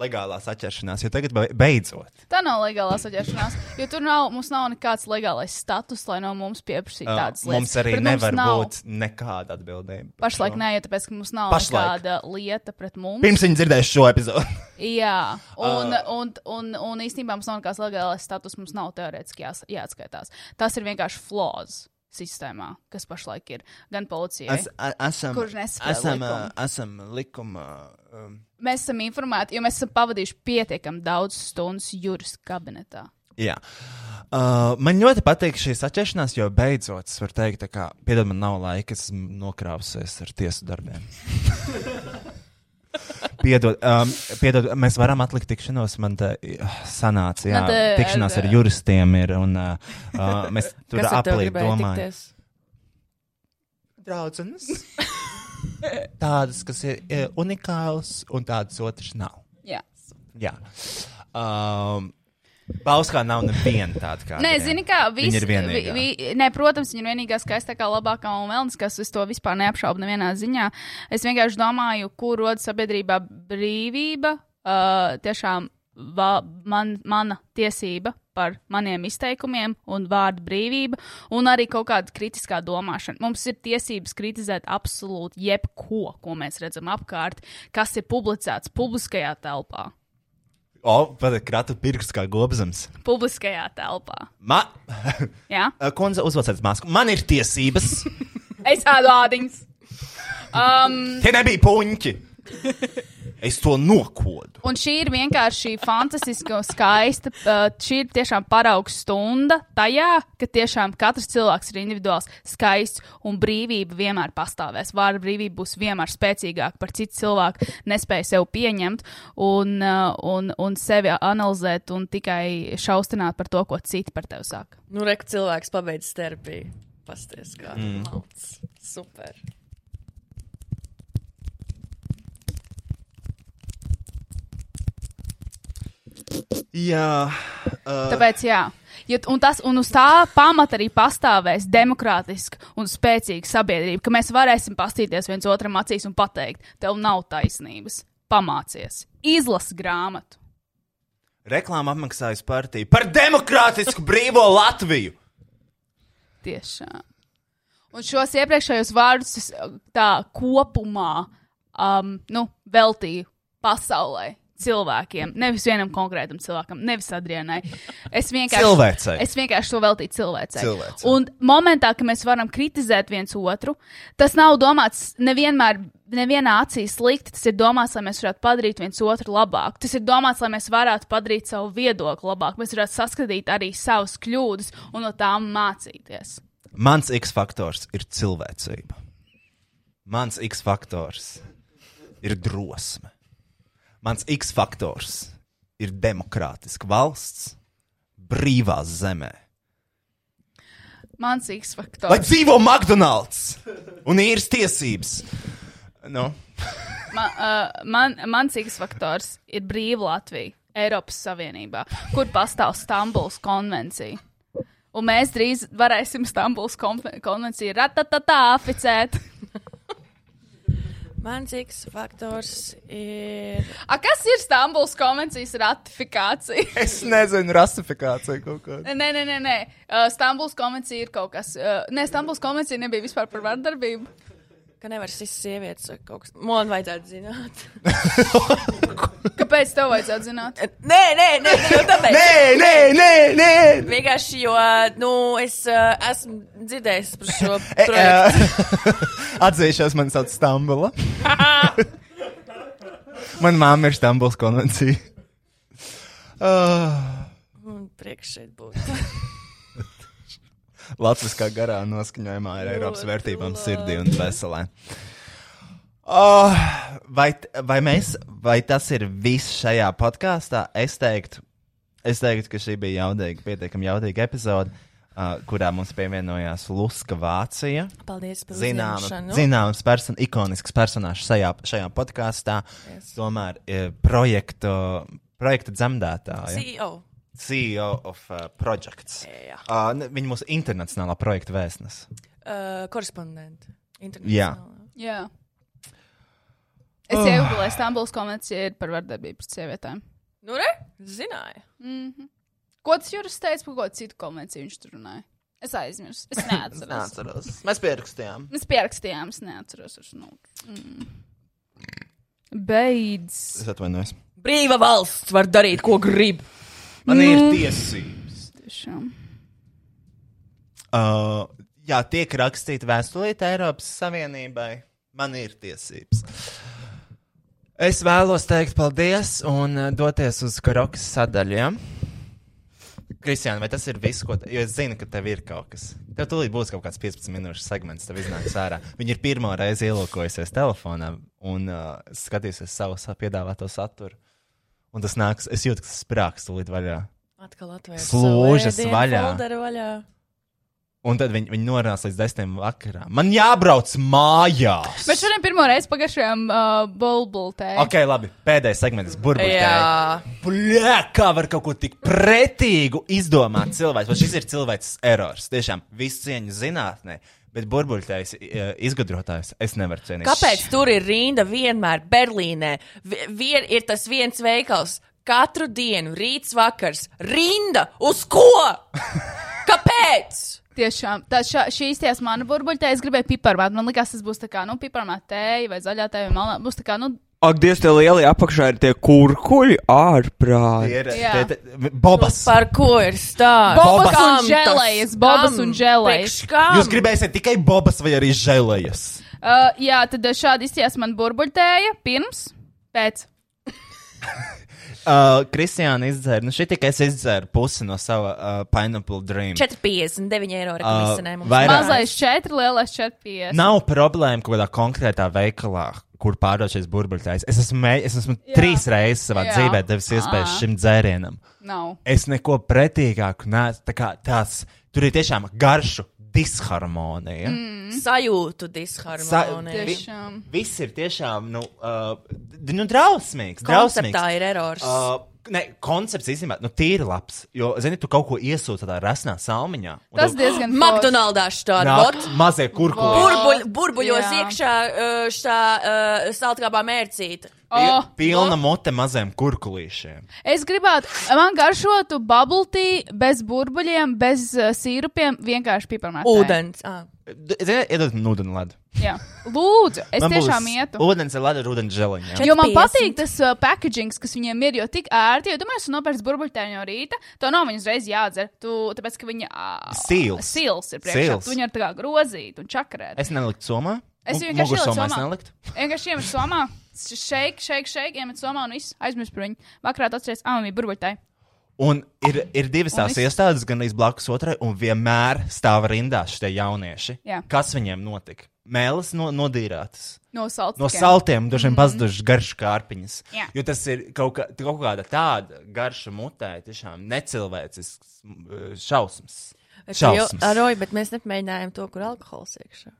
S1: legālās atšķiršanās, jo tagad be- beidzot.
S2: Tā nav legālā saģēršanās, jo tur nav, mums nav nekāds legālais status, lai no mums pieprasītu
S1: Uh,
S2: tādas lietas.
S1: mums arī
S2: Pret
S1: nevar
S2: nav-
S1: būt nekāda atbildība. par
S2: Pašlaik
S1: šo.
S2: nē, jo tāpēc, ka mums nav
S1: Pašlaik.
S2: Pašlaik. nekāda lieta pret mums.
S1: Pirms viņi dzirdēs šo epizodu.
S2: Jā, un,
S1: Ah.
S2: uh, un, un, un īstenībā mums nav nekāds legālais status, mums nav teorētiski jās, jāatskaitās. Tas ir vienkārši flaws sistēmā, kas pašlaik ir gan policijai,
S1: Es, a, esam,
S2: kurš nespēj.
S1: esam,
S2: likumu.
S1: uh, esam likuma. Um,
S2: Mēs esam informēti, jo mēs esam pavadījuši pietiekami daudz stundu jūras kabinetā.
S1: Jā. Uh, man ļoti patīk šī atšķiršanās, jo beidzot es varu teikt, tā kā, piedod, man nav laika, es esmu nokrāpusies ar tiesu darbiem. piedod, um, piedod, mēs varam atlikt tikšanos. Man tā uh, sanāca, jā,
S3: Man te-
S1: tikšanās ar juristiem ir. Un, uh, uh, mēs tur
S3: Kas ar tevi
S1: aplīgi
S3: gribēja
S1: domājam.
S3: tikties?
S1: Draudzenes. Tādas, kas ir uh, unikālas, un tādas otras nav.
S2: Jā.
S1: Jā. Um, Bauskā nav neviena tāda kā.
S2: Nē,
S1: Adriana.
S2: zini, kā viss
S1: Viņa ir vienīgā.
S2: Vi, vi, nē, protams, viņa ir vienīgā skaistākā, labākā un vēlnes, kas es to vispār neapšaubu nevienā ziņā. Es vienkārši domāju, kur rodas sabiedrībā brīvība, uh, tiešām va, man, mana tiesība par maniem izteikumiem un vārdu brīvība, un arī kaut kāda kritiskā domāšana. Mums ir tiesības kritizēt absolūti jebko, ko mēs redzam apkārt, kas ir publicēts publiskajā telpā.
S1: O, pat kratu pirksts kā gobzams.
S2: Publiskajā telpā.
S1: Ma... eh,
S2: Jā?
S1: Kundze, uzvelciet masku. Man ir tiesības.
S2: Es tādu ādiņu. Um,
S1: Tie nebija puņķi. Es to nokodu.
S2: Un šī ir vienkārši fantastiska un skaista. uh, Šī ir tiešām paraugs stunda tajā, ka tiešām katrs cilvēks ir individuāls, skaists un brīvība vienmēr pastāvēs. Vārda brīvība būs vienmēr spēcīgāka par citu cilvēku, nespēju sev pieņemt un, uh, un, un sevi analizēt un tikai šausmināt par to, ko citi par tevi saka.
S3: Nu, reka cilvēks pabeidz terapiju. Pasties, kā
S2: Mm.
S3: mm. malts. Super.
S1: (laughs) Jā.
S2: Uh... Tāpēc, jā. Ja, un, tas, un uz tā pamata arī pastāvēs demokrātiska un spēcīga sabiedrība, ka mēs varēsim paskatīties viens otram acīs un pateikt, tev nav taisnības. Pamācies, izlasi grāmatu.
S1: Reklāma apmaksājas partiju par demokrātisku brīvo Latviju.
S2: Tiešām. Un šos iepriekšējos vārdus es uh, tā kopumā um, nu, veltīju pasaulē. Cilvēkiem, nevis vienam konkrētam cilvēkam, nevis Adrianai. Es vienkārši,
S1: Cilvēcei.
S2: es vienkārši to veltīju cilvēcei.
S1: Cilvēcei.
S2: Un momentā, kad mēs varam kritizēt viens otru, tas nav domāts nevienmēr, nevienā acī slikti. Tas ir domāts, lai mēs varētu padarīt viens otru labāku. Tas ir domāts, lai mēs varētu padarīt savu viedokli labāku. Mēs varētu saskatīt arī savas kļūdas un no tām mācīties.
S1: Mans X faktors ir cilvēcība. Mans X faktors ir drosme. Mans X faktors ir demokrātiska valsts, brīvā zemē.
S2: Mans X faktors.
S1: Lai dzīvo McDonald's un īres tiesības. Nu,
S2: man, uh, man, mans X faktors ir brīva Latvija, Eiropas Savienībā, kur pastāv Stambuls konvencija. Un mēs drīz varēsim Stambuls konve- konvenciju ratatatā aficēt.
S3: (laughs) Mans X faktors ir.
S2: A, kas ir Stambuls konvencijas ratifikācija?
S1: es nezinu, rasifikācija kaut kāda.
S2: Nē, nē, nē, nē. Uh, Stambuls konvencija ir kaut kas. Uh, nē, Stambuls konvencija nebija vispār par vardarbību.
S3: Ka nevar sist sievietes vai kaut kas. Man vajadzētu zināt.
S2: Kāpēc tev vajadzētu zināt?
S3: (laughs) Nē, nē, nē, nē, tāpēc.
S2: Nē, nē, nē, nē.
S3: Vienkārši, jo, nu, es uh, esmu dzirdējis par
S1: (laughs)
S3: šo
S1: E,
S3: projektu.
S1: e, (laughs) Atzīšos, man sauc Stambula. Mana māma ir Stambuls konvencija. Uh,
S3: Un priekš šeit
S1: (laughs)
S3: būtu.
S1: Latvijas kā garā noskaņojumā ir Eiropas vērtībām, sirdī un veselē. Ah,
S8: Oh,
S1: Vai, t- vai, mēs, vai tas ir viss šajā podkāstā? Es teiktu, es teiktu, ka šī bija jaudīga, pietiekami jaudīga epizode, uh, kurā mums pievienojās Luska Vācija.
S3: Paldies par uzņemšanu.
S1: Zināms, zināms person, ikonisks personāžs šajā, šajā podkāstā.
S3: Yes.
S1: Tomēr uh, projektu, projekta dzemdētāja.
S3: CEO.
S1: CEO of uh, Projects.
S3: Jā.
S1: Uh, ne- viņa mūsu internacionālā projekta vēstnes.
S3: Uh, korespondenti.
S1: Jā.
S2: Jā. Es
S1: Oh.
S2: oh. iegūlēju, Stambuls konvencija ir par vardarbību pret sievietēm.
S3: Nu, re? Zināju.
S2: Mm
S8: Mhm.
S2: -hmm. Ko tas jūras teica par ko citu konvenciju viņš tur runāja? Es aizmirsu.
S8: (laughs)
S2: Es neatceros.
S8: Neatceros. Mēs pierakstījām.
S2: Mēs pierakstījām, es neatceros. Uz, nu, mm. Beidz.
S1: Es atvainojos.
S3: Brīva valsts var darīt, ko grib.
S1: Man ir
S2: Nu.
S1: tiesības.
S2: Tiešām.
S1: Uh, jā, tiek rakstīta vēstulīte Eiropas Savienībai. Man ir tiesības. Es vēlos teikt paldies un uh, doties uz karokas sadaļiem. Kristiāna, vai tas ir viss, ko te... jo es zinu, ka tev ir kaut kas? Tev tūlīt būs kaut kāds 15 minūšu segments, tev iznāks ārā. Viņa ir pirmo reizi ielūkojusies telefonā un uh, skatījusies savu sa- piedāvāto saturu. Un tas nāks, es jūtu, ka tas sprāgs tūlīt vaļā.
S3: Atkal atvērts.
S1: Slūžas vaļā.
S3: vaļā.
S1: Un tad viņi, viņi norās līdz desmitiem vakarā. Man jābrauc mājās!
S2: Mēs šodien pirmo reizi pagājušajām uh, bulbultē.
S1: Ok, labi. Pēdējais segments, burbuļsaktas.
S3: Jā.
S1: Bļā, kā var kaut ko tik pretīgu izdomāt cilvēks? Vai šis ir cilvēks erors? Tiešām, visu cieņu zinātnē, bet burbuļsaktas izgudrotājs es nevaru cienīt.
S3: Kāpēc tur ir rinda vienmēr Berlīnē? Vi- Vien ir tas viens veikals. Katru dienu, rīts, vakars, rinda uz ko? Kāpēc?
S2: Tiešām, tā šā, šīs tās manas burbuļtējas gribēja piparmāt. Man liekas, tas būs tā kā, nu, piparmāt tēja vai zaļā tēja vai malā. Būs tā kā, nu,
S12: Ak, Dievs, tie lielie apakšā ir tie kurkuļi ārprāt.
S1: Ir,
S2: Jā.
S1: tie, tie, bobas!
S3: Par ko ir stāsts?
S2: Bobas un
S3: Kam tas?
S2: želejas, bobas
S3: Kam?
S2: un želejas.
S3: Priekš kam?
S1: Jūs gribēsiet tikai bobas vai arī žēlējas?
S2: uh, jā, tad uh, šādi izties man burbuļtēja pirms, pēc.
S1: Uh, Kristiāna izdzēra, nu šī tikai es izdzēru pusi no sava uh, Pineapple Dream.
S3: 4,59 eiro rekomendācijā.
S1: Ā, Uh, vairāk.
S2: Mazais četri, lielais četri.
S1: Nav problēma kaut kādā konkrētā veikalā, kur pārdod šīs burbuļsaktas. Es esmu, mē- es esmu trīs reizes savā
S2: Jā.
S1: Jā. dzīvē devis iespēju
S2: Ā.
S1: šim dzērienam.
S2: Nav.
S1: Es neko pretīgāku neesmu. Tā kā tās, tur ir tiešām garšu disharmonija.
S2: Mm.
S3: Sajūtu
S1: Sa-
S3: disharmoniju.
S1: vi- Viss ir tiešām nu, uh, d- nu, drausmīgs.
S3: Konceptā
S1: drausmīgs.
S3: ir erors.
S1: Uh, Ne, koncepts īstenībā nu, ir labs. Jo, zini, tu kaut ko iesūti tādā rasnā salmiņā. un
S2: Tas
S1: tev
S2: diezgan
S3: McDonald's štāda.
S1: nāk
S3: vot.
S1: Mazie kurkuli.
S3: Burbuļ, burbuļos
S2: Jā.
S3: iekšā uh, šā uh, saltkābā mērcīta.
S2: Oh,
S1: Pilna mote maziem kurkulīšiem.
S2: es gribētu, man garšotu bubble tea bez burbuļiem, bez uh, sīrupiem, vienkārši piparmētā.
S1: Ūdens,
S3: Ah.
S1: D- Zini, iedod man ūdeni ledu.
S2: Jā. Lūdzu, es
S1: Man būs
S2: tiešām ietu.
S1: Ūdens ir lada ar ūdeni želiņu. jā?
S2: Jo man patīk tas uh, packagings, kas viņiem ir, jo tik ērti, jo domāju, es nopērcu burbuļtēnu no rīta, to nav viņas reiz jādzer, tu, tāpēc, ka viņa uh,
S1: Sīls.
S2: sils ir priekšā,
S1: Sils.
S2: tu viņu ir tā kā grozīt un čakarēt.
S1: Es neliktu somā.
S2: Es
S1: Mu-
S2: vienkārši ieliku
S1: mugursomā es
S2: somā.
S1: neliktu.
S2: Vienkārši iemet somā, šeik, šeik, šeik, iemet somā un viss aizmirst par viņu. Vakarā tu atceries, ah, man bija burbuļtēji.
S1: Un ir, ir divas
S2: Un
S1: tās
S2: viss.
S1: iestādes, gan arī blakus otrai, un vienmēr stāv rindā šie jaunieši.
S2: Jā.
S1: Kas viņiem notika? Mēlis no, nodīrātas.
S2: No salciem.
S1: No saltiem, dažiem mm. pazudušas garšas kārpiņas.
S2: Mhm. Jā.
S1: Jo tas ir kaut, kā, kaut kāda tāda garša mutē, tiešām necilvēcisks mm, šausmas. Šausmas.
S3: Aroj, bet mēs nepamēģinājām to, kur alkohols iekšā.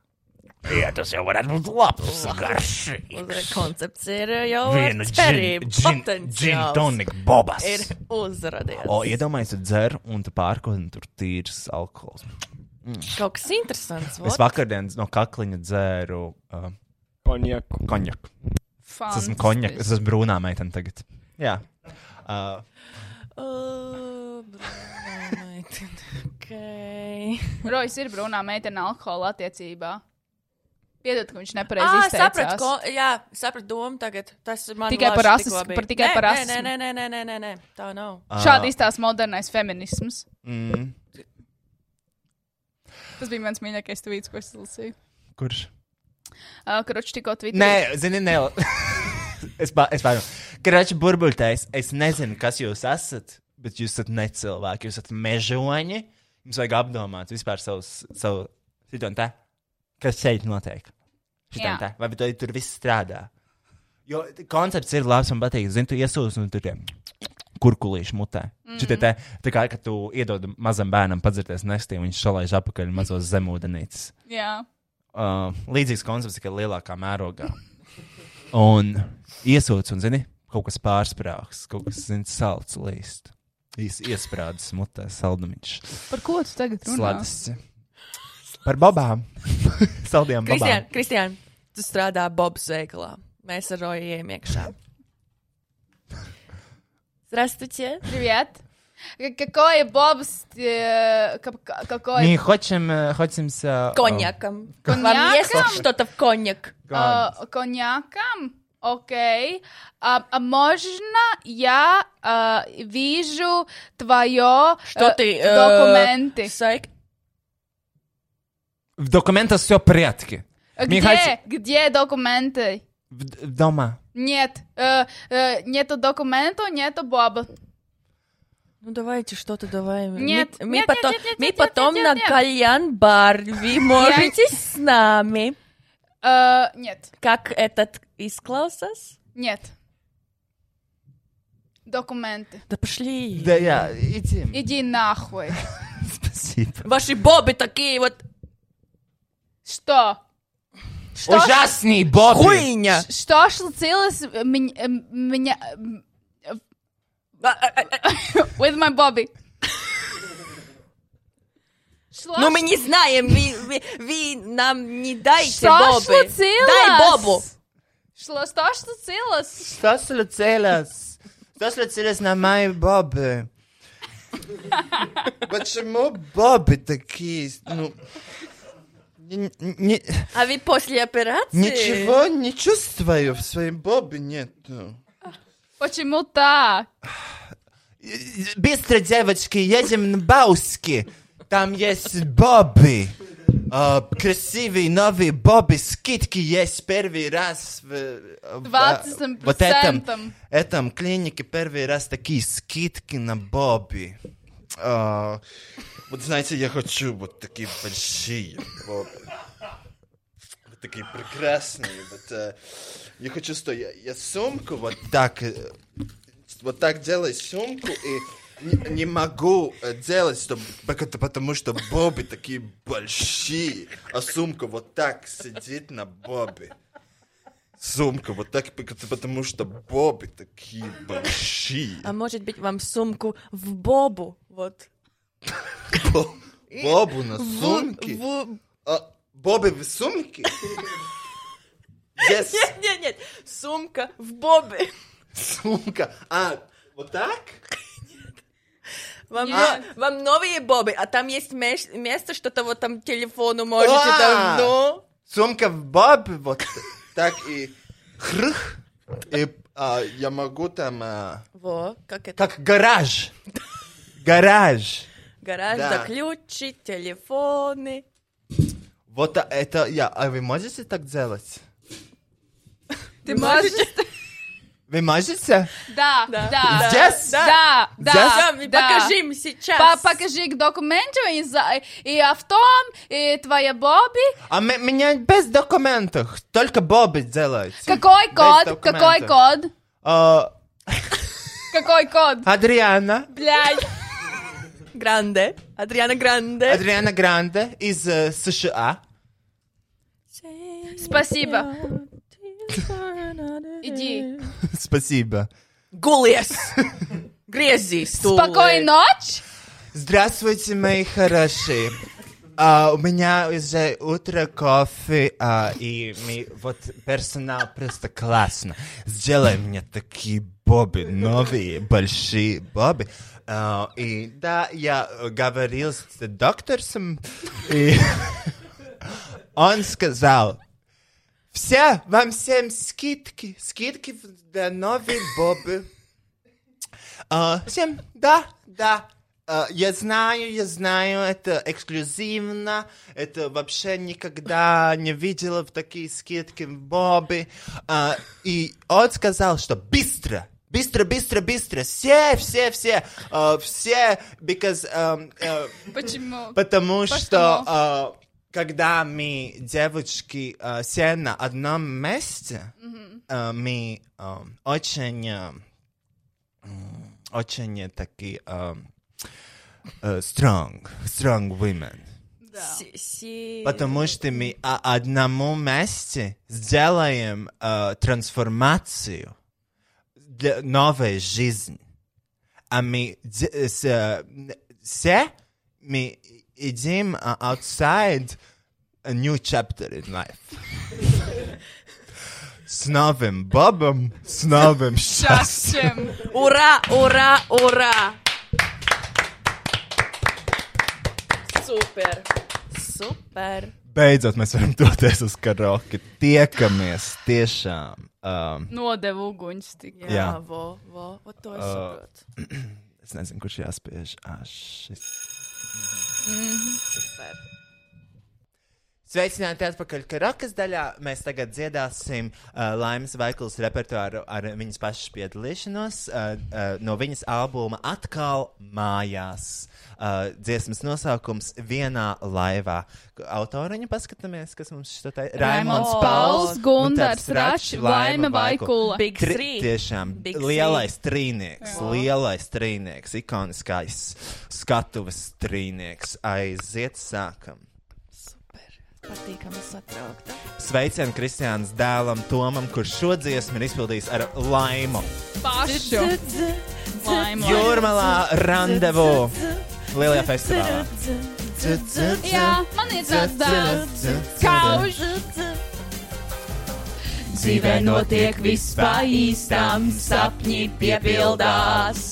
S1: Jā, tas jau varētu būt labs garšs.
S3: Koncepts ir uh, jau
S1: Vienu
S3: cerība.
S1: gin- gin- gin tonic bobas.
S3: Ir uzradies.
S1: O, iedomājieties, tu dzer un tu pārko, un tur tīrs alkohols. Mm.
S3: Kaut kas interesants.
S1: Es
S3: vot.
S1: vakardien no kakliņa dzēru uh, konjaku. konjaku. Es esmu
S3: Fantastiski.
S1: konjaku, es esmu brūnā meitene tagad. Jā. Uh,
S3: Uh, brūnā (laughs) meitene. Okay.
S2: Rojas ir brūnā meitene alkohola attiecībā. Piedod, ka viņš nepareizi
S3: Ah, sapratu,
S2: izteicās.
S3: ko, jā, sapratu domu tagad. Tas man
S2: Tikai
S3: laži
S2: par
S3: tikko
S2: rasismu,
S3: bija.
S2: par- tikai
S3: Nē,
S2: par
S3: nē,
S2: rasismu.
S3: Nē, nē, nē, nē, nē, nē, tā nav.
S2: Šādi izstāsta modernais feminisms.
S1: mm,
S2: Tas bija mans mīļākais tvīts, ko es lasīju.
S1: kurš?
S2: Uh, Kručs tikko tvītā.
S1: Nē, zini, ne. (laughs) es pā- es pārdomāju. Kračs burbuļtais, es nezinu, kas jūs esat, bet jūs esat necilvēki, jūs esat mežoņi. Jums vajag apdomāt vispār savus, savu situāciju, kas šeit notiek. Šitam
S8: Jā.
S1: tā. Vai tu- tur viss strādā? Jo t- koncepts ir labs un patīk. Zini, tu iesūsi un tur tie kurkulīši
S8: Mhm.
S1: mutē. Mm
S2: Mm-hmm.
S1: -hmm. Šitie te, tā kā, ka tu iedod mazam bērnam padzirties nestī, un viņš šalaiž apakaļ mazos zemūdenītes.
S2: Jā.
S1: Uh, līdzīgs koncepts tikai lielākā mērogā. un iesūdz, un zini, kaut kas pārsprāgs, kaut kas, zini, salds līst. Īs iesprādzis mutē saldumiņš.
S2: Par ko tu tagad runā?
S1: Sladas. Par
S2: (laughs)
S1: babām. Saldiem
S3: Kristiāna,
S1: babām.
S3: Kristiāna, tu strādā Bobs veikalā. Mēs ar Roju ejam iekšā. Здравствуйте.
S2: Привет. К- Какой бобс... э, ка- ка- Какой...
S1: Мы хотим, э, хотим с... э,
S3: Коньяком.
S1: э,
S3: Вам есть что-то в коньяк?
S1: Ладно.
S2: э, Коньяком? Окей. А, а можно я э, вижу твое
S3: Что ты, э,
S2: документы?
S1: В документах все порядке.
S2: Э,
S3: А
S2: Где,
S1: Мы хотим-
S2: где документы?
S1: В- в Дома.
S2: Нет, э, э, нету документов, нету Боба.
S3: Ну давайте что-то давай.
S2: Нет,
S3: мы, мы
S2: нет,
S3: потом,
S2: нет, нет, нет,
S3: мы
S2: нет,
S3: потом
S2: нет,
S3: на
S2: нет, нет.
S3: кальян-бар. Вы можете с нами?
S2: Э, нет.
S3: Как этот исклаусас?
S2: Нет. Документы.
S3: Да пошли.
S1: Да, я... Иди.
S2: Иди нахуй.
S5: (laughs)
S3: Ваши бобы такие вот.
S2: Что? Что ж-
S1: Ужасный боб.
S3: Хуйня.
S2: Что ж случилось э, мень- э, меня... э,
S3: А,
S2: With my Bobby. Шла-
S3: Ну мы не знаем, вы, вы- вы нам не дайте
S2: Что
S3: бобы.
S2: случилось?
S3: Дай бобу.
S2: Шло- Что ж случилось?
S1: Что случилось? Что случилось на моей бабе?
S5: Nu,
S1: Почему бабы такие? Ну, не- не-
S3: А вы после операции?
S5: Ничего не чувствую, в своей бобе нету.
S2: Почему так?
S1: Быстро, девочки, едем на Бауски. Там есть бобы. А, красивые новые бобы. Скидки есть первый раз в... э, в, а,
S2: 20%.
S1: вот этом, этом клинике первый раз такие скидки на бобы.
S5: А, вот знаете, я хочу вот такие большие бобы. Вот такие прекрасные. Вот, э, я хочу, что я, я сумку вот так... э, вот так делаю сумку и не, не могу э, делать, чтоб- пок- потому что бобы такие большие, а сумка вот так сидит на бобе.
S1: сумка вот так, пок- потому что бобы такие большие.
S3: А может быть, вам сумку в бобу? Вот.
S1: Бо- Бобу на
S3: В-
S1: сумке?
S3: в-
S1: А, бобы в сумке? Yes.
S3: Нет, нет, нет. Сумка в бобе.
S1: Сумка. А, вот так?
S3: Вам,
S1: Нет.
S3: но- вам новые бобы, а там есть меш- место, что-то вот там телефону можете там,
S1: А!
S3: ну.
S1: Сумка в бобы вот так и хрых. И а, я могу там... а,
S3: Во, как это?
S1: Как гараж. Гараж.
S3: Гараж
S1: Да.
S3: за ключи, телефоны.
S1: Вот а- это я. А вы можете так делать?
S3: Ты можешь?
S1: Вы можете?
S2: Да, да, да.
S1: Здесь?
S2: Да, да.
S1: Здесь?
S2: да.
S3: Покажи им сейчас.
S2: По- покажи к документу и, за, и а в том, и твоя Бобби.
S1: А м- меня без документов. Только Бобби делает.
S2: Какой
S1: Без
S2: код?
S1: документов.
S2: Какой код?
S1: А,
S2: Какой код?
S1: Адриана.
S3: Блядь. Гранде. Адриана Гранде.
S1: Адриана Гранде из э, США.
S2: Спасибо. Иди.
S1: Спасибо.
S3: Гулес.
S2: (laughs)
S3: Грези.
S2: Спокойной ночи.
S1: Здравствуйте, мои хорошие. А, у меня уже утро кофе, а, и мы- вот персонал просто классно. Сделай мне такие бобы, новые, большие бобы. А, и да, я э, говорил с доктором, и он сказал, все, вам всем скидки, скидки для новые бобы. А, всем, да, да. А, я знаю, я знаю, это эксклюзивно, это вообще никогда не видела в такие скидки в Бобби. А, и он сказал, что быстро, быстро, быстро, быстро, все, все, все, а, все, because, эм, э,
S2: Почему?
S1: потому
S2: Почему?
S1: что а, когда мы, девочки, а, все на одном месте,
S2: Мгм.
S1: а, мы а, очень... а, м, очень такие ам, э, strong, strong women.
S3: Си- си-
S1: Потому что мы о- одному месте сделаем э, трансформацию для новой жизни. А мы де- э, с, э, н- все мы идем э, outside a new chapter in life. С новым бобом, с новым счастьем.
S3: Ура, ура, ура. Супер. Супер.
S1: Beidzot, mēs varam doties uz karaoke. Tiekamies tiešām. Um,
S2: Nodevu uguņus tik.
S1: Jā, Jā.
S3: Во, во, вот то
S1: Ā,
S3: uh.
S1: э, (clears throat) es nezinu, kurš jāspiež. Ah, šis.
S3: Super.
S5: Sveicināti atpakaļ Karakas daļā. Mēs tagad dziedāsim uh, Laimas Vaikulas repertuāru ar viņas pašas piedalīšanos uh, uh, no viņas albuma Atkal mājās. Uh, dziesmas nosaukums Vienā laivā. Autoriņu paskatāmies, kas mums šeit ir.
S2: Raimonds Pauls, Gundars Račs, Laima Vaikula. Big
S5: Tri,
S2: three.
S5: tiešām
S2: Big
S5: lielais trīnieks,
S2: Jā.
S5: lielais trīnieks, ikoniskais skatuves trīnieks. Aiziet, sākam!
S3: Patīkami satraukta.
S5: Sveicienu Kristiānas dēlam Tomam, kurš šo dziesmu ir izpildījis ar laimu.
S2: Pašu. Laima.
S5: Jūrmalā randevu lielajā festivālā.
S2: Jā, man ir tāds dēls. Kauž.
S4: Dzīvē notiek viss pa īstām, sapņi piepildās.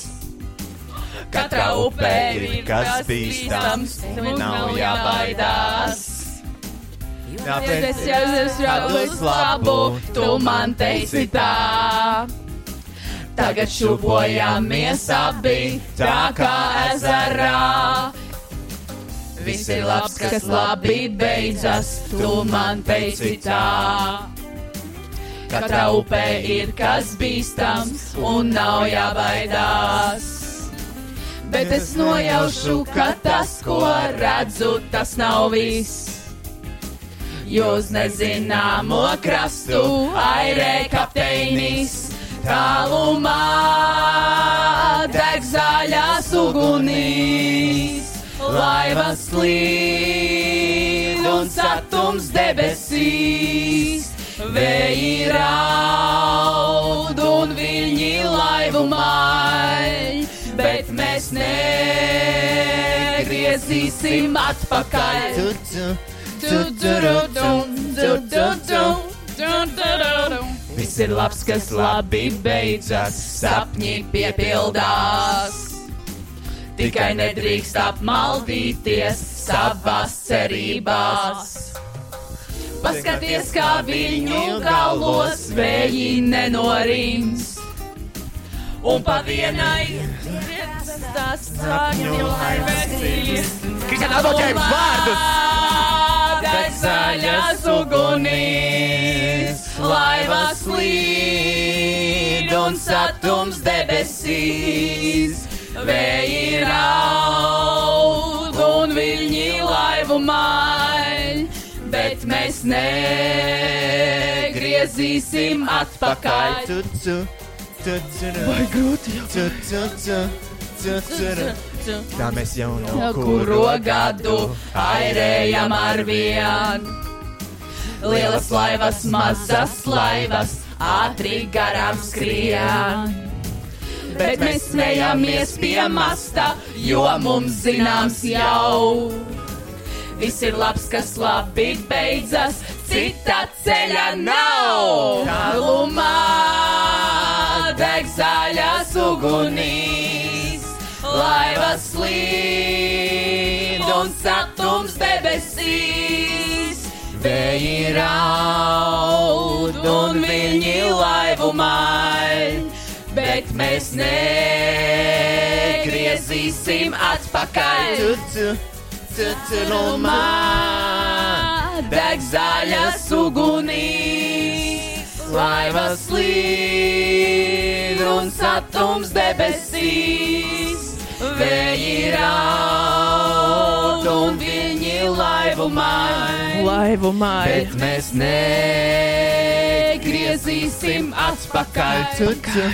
S4: Katrā upē ir kas bīstams, un nav jābaidās.
S5: Tāpēc
S4: es jau esmu
S5: atdos
S4: radus labu, tu man teiksi tā. Tagad šūpojamies abi, tā kā ezerā. Viss ir labs, kas labi beidzas, tu man teici tā. Katrā upē ir kas bīstams un nav jābaidās. Bet es nojaušu, ka tas, ko redzu, tas nav viss. Jo uz nezināmo krastu airē kapteinis tālumā deg zaļās ugunīs. Laiva slīd un satums debesīs. Vēji raud un viņi laivu maļ, bet mēs negriezīsim atpakaļ.
S5: Tu,
S4: Tu, tu, ru, tum, tu, tu, tu, tu, tu, ru, tum. Viss ir labs, kas labi beidzas, sapņi piepildās. Tikai nedrīkst apmaldīties savās cerībās. Paskaties, kā viņu galos vēji nenorims. Un pa vienai tas sakņu laimēsīs.
S5: Kristian Adolģējums vārdus!
S4: Deg zaļas ugunīs, laivas līd un satums debesīs. Vēji raud un viļņi laivu maļ, bet mēs negriezīsim atpakaļ.
S1: Tu, tu, tu, tu, tu.
S4: Vai grūti jau?
S1: Tu, tu, tu, tu, tu, tu. Tā mēs jau no
S4: No kuro gadu airējam ar vien. Lielas laivas, mazas laivas, ātri garām skrien. Bet mēs smējamies pie masta, jo mums zināms jau. Viss ir labs, kas labi beidzas, cita ceļa nav. Tālumā deg zaļās ugunīs, laivas slīd un satums debesīs. Vēji raud un viņi laivu maļ, bet mēs negriezīsim atpakaļ. Tu, tu, Cicinumā deg zaļas ugunīs, laivas līd un satums debesīs. Vēji raud un viņi laivu maina.
S3: Laivu maina.
S4: Bet mēs negriezīsim atpakaļ. Atpakaļ.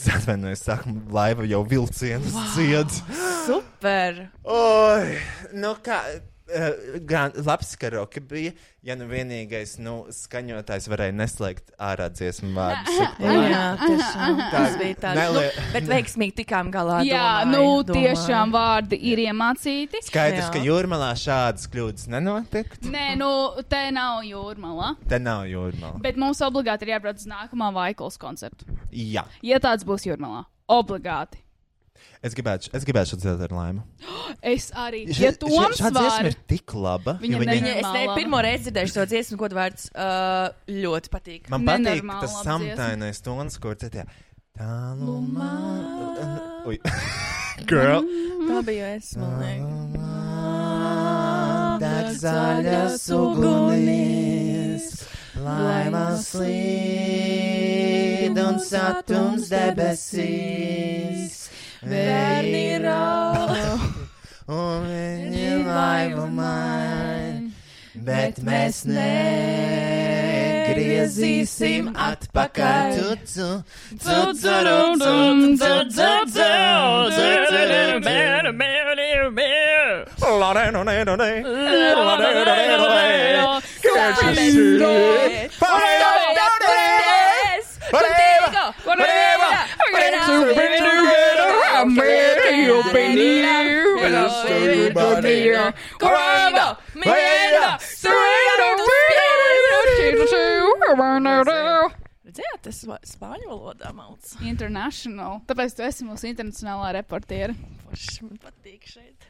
S1: Es atvainojos, sākumā laiva jau vilcienus wow. dzied.
S3: Super!
S5: Oh.
S1: Oi, nu kā. eh, Gan labs karaoke bija, ja nu vienīgais nu, skaņotājs varēja neslēgt ārā dziesmu vārdus.
S2: (laughs)
S3: Jā, tiešām.
S1: Tā-
S3: Tas bija tāds nu,
S1: nelie-
S3: bet veiksmīgi tikām galā.
S2: Jā,
S3: domāju,
S2: nu
S3: domāju.
S2: tiešām vārdi ir iemācīti.
S1: Skaidrs, ka jūrmalā šādas kļūdas nenotiek.
S2: Nē, nu te nav jūrmala.
S1: Te nav jūrmalā.
S2: Bet mums obligāti ir jābrauc uz nākamā Vaikolas koncertu.
S1: Jā,
S2: Ja tāds būs jūrmalā, obligāti.
S1: es gribētu, es gribētu šo dziesmu ar laimu.
S2: Es arī.
S1: Ša-
S2: Ja
S1: ša-
S2: Toms
S1: šāda dziesma
S2: var.
S1: ir tik laba. jo
S2: Viņam neņem-
S1: viņa...
S3: Es ne,
S2: Normāla.
S3: pirmo reizi dzirdēju šo dziesmu, ko vārds uh, ļoti patīk.
S1: Man patīk tas samtainais tons, kur citā. Tālumā. nu
S2: (laughs)
S1: Ui. Girl.
S3: Tā bija es, man
S5: Deg
S3: liekas.
S5: zaļas ugunīs, laivas līd un satums debesīs. Vērni
S4: oh.
S5: raud, un viņi laivu main, bet mēs negriezīsim atpakaļ. Tucu, tucu, tucu, tucu, tucu, tucu.
S3: Redzējāt, tas va- spāņu valodā mauc.
S2: International. Tāpēc tu esi mūsu internacionālā reportiera.
S3: Man patīk šeit.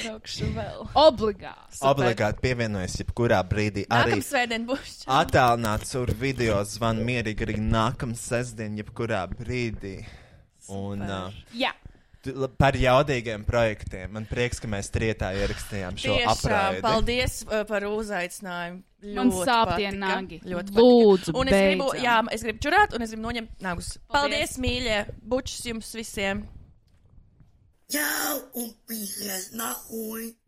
S3: Braukšu vēl.
S2: Obligāti.
S1: Obligāti pievienojas jebkurā brīdī. Arī
S3: Nākamsvētdien būs.
S1: attēlnāts ar video zvanu mierīgi arī nākamā sestdiena, jebkurā brīdī. Un, uh,
S2: Jā.
S1: tu- la- par jaudīgiem projektiem. Man prieks, ka mēs trietā ierakstījām šo
S3: Tiešām,
S1: apraidi.
S3: paldies uh, par uzaicinājumu.
S2: Man
S3: Ļoti
S2: sāp tie
S3: patika,
S2: nagi.
S3: Ļoti
S2: Lūdzu,
S3: patika. un es gribu,
S2: beidzam.
S3: jā, es gribu čurāt, un es gribu noņemt nagus. Paldies, mīļie! Bučs jums visiem!
S5: Chao, un pijas, na un.